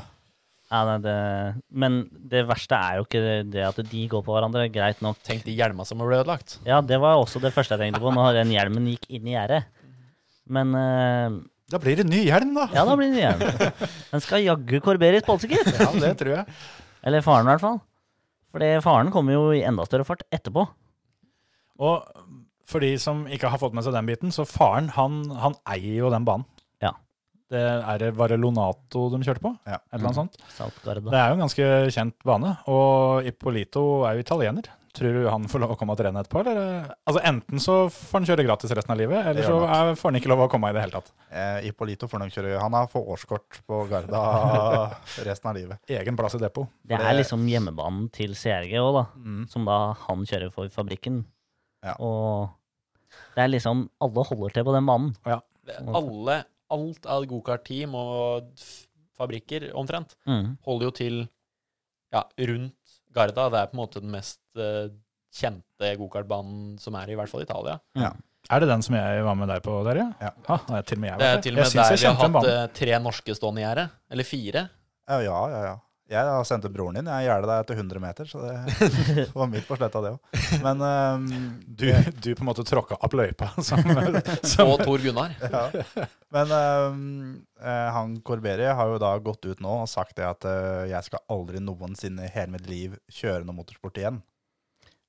Speaker 4: Ja, nei, det, men det verste er jo ikke det at de går på hverandre. Greit nok.
Speaker 6: Tenk de hjelma som ble ødelagt.
Speaker 4: Ja, det var også det første jeg tenkte på når den hjelmen gikk inn i gjerdet. Men eh,
Speaker 3: Da blir det ny hjelm, da.
Speaker 4: ja, da blir det hjelm. Den skal jaggu Corberis bolse, gitt.
Speaker 3: Ja, det tror jeg.
Speaker 4: Eller faren, i hvert fall. Fordi faren kommer jo i enda større fart etterpå.
Speaker 3: Og for de som ikke har fått med seg den biten, så faren, han, han eier jo den banen.
Speaker 4: Ja.
Speaker 3: Det er, var det Lonato de kjørte på?
Speaker 5: Ja.
Speaker 3: Et
Speaker 4: Mhm.
Speaker 3: eller annet sånt. Det
Speaker 4: Saltgarda.
Speaker 3: er jo en ganske kjent bane, og Ippolito er jo italiener. Tror du han får lov å komme og trene etterpå? Eller? Altså Enten så får han kjøre gratis resten av livet, eller
Speaker 5: Det
Speaker 3: så
Speaker 5: gjør
Speaker 3: er, får han ikke lov å komme i det hele tatt.
Speaker 5: Eh, Ippolito får nok kjøre. Han har fått årskort på Garda resten av livet.
Speaker 3: Egen plass i depot.
Speaker 4: Det er Mm. liksom hjemmebanen til CRG òg, da. Som da han kjører for fabrikken.
Speaker 5: Ja.
Speaker 4: Og det er liksom Alle holder til på den banen.
Speaker 6: Alle, alt av gokart-team og f- fabrikker omtrent,
Speaker 4: Mm.
Speaker 6: holder jo til ja, rundt Garda. Det er på en måte den mest eh, kjente gokartbanen som er i hvert fall i Italia.
Speaker 3: Er det den som jeg var med deg på, Terje?
Speaker 5: Ja.
Speaker 3: Ha, nei, til og med jeg
Speaker 6: Det
Speaker 3: var
Speaker 6: er
Speaker 3: der.
Speaker 6: til
Speaker 3: jeg
Speaker 6: og med
Speaker 3: syns
Speaker 6: der
Speaker 3: jeg
Speaker 6: vi
Speaker 3: kjente
Speaker 6: har
Speaker 3: en
Speaker 6: hatt
Speaker 3: bane.
Speaker 6: eh, tre norske stående i gjerdet. Eller fire.
Speaker 5: Ja, ja, ja. ja. Jeg sendte broren din. Jeg gjerdet deg etter 100 meter, så det var mitt på sletta, det òg. Men ehm,
Speaker 3: Du, du på en måte tråkka opp løypa. Som, som,
Speaker 6: Og Tor Gunnar.
Speaker 5: ja. Men ehm, eh, han Corberi har jo da gått ut nå og sagt det at eh, jeg skal aldri noensinne i hele mitt liv kjøre noe motorsport igjen.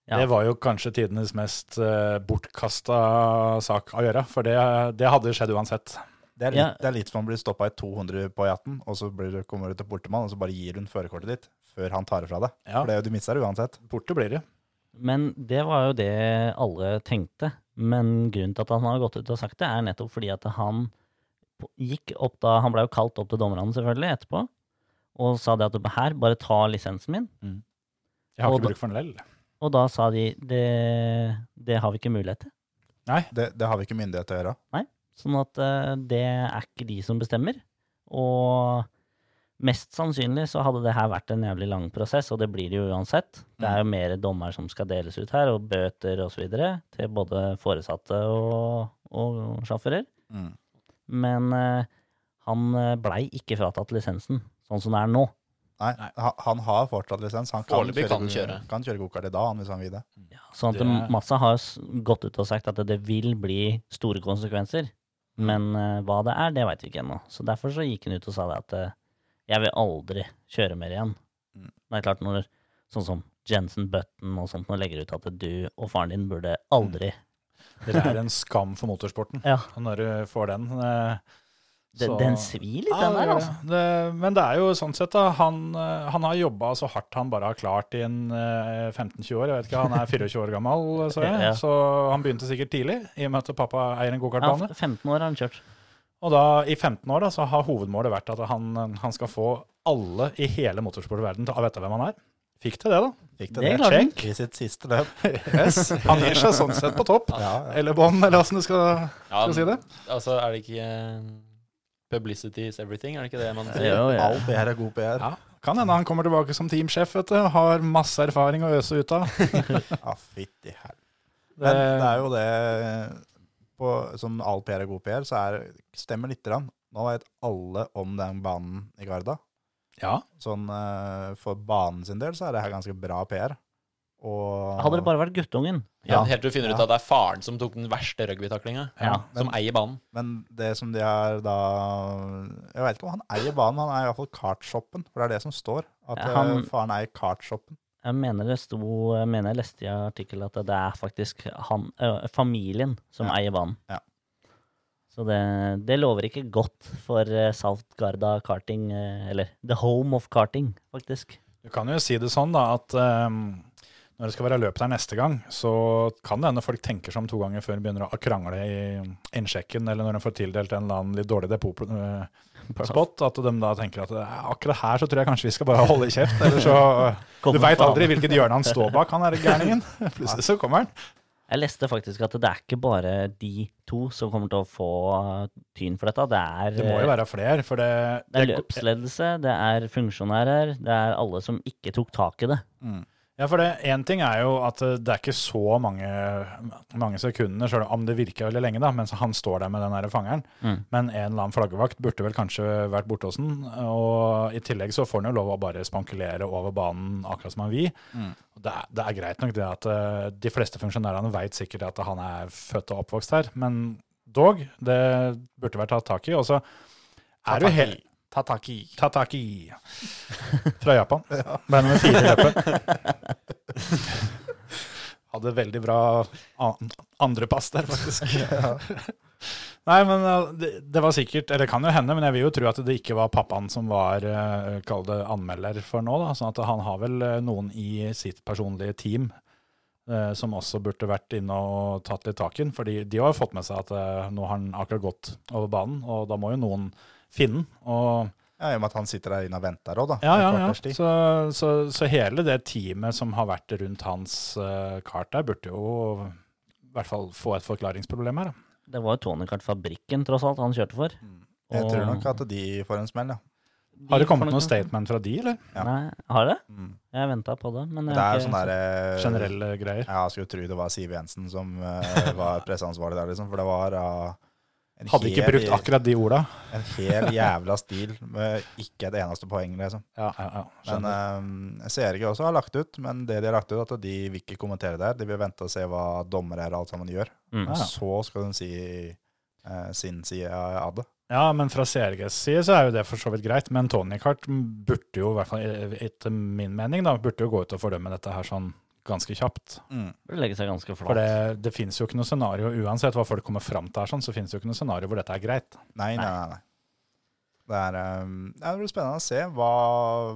Speaker 4: Ja.
Speaker 3: Det var jo kanskje tidenes mest uh, bortkasta sak å gjøre, for det, det hadde skjedd uansett.
Speaker 5: Det er litt,
Speaker 4: Ja.
Speaker 5: det er litt som om man blir stoppa i 200 på E18, og så blir, du- kommer du til portemann, og så bare gir hun førerkortet ditt før han tar det fra deg.
Speaker 3: Ja.
Speaker 5: For det er jo du mister det uansett.
Speaker 3: Borte blir det.
Speaker 4: Men det var jo det alle tenkte. Men grunnen til at han har gått ut og sagt det, er nettopp fordi at han på- gikk opp da Han ble jo kalt opp til dommerne, selvfølgelig, etterpå. Og sa det at her, bare ta lisensen min.
Speaker 3: Jeg har
Speaker 4: Og da-
Speaker 3: ikke bruk for den lell.
Speaker 4: Og da sa de det, det har vi ikke mulighet til.
Speaker 5: Det, det har vi ikke myndighet til å gjøre.
Speaker 4: Sånn at eh, det er ikke de som bestemmer. Og mest sannsynlig så hadde det her vært en jævlig lang prosess, og det blir det jo uansett. Det er jo mer dommer som skal deles ut her, og bøter osv. til både foresatte og, og sjåfører.
Speaker 5: Mm.
Speaker 4: Men eh, han eh, blei ikke fratatt lisensen, sånn som det er nå.
Speaker 5: Nei, ha- Han har fortsatt lisens. Han kan
Speaker 6: Foreløpig
Speaker 5: kjøre,
Speaker 6: kan kjøre.
Speaker 5: kan kjøre gokart i dag han, hvis han vil det.
Speaker 4: Sånn at
Speaker 3: Det er-
Speaker 4: Massa har s- gått ut og sagt at det vil bli store konsekvenser,
Speaker 3: Mm.
Speaker 4: men eh, hva det er, det veit vi ikke ennå. Så derfor så gikk hun ut og sa det at eh, jeg vil aldri kjøre mer igjen.
Speaker 5: Mm.
Speaker 4: Det er klart når sånn som Jensen Button og sånt nå legger ut at du og faren din burde aldri
Speaker 3: Mm. Det er en skam for motorsporten.
Speaker 4: Ja,
Speaker 3: Og når du får den eh,
Speaker 4: den,
Speaker 3: så-
Speaker 4: den svir litt,
Speaker 3: Ja,
Speaker 4: den
Speaker 3: det
Speaker 4: der,
Speaker 3: gjør
Speaker 4: altså.
Speaker 3: det. Det, men det er jo sånn sett, da. Han, eh, han har jobba så hardt han bare har klart i en eh, 15-20 år. Jeg vet ikke, Han er 24 år gammel, så jeg.
Speaker 4: Ja.
Speaker 3: Så han begynte sikkert tidlig, i og med at pappa eier en
Speaker 4: Ja,
Speaker 3: gokartbane.
Speaker 4: 15 år har han kjørt.
Speaker 3: Og da, i 15 år da, så har hovedmålet vært at han, han skal få alle i hele motorsportverdenen til å vite hvem han er. Fikk til det, da.
Speaker 5: Fikk
Speaker 4: Det klarte han.
Speaker 5: I sitt siste løp.
Speaker 3: Yes. Han gir seg sånn sett på topp.
Speaker 5: Ja, ja.
Speaker 3: Eller bånd, eller åssen du skal,
Speaker 6: Ja,
Speaker 3: skal si det.
Speaker 6: altså, er det ikke eh, Publicity is everything, er det ikke det man sier?
Speaker 4: Jo, ja.
Speaker 5: All PR er god PR.
Speaker 3: Ja. Kan hende han kommer tilbake som teamsjef vet du, og har masse erfaring å øse ut av.
Speaker 5: Ja, Ah, fytti helvete.
Speaker 3: Det,
Speaker 5: Men det er jo det på, Som all PR er god PR, så er, stemmer lite grann. Nå vet alle om den banen i Garda.
Speaker 3: ja.
Speaker 5: Sånn, eh, for banen sin del så er det her ganske bra PR. Og
Speaker 4: Hadde det bare vært guttungen.
Speaker 6: Ja, Helt til du finner ut
Speaker 5: Ja.
Speaker 6: at det er faren som tok den verste rugbytaklinga,
Speaker 4: Ja.
Speaker 6: som eier banen.
Speaker 5: Men det som de har da Jeg vet ikke om han eier banen, men han eier iallfall kartshoppen. For det er det som står. At
Speaker 4: Ja, han-
Speaker 5: eh, faren eier kartshoppen.
Speaker 4: Jeg mener det sto Jeg mener jeg leste i artikkelen at det er faktisk han, ø, familien som
Speaker 5: Ja.
Speaker 4: eier banen.
Speaker 5: Ja.
Speaker 4: Så det, det lover ikke godt for ø, South Garda karting, ø, eller The Home of Karting, faktisk.
Speaker 3: Du kan jo si det sånn da, at ehm, når det skal være løp der neste gang, så kan det hende folk tenker seg om to ganger før de begynner å krangle i innsjekken, eller når de får tildelt en eller annen litt dårlig depotspot, at de da tenker at "Ja, akkurat her så tror jeg kanskje vi skal bare holde kjeft, eller så Du
Speaker 4: Kommer
Speaker 3: veit
Speaker 4: faen.
Speaker 3: aldri hvilket hjørne han står bak, han derre gærningen. Plutselig så kommer han.
Speaker 4: Jeg leste faktisk at det er ikke bare de to som kommer til å få eh, tyn for dette. Det er,
Speaker 3: Det må jo være flere, for det,
Speaker 4: det er løpsledelse, det er funksjonærer, det er alle som ikke tok tak i det.
Speaker 3: Ja, for det én ting er jo at eh, det er ikke så mange, mange sekundene, sjøl om det virker veldig lenge, da, mens han står der med den der fangeren.
Speaker 4: Mm.
Speaker 3: Men en eller annen flaggevakt burde vel kanskje vært borte hos den. Og i tillegg så får han jo lov å bare spankulere over banen akkurat som han vil. Og Det, er, det er greit nok det at eh, de fleste funksjonærene veit sikkert at han er født og oppvokst her, men dog, det burde vært tatt tak i. Og så er det jo helt
Speaker 5: Tataki.
Speaker 3: Tataki fra Japan. Ble nummer fire i løpet. Hadde veldig bra an- andrepass der, faktisk. Nei, men uh, det, det var sikkert, eller det kan jo hende, men jeg vil jo tro at det ikke var pappaen som var uh, kall det anmelder for nå. da, sånn at han har vel uh, noen i sitt personlige team uh, som også burde vært inne og tatt litt tak i den. fordi de har jo fått med seg at uh, nå har han akkurat gått over banen, og da må jo noen finne den. og
Speaker 5: Ja, I og med at han sitter der inne og venter òg, da.
Speaker 3: ja,
Speaker 5: et
Speaker 3: ja,
Speaker 5: kvarters
Speaker 3: ja.
Speaker 5: tid.
Speaker 3: Så, så, så hele det teamet som har vært rundt hans eh, kart der, burde jo i hvert fall få et forklaringsproblem her. Da.
Speaker 4: Det var jo Tony Kart-fabrikken tross alt han kjørte for.
Speaker 3: Mm.
Speaker 5: Jeg tror
Speaker 4: Og-
Speaker 5: nok at de får en smell, ja.
Speaker 3: Har det kommet
Speaker 4: De-
Speaker 3: noe statement fra de, eller?
Speaker 5: ja.
Speaker 4: Nei, har det?
Speaker 5: Mm.
Speaker 4: Jeg venta på det. Men jeg
Speaker 5: Det er
Speaker 4: har
Speaker 5: jo
Speaker 4: ikke-
Speaker 5: sånn derre
Speaker 3: Generelle greier.
Speaker 5: Ja, jeg skulle tro det var Siv Jensen som eh, var presseansvarlig der, liksom. For det var uh, en,
Speaker 3: Hadde ikke brukt akkurat de orda.
Speaker 5: en hel jævla stil med ikke et eneste poeng, liksom.
Speaker 3: Ja, ja, ja.
Speaker 5: Men
Speaker 3: skjønner.
Speaker 5: eh, CRG også har lagt ut, men det de har lagt ut, er at de vil ikke kommentere det her. De vil vente og se hva dommere og alt sammen gjør.
Speaker 4: Mm.
Speaker 5: Og
Speaker 3: Ah, Ja.
Speaker 5: så skal de si eh, sin side av det.
Speaker 3: ja, men fra CRGs side så er jo det for så vidt greit, men Tony Kart burde jo, i hvert fall eh, etter min mening, da, burde jo gå ut og fordømme dette her sånn ganske kjapt.
Speaker 4: Burde legge seg ganske flat.
Speaker 3: For det, det fins jo ikke noe scenario, uansett hva folk kommer fram til her, sånn, så fins det jo ikke noe scenario hvor dette er greit.
Speaker 5: Nei, nei, nei. nei. Det, er, eh, ja, det blir spennende å se hva,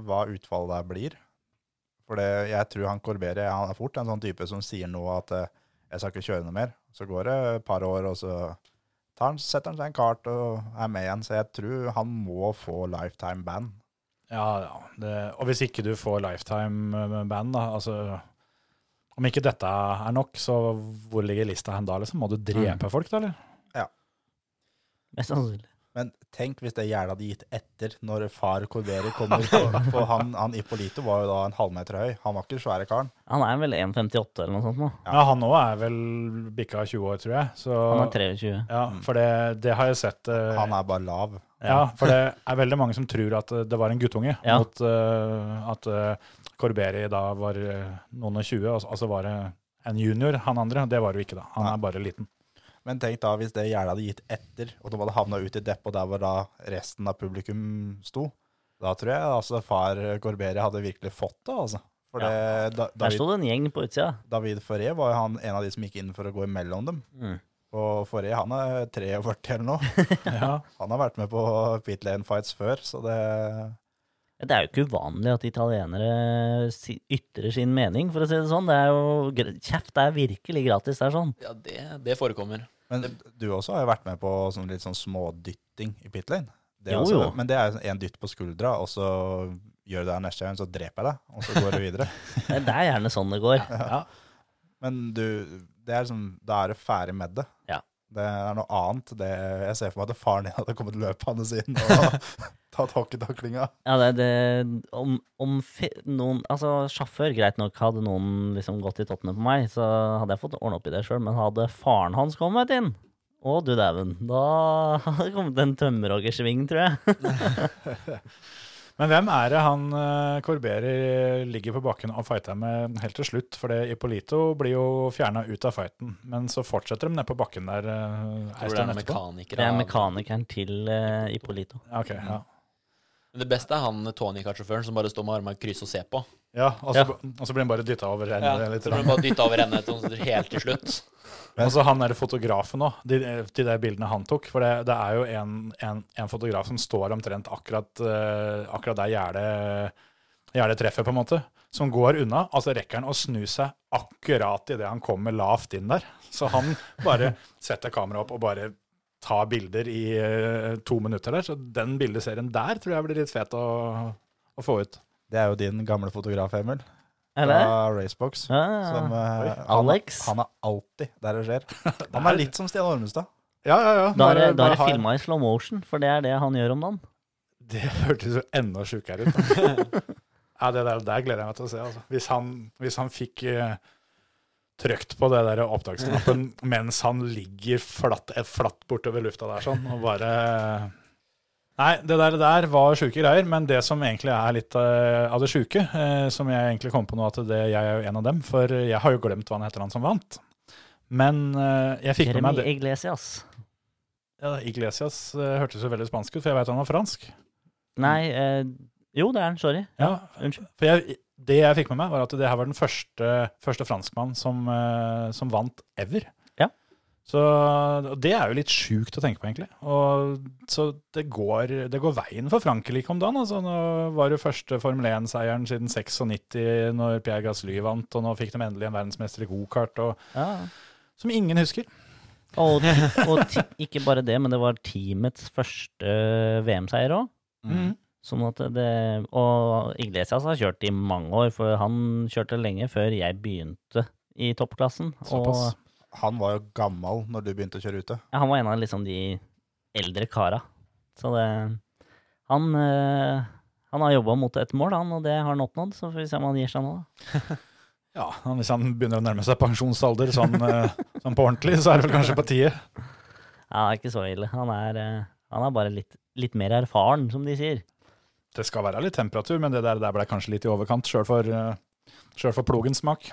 Speaker 5: hva utfallet der blir. For det, jeg tror han Corberi han er fort en sånn type som sier nå at eh, jeg skal ikke kjøre noe mer. Så går det et par år, og så tar han, setter han seg en kart og er med igjen. Så jeg tror han må få lifetime ban.
Speaker 3: Ja, ja. Det, og hvis ikke du får lifetime-band, da altså, Om ikke dette er nok, så hvor ligger lista hen da? liksom? Må du
Speaker 5: Mm.
Speaker 3: drepe folk, da? eller?
Speaker 4: Mest sannsynlig.
Speaker 5: Men tenk hvis det gjerdet hadde gitt etter når far Corberi kommer. For, for han, han Ippolito var jo da en halvmeter høy. Han var ikke den svære karen.
Speaker 4: Han er vel 1,58 eller noe sånt nå.
Speaker 3: Ja, Han òg er vel bikka 20 år, tror jeg. Så,
Speaker 4: Han er 23.
Speaker 3: ja, for det, det har jeg sett. eh,
Speaker 5: Mm. Han er bare lav.
Speaker 3: ja, For det er veldig mange som tror at eh, det var en guttunge.
Speaker 4: Ja.
Speaker 3: Mot eh, at eh, Corberi da var eh, noen og tjue, og så- og så var det en junior, han andre. Det var det jo ikke, da. Han er bare liten.
Speaker 5: Men tenk da hvis det gjerdet hadde gitt etter, og de hadde havna ut i depp, og der hvor da resten av publikum sto. Da tror jeg altså far Gorberi hadde virkelig fått det, altså. For det, da,
Speaker 4: Der sto
Speaker 5: David,
Speaker 4: det en gjeng på utsida.
Speaker 5: David Foré var jo han en av de som gikk inn for å gå imellom dem.
Speaker 4: Mm.
Speaker 5: Og Foré han er 43 eller noe.
Speaker 3: Ja.
Speaker 5: Han har vært med på pit lane fights før, så det eh,
Speaker 4: Det er jo ikke uvanlig at italienere si, ytrer sin mening, for å si det sånn. Det er jo, gr- kjeft er virkelig gratis, det er sånn.
Speaker 6: Ja, det, det forekommer.
Speaker 5: Men du også har jo vært med på sånn litt sånn smådytting i pit lane. Det er
Speaker 4: Jo,
Speaker 5: også,
Speaker 4: jo.
Speaker 5: Men det er jo en dytt på skuldra, og så gjør du det her neste gang, så dreper jeg deg, og så går du videre.
Speaker 4: Det det er gjerne sånn det går.
Speaker 5: Men du, det er liksom, da er du ferdig med det.
Speaker 4: Ja.
Speaker 5: Det er noe annet. Det, jeg ser for meg at faren din hadde kommet løpende inn og tatt hockeytaklinga.
Speaker 4: Ja, det, det, om, om fe, noen, altså Sjåfør, greit nok, hadde noen liksom gått i tottene på meg, så hadde jeg fått ordna opp i det sjøl. Men hadde faren hans kommet inn, å du dæven, da hadde det kommet en tømmerhoggersving, tror jeg.
Speaker 3: Men hvem er det han eh, Corberi ligger på bakken og fighter med helt til slutt? For det Ippolito blir jo fjerna ut av fighten, men så fortsetter de ned på bakken der. eh, en
Speaker 6: Jeg tror det
Speaker 3: stund
Speaker 6: er
Speaker 3: etterpå.
Speaker 6: mekaniker.
Speaker 4: Det er
Speaker 6: av-
Speaker 4: mekanikeren til eh, Ippolito.
Speaker 3: Ja, ok, ja.
Speaker 6: Men Det beste er han Tony Kart-sjåføren som bare står med armene i kryss og ser på.
Speaker 3: ja, og, så, og så blir han bare dytta over ende.
Speaker 6: Ja,
Speaker 3: litt.
Speaker 6: så blir han bare dytta over ende til han helt til slutt.
Speaker 3: Og så han der fotografen òg, de, de der bildene han tok. For det, det er jo en, en, en fotograf som står omtrent akkurat, eh, akkurat der gjerdet gjerne treffer, på en måte, som går unna. Altså rekker han å snu seg akkurat idet han kommer lavt inn der. Så han bare setter kameraet opp og bare tar bilder i eh, to minutter der. Så den bildeserien der tror jeg blir litt fet å, å få ut.
Speaker 5: Det er jo din gamle fotograf, Emil,
Speaker 4: Eller?
Speaker 5: fra Racebox.
Speaker 4: Ja, ja, ja.
Speaker 5: Som, eh,
Speaker 3: Oi.
Speaker 5: han,
Speaker 4: Alex.
Speaker 5: Han er alltid der det skjer. Han er litt som Stian Ormestad.
Speaker 3: Ja, ja, ja.
Speaker 4: Da er det,
Speaker 3: Bare-
Speaker 4: da
Speaker 3: bare
Speaker 4: er det
Speaker 3: ha en-
Speaker 4: filma i slow motion, for det er det han gjør om dagen.
Speaker 3: Det hørtes jo enda sjukere ut. Da. ja, det der, der gleder jeg meg til å se. Altså. Hvis, han, hvis han fikk eh, trykt på det der opptaksknappen mens han ligger flatt, eh, flatt bortover lufta der sånn, og bare Nei, det der, der var sjuke greier, men det som egentlig er litt eh, av det sjuke, eh, som jeg egentlig kom på nå, at det, jeg er jo en av dem, for jeg har jo glemt hva han heter, han som vant. Men eh, jeg fikk med meg
Speaker 4: Jeremy
Speaker 3: det.
Speaker 4: Iglesias.
Speaker 3: Ja, Iglesias eh, hørtes jo veldig spansk ut, for jeg veit han var fransk.
Speaker 4: Nei, eh, jo, det er han. Sorry.
Speaker 3: Ja,
Speaker 4: Unnskyld.
Speaker 3: For jeg, det jeg fikk med meg, var at det her var den første, første franskmann som, eh, som vant ever.
Speaker 4: Ja.
Speaker 3: Så og Det er jo litt sjukt å tenke på, egentlig. Og, så det går, det går veien for Frankrike om dagen. Altså, nå var det jo første Formel 1-seieren siden 96, når Pierre Gasly vant, og nå fikk de endelig en verdensmester i gokart, og-
Speaker 4: Ja.
Speaker 3: som ingen husker.
Speaker 4: Og, ti- og ti, ikke bare det, men det var teamets første VM-seier òg. Sånn at det, og Iglesias har kjørt i mange år, for han kjørte lenge før jeg begynte i toppklassen. Og
Speaker 3: Såpass.
Speaker 5: Han var jo gammel når du begynte å kjøre ute.
Speaker 4: Ja, han var en av liksom de eldre kara. Så det Han, eh, han har jobba mot et mål, han, og det har han oppnådd. Så får vi se om han gir seg nå, da.
Speaker 3: Ja, han- Hvis han begynner å nærme seg pensjonsalder sånn, eh, sånn på ordentlig, så er det vel kanskje på tide.
Speaker 4: Ja, det er ikke så ille. Han er, eh, han er bare litt, litt mer erfaren, som de sier.
Speaker 3: Det skal være litt temperatur, men det der, der ble kanskje litt i overkant, sjøl for, eh, selv for plogens smak.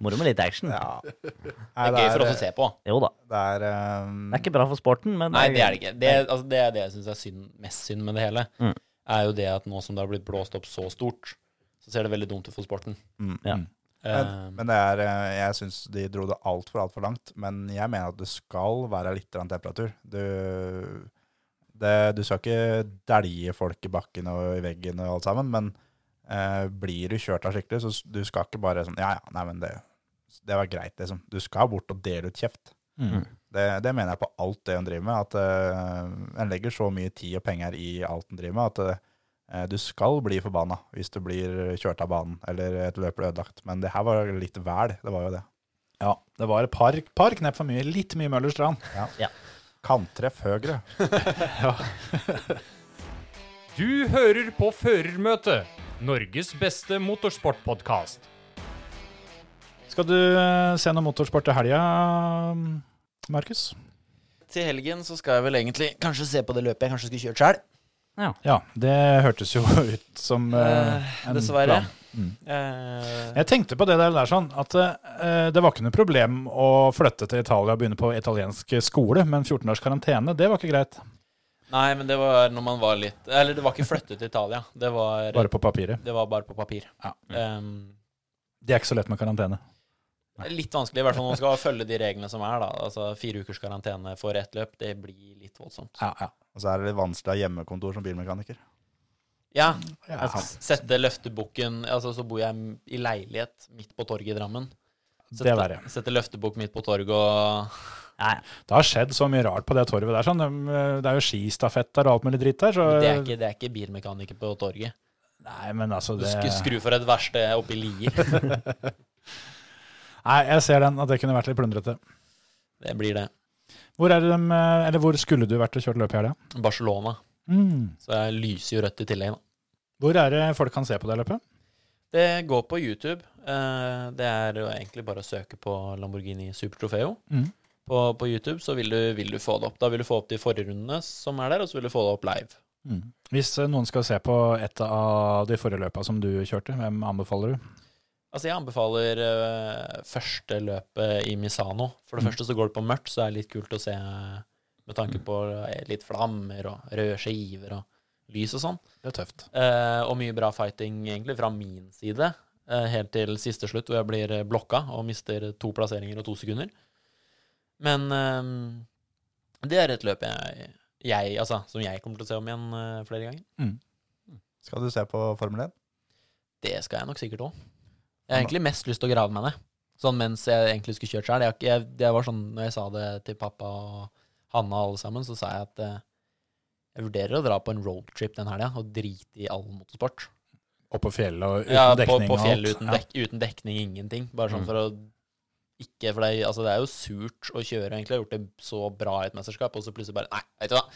Speaker 4: Moro med litt action.
Speaker 5: Ja.
Speaker 6: Det er gøy for oss å se på.
Speaker 4: Jo da.
Speaker 5: Det er, eh,
Speaker 4: Det er ikke bra for sporten, men
Speaker 6: Nei, det er det ikke. Det, altså, det er det jeg syns er synd, mest synd med det hele,
Speaker 4: Mm.
Speaker 6: er jo det at nå som det har blitt blåst opp så stort, så ser det veldig dumt ut for sporten.
Speaker 5: mm,
Speaker 4: Ja.
Speaker 5: mm.
Speaker 6: Eh,
Speaker 5: Men det er, eh, jeg syns de dro det altfor alt for langt. Men jeg mener at det skal være litt grann temperatur. Du, det, du skal ikke dælje folk i bakken og i veggen og alt sammen, men eh, blir du kjørt av skikkelig, så s- du skal ikke bare sånn Ja, ja, nei, men det, det var greit, liksom. Du skal bort og dele ut kjeft.
Speaker 3: Mm.
Speaker 5: Det, det mener jeg på alt det hun driver med, at eh, en legger så mye tid og penger i alt en driver med, at eh, du skal bli forbanna hvis du blir kjørt av banen eller et løp blir ødelagt. Men det her var litt vel, det var jo det.
Speaker 3: Ja, det var et par, par knepp for mye. Litt mye Møllerstrand.
Speaker 5: Kanttreff høyre.
Speaker 7: Du hører på Førermøtet, Norges beste motorsportpodkast.
Speaker 3: Skal du eh, se noe motorsport til helga, Markus?
Speaker 6: til helgen så skal jeg vel egentlig kanskje se på det løpet jeg kanskje skulle kjørt sjøl.
Speaker 3: Ja, det hørtes jo ut som eh, en
Speaker 6: Dessverre.
Speaker 3: plan.
Speaker 5: Mm.
Speaker 6: Eh,
Speaker 3: Jeg tenkte på det der, der sånn, at eh, det var ikke noe problem å flytte til Italia og begynne på italiensk skole, men 14 års karantene, det var ikke greit.
Speaker 6: nei, men det var når man var litt Eller det var ikke flyttet til Italia. Det var,
Speaker 3: Bare på papiret.
Speaker 6: det var bare på papir.
Speaker 3: Ja.
Speaker 6: Eh,
Speaker 3: Det er ikke så lett med karantene.
Speaker 6: Det er Litt vanskelig, i hvert fall når man skal følge de reglene som er. da. Altså Fire ukers karantene for ett løp, det blir litt voldsomt.
Speaker 3: Ja, ja.
Speaker 5: Og så er det litt vanskelig å ha hjemmekontor som bilmekaniker.
Speaker 6: Ja,
Speaker 3: Ja,
Speaker 6: s- sette løftebukken altså Så bor jeg m- i leilighet midt på torget i Drammen. Sette,
Speaker 3: det er verre.
Speaker 6: Sette løftebukk midt på torget og
Speaker 3: Det har skjedd så mye rart på det torvet der. Sånn. De, eh, Det er jo skistafett der og alt mulig dritt der. Så,
Speaker 6: Det er ikke, det er ikke bilmekaniker på torget.
Speaker 3: Nei, men altså
Speaker 6: Du
Speaker 3: det...
Speaker 6: sk- skru for et verksted oppe i Lier.
Speaker 3: Nei, jeg ser den, at det kunne vært litt plundrete.
Speaker 6: Det blir det.
Speaker 3: Hvor, er det dem, eh, eller hvor skulle du vært og kjørt løp i helga?
Speaker 6: Barcelona. Så jeg lyser jo rødt i tillegg, da.
Speaker 3: Hvor er det folk kan se på det løpet?
Speaker 6: Det går på YouTube. Eh, Det er jo egentlig bare å søke på Lamborghini Super Trofeo.
Speaker 3: Mhm.
Speaker 6: På, på YouTube så vil du, vil du få det opp. Da vil du få opp de forrige rundene som er der, og så vil du få det opp live.
Speaker 3: Hvis eh, noen skal se på et av de forrige løpa som du kjørte, hvem anbefaler du?
Speaker 6: Altså, jeg anbefaler eh, første løpet i Misano. For det første så går det på mørkt, så det er litt kult å se med tanke på eh, litt flammer og røde skiver og lys og sånn.
Speaker 3: Det er tøft.
Speaker 6: Eh, og mye bra fighting egentlig fra min side, eh, helt til siste slutt, hvor jeg blir eh, blokka og mister to plasseringer og to sekunder. Men eh, det er et løp jeg jeg, altså, som jeg kommer til å se om igjen eh, flere ganger.
Speaker 5: Skal du se på Formel 1?
Speaker 6: Det skal jeg nok sikkert òg. Jeg har egentlig mest lyst til å grave meg ned. Sånn mens jeg egentlig skulle kjørt sjøl. Jeg, jeg, det var sånn, når jeg sa det til pappa og Hanna og alle sammen, så sa jeg at eh, jeg vurderer å dra på en roadtrip den helga og drite i all motorsport.
Speaker 3: Opp på fjellet og uten
Speaker 6: Ja, på,
Speaker 3: dekning.
Speaker 6: på
Speaker 3: og alt.
Speaker 6: fjellet uten,
Speaker 3: Ja.
Speaker 6: dek, uten dekning, ingenting. Bare sånn
Speaker 4: Mm.
Speaker 6: for å ikke For det, er- altså, det er jo surt å kjøre, egentlig. Jeg har gjort det så bra i et mesterskap, og så plutselig bare Nei, vet du hva.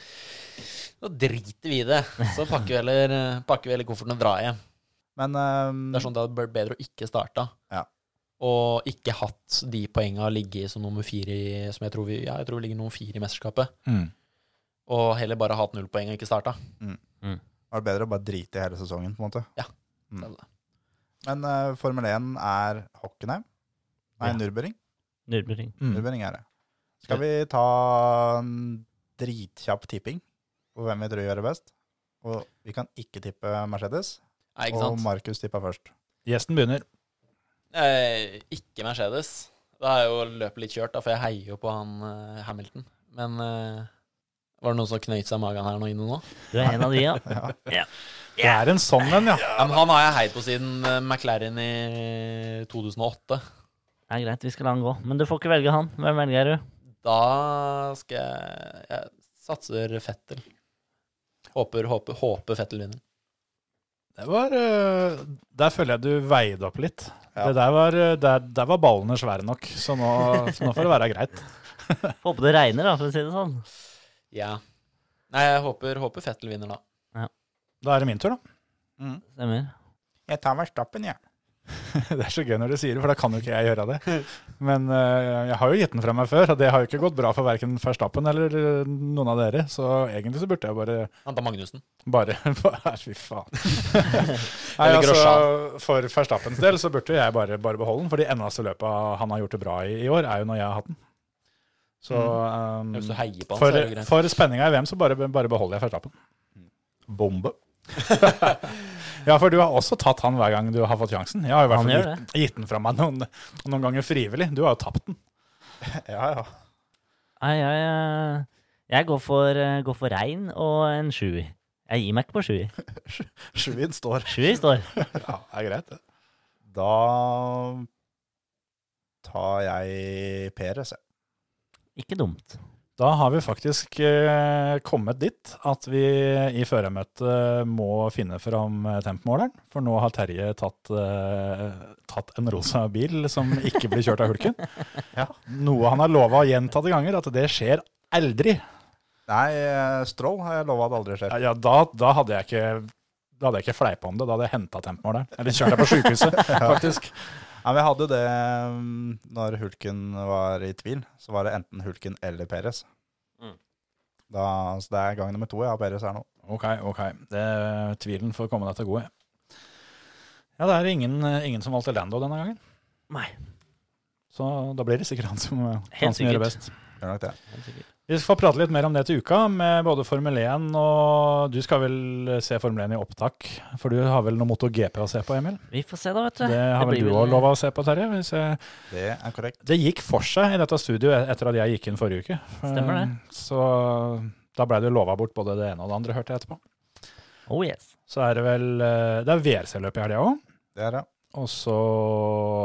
Speaker 6: Nå driter vi i det. Så pakker vi heller, eh, pakker vi heller kofferten og drar hjem.
Speaker 5: Men ehm,
Speaker 6: Det er sånn det hadde vært bedre å ikke starte.
Speaker 5: Ja.
Speaker 6: Og ikke hatt de poengene ligge som nummer fire i, som jeg tror vi, ja, jeg tror vi ligger nummer fire i mesterskapet.
Speaker 3: Mm.
Speaker 6: Og heller bare hatt null poeng og ikke starta.
Speaker 5: var det bedre å bare drite i hele sesongen, på en måte?
Speaker 6: Så
Speaker 5: Mm. Men eh, Formel 1 er Hockenheim? Nei,
Speaker 4: Ja.
Speaker 5: Nürburgring.
Speaker 4: Nürburgring.
Speaker 3: Mm.
Speaker 5: Nürburgring er det. Skal vi ta en dritkjapp tipping på hvem vi tror gjør det best? Og vi kan ikke tippe Mercedes,
Speaker 6: Nei, ikke
Speaker 5: og
Speaker 6: sant?
Speaker 5: Markus tippa først.
Speaker 3: Gjesten begynner.
Speaker 6: Eh, ikke Mercedes. Da er jo løpet litt kjørt, da, for jeg heier jo på han eh, Hamilton. Men eh, var det noen som knøyt seg i magen her nå inne nå?
Speaker 4: Du er en av de, ja.
Speaker 3: Det er en sånn en, ja.
Speaker 6: Ja, men han har jeg heid på siden eh, McLaren i 2008.
Speaker 4: Det er greit, vi skal la han gå. Men du får ikke velge han. Hvem velger du?
Speaker 6: Da skal jeg Jeg satser Fettel. Håper, håper, håper Fettel vinner.
Speaker 3: Det var, eh, der føler jeg du veide opp litt.
Speaker 5: Ja.
Speaker 3: Det der, var, eh, der, der var ballene svære nok, så nå, så nå får det være greit.
Speaker 4: Får håpe det regner, da, for å si det sånn.
Speaker 6: Ja. Nei, jeg håper, håper Fettel vinner da.
Speaker 3: Da er det min tur, da.
Speaker 4: Stemmer.
Speaker 5: Jeg tar Verstappen, jeg.
Speaker 3: Det er så gøy når du sier det, for da kan jo ikke jeg gjøre det. Men eh, jeg har jo gitt den fra meg før, og det har jo ikke gått bra for verken Verstappen eller eh, noen av dere, så egentlig så burde jeg bare
Speaker 6: Han tar Magnussen.
Speaker 3: Bare Nei, Fy faen. Nei,
Speaker 6: Eller
Speaker 3: altså, for Verstappens del så burde jo jeg bare, bare beholde den, for det eneste løpet han har gjort det bra i i år, er jo når jeg har hatt den. Så
Speaker 5: Mm.
Speaker 3: um,
Speaker 6: Hvis du heier på han, så er det jo
Speaker 3: for,
Speaker 6: greit.
Speaker 3: for spenninga i VM så bare, bare beholder jeg Verstappen.
Speaker 5: Mm. Bombe.
Speaker 3: Ja, for du har også tatt han hver gang du har fått sjansen. Jeg har jo i hvert
Speaker 4: Han
Speaker 3: fall
Speaker 4: gjør
Speaker 3: gitt, gitt den fra meg noen, noen ganger frivillig. Du har jo tapt den.
Speaker 5: Ja, ja.
Speaker 4: Nei, jeg, eh, jeg går for, eh, går for regn og en sjuer. Jeg gir meg ikke på sjuer.
Speaker 5: Sjuin står.
Speaker 4: Sjuer står.
Speaker 3: Ja, det er greit, det.
Speaker 5: Da tar jeg Peres, jeg.
Speaker 4: Ikke dumt.
Speaker 3: Da har vi faktisk eh, kommet dit at vi i førermøtet må finne fram eh, tempmåleren. For nå har Terje tatt, eh, tatt en rosa bil som ikke blir kjørt av hulken. Noe han har lova gjentatte ganger, at det skjer aldri.
Speaker 5: Nei, eh, Stroll har jeg lova at aldri skjer.
Speaker 3: Ja, Ja, da, da hadde jeg ikke da hadde jeg ikke fleipa om det, da hadde jeg henta tempmåleren. Eller kjørt deg på sjukehuset, faktisk.
Speaker 5: Ja, men jeg hadde jo det mm, når Hulken var i tvil, så var det enten Hulken eller Peres.
Speaker 4: Mm.
Speaker 5: Da, så det er gang nummer to jeg har Peres her nå.
Speaker 3: Ok, ok. Det, tvilen får komme deg til gode. Ja, det er ingen, ingen som valgte Lando denne gangen.
Speaker 4: Nei.
Speaker 3: Så da blir det sikkert han som, han
Speaker 4: Helt
Speaker 3: som gjør det
Speaker 4: sikkert.
Speaker 3: best.
Speaker 5: Gjør nok det.
Speaker 3: Vi får prate litt mer om det til uka, med både Formel 1 og Du skal vel se Formel 1 i opptak, for du har vel noe MotoGP å se på, Emil?
Speaker 4: Vi får se, da, vet du.
Speaker 3: Det har vel
Speaker 4: blir
Speaker 3: du òg lova å se på, Terje? Hvis jeg...
Speaker 5: Det er korrekt.
Speaker 3: Det gikk for seg i dette studioet etter at jeg gikk inn forrige uke. Eh,
Speaker 4: Stemmer det.
Speaker 3: Så da blei det lova bort både det ene og det andre, hørte jeg etterpå.
Speaker 4: Oh yes.
Speaker 3: Så er det vel eh, Det er WRC-løp i helga òg.
Speaker 5: Det er det.
Speaker 3: Og så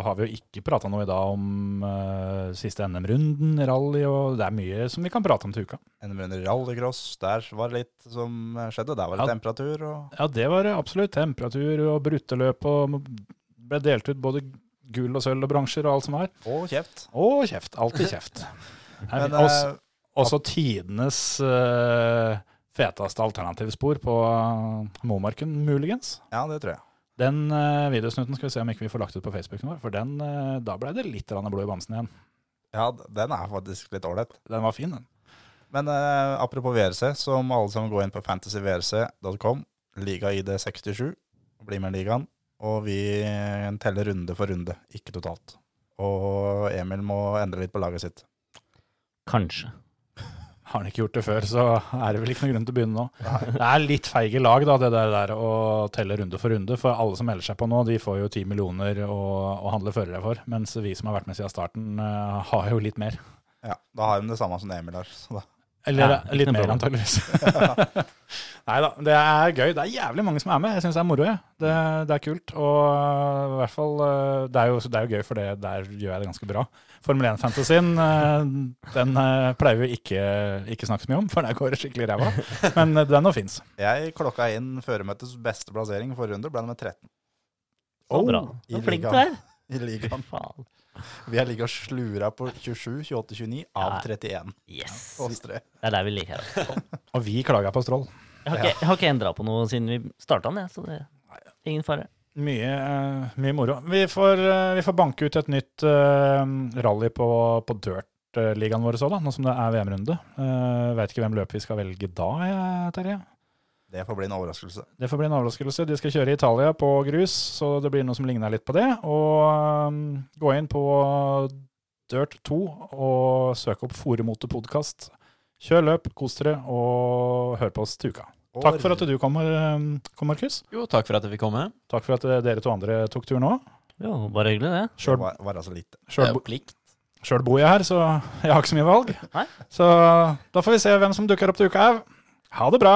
Speaker 3: har vi jo ikke prata noe i dag om eh, siste NM-runden, rally, og det er mye som vi kan prate om til uka.
Speaker 5: En runde rallycross, der var det litt som skjedde. Der var det
Speaker 3: Ja.
Speaker 5: temperatur og
Speaker 3: Ja, det var absolutt temperatur og brutteløp, og ble delt ut både gull og sølv og bransjer og alt som er.
Speaker 5: Og kjeft.
Speaker 3: Og kjeft. Alltid kjeft. Her,
Speaker 5: Men
Speaker 3: også,
Speaker 5: eh,
Speaker 3: også tidenes eh, feteste alternativspor på eh, Momarken, muligens.
Speaker 5: ja, det tror jeg.
Speaker 3: Den eh, videosnutten skal vi se om ikke vi får lagt ut på Facebooken vår, for den, eh, da ble det litt grann blod i bamsen igjen.
Speaker 5: Ja, d- den er faktisk litt ålreit.
Speaker 3: Den var fin, den.
Speaker 5: Men eh, apropos VRC, så må alle sammen gå inn på fantasyvrc.com, ligaid 67, og bli med i ligaen. Og vi teller runde for runde, ikke totalt. Og Emil må endre litt på laget sitt.
Speaker 4: Kanskje.
Speaker 3: Har han ikke gjort det før, så er det vel ikke noen grunn til å begynne nå. Det er litt feige lag, da, det der, der å telle runde for runde. For alle som melder seg på nå, de får jo ti millioner å, å handle førere for. Mens vi som har vært med siden starten, eh, har jo litt mer.
Speaker 5: Ja, Da har de det samme som Emil har. Så da.
Speaker 3: Eller
Speaker 4: Ja, ikke
Speaker 3: litt
Speaker 4: noe
Speaker 3: mer,
Speaker 4: problem.
Speaker 3: antageligvis. Nei da, det er gøy. Det er jævlig mange som er med. Jeg syns det er moro. jeg. Det,
Speaker 5: Mm.
Speaker 3: det er kult. Og øh, i hvert fall øh, Det er jo, det er jo gøy, for det, der gjør jeg det ganske bra. Formel 1-fantasien øh, den øh, pleier vi ikke, ikke snakke så mye om, for der går det skikkelig ræva. Men øh, den nå fins.
Speaker 5: Jeg klokka inn føremøtets beste plassering forrige runde, ble nummer 13
Speaker 4: Så bra.
Speaker 5: Oh, i
Speaker 4: Så flink du
Speaker 5: ligaen.
Speaker 4: er.
Speaker 5: i ligaen.
Speaker 4: Faen.
Speaker 5: Vi har ligget og slura på 27, 28, 29 av
Speaker 4: Ja.
Speaker 5: 31
Speaker 4: Yes.
Speaker 5: oss tre.
Speaker 4: Det er der vi liker her.
Speaker 3: Og vi klaga på Strål.
Speaker 4: Jeg har ikke, jeg har ikke endra på noe siden vi starta den, jeg, så det ingen fare.
Speaker 3: Mye, eh, mye moro. Vi får, eh, vi får banke ut et nytt eh, rally på, på dirt-ligaen vår så, da, nå som det er VM-runde. Uh, Veit ikke hvem løp vi skal velge da, jeg, Terje.
Speaker 5: Det får bli en overraskelse.
Speaker 3: Det får bli en overraskelse. De skal kjøre i Italia på grus, så det blir noe som ligner litt på det. Og eh, gå inn på Dirt2 og søk opp Foremote podkast. Kjør løp, kos dere, og hør på oss til uka. Takk for at du kom, eh, kom Markus.
Speaker 6: Jo, takk for at jeg fikk komme.
Speaker 3: Takk for at eh, dere to andre tok turen òg.
Speaker 4: Jo, bare hyggelig, det.
Speaker 5: Det var, var altså litt
Speaker 6: Det
Speaker 3: Sjøl
Speaker 6: er jo plikt.
Speaker 3: Sjøl bor jeg her, så jeg har ikke så mye valg.
Speaker 4: Nei.
Speaker 3: Så da får vi se hvem som dukker opp til uka her. Ha det bra!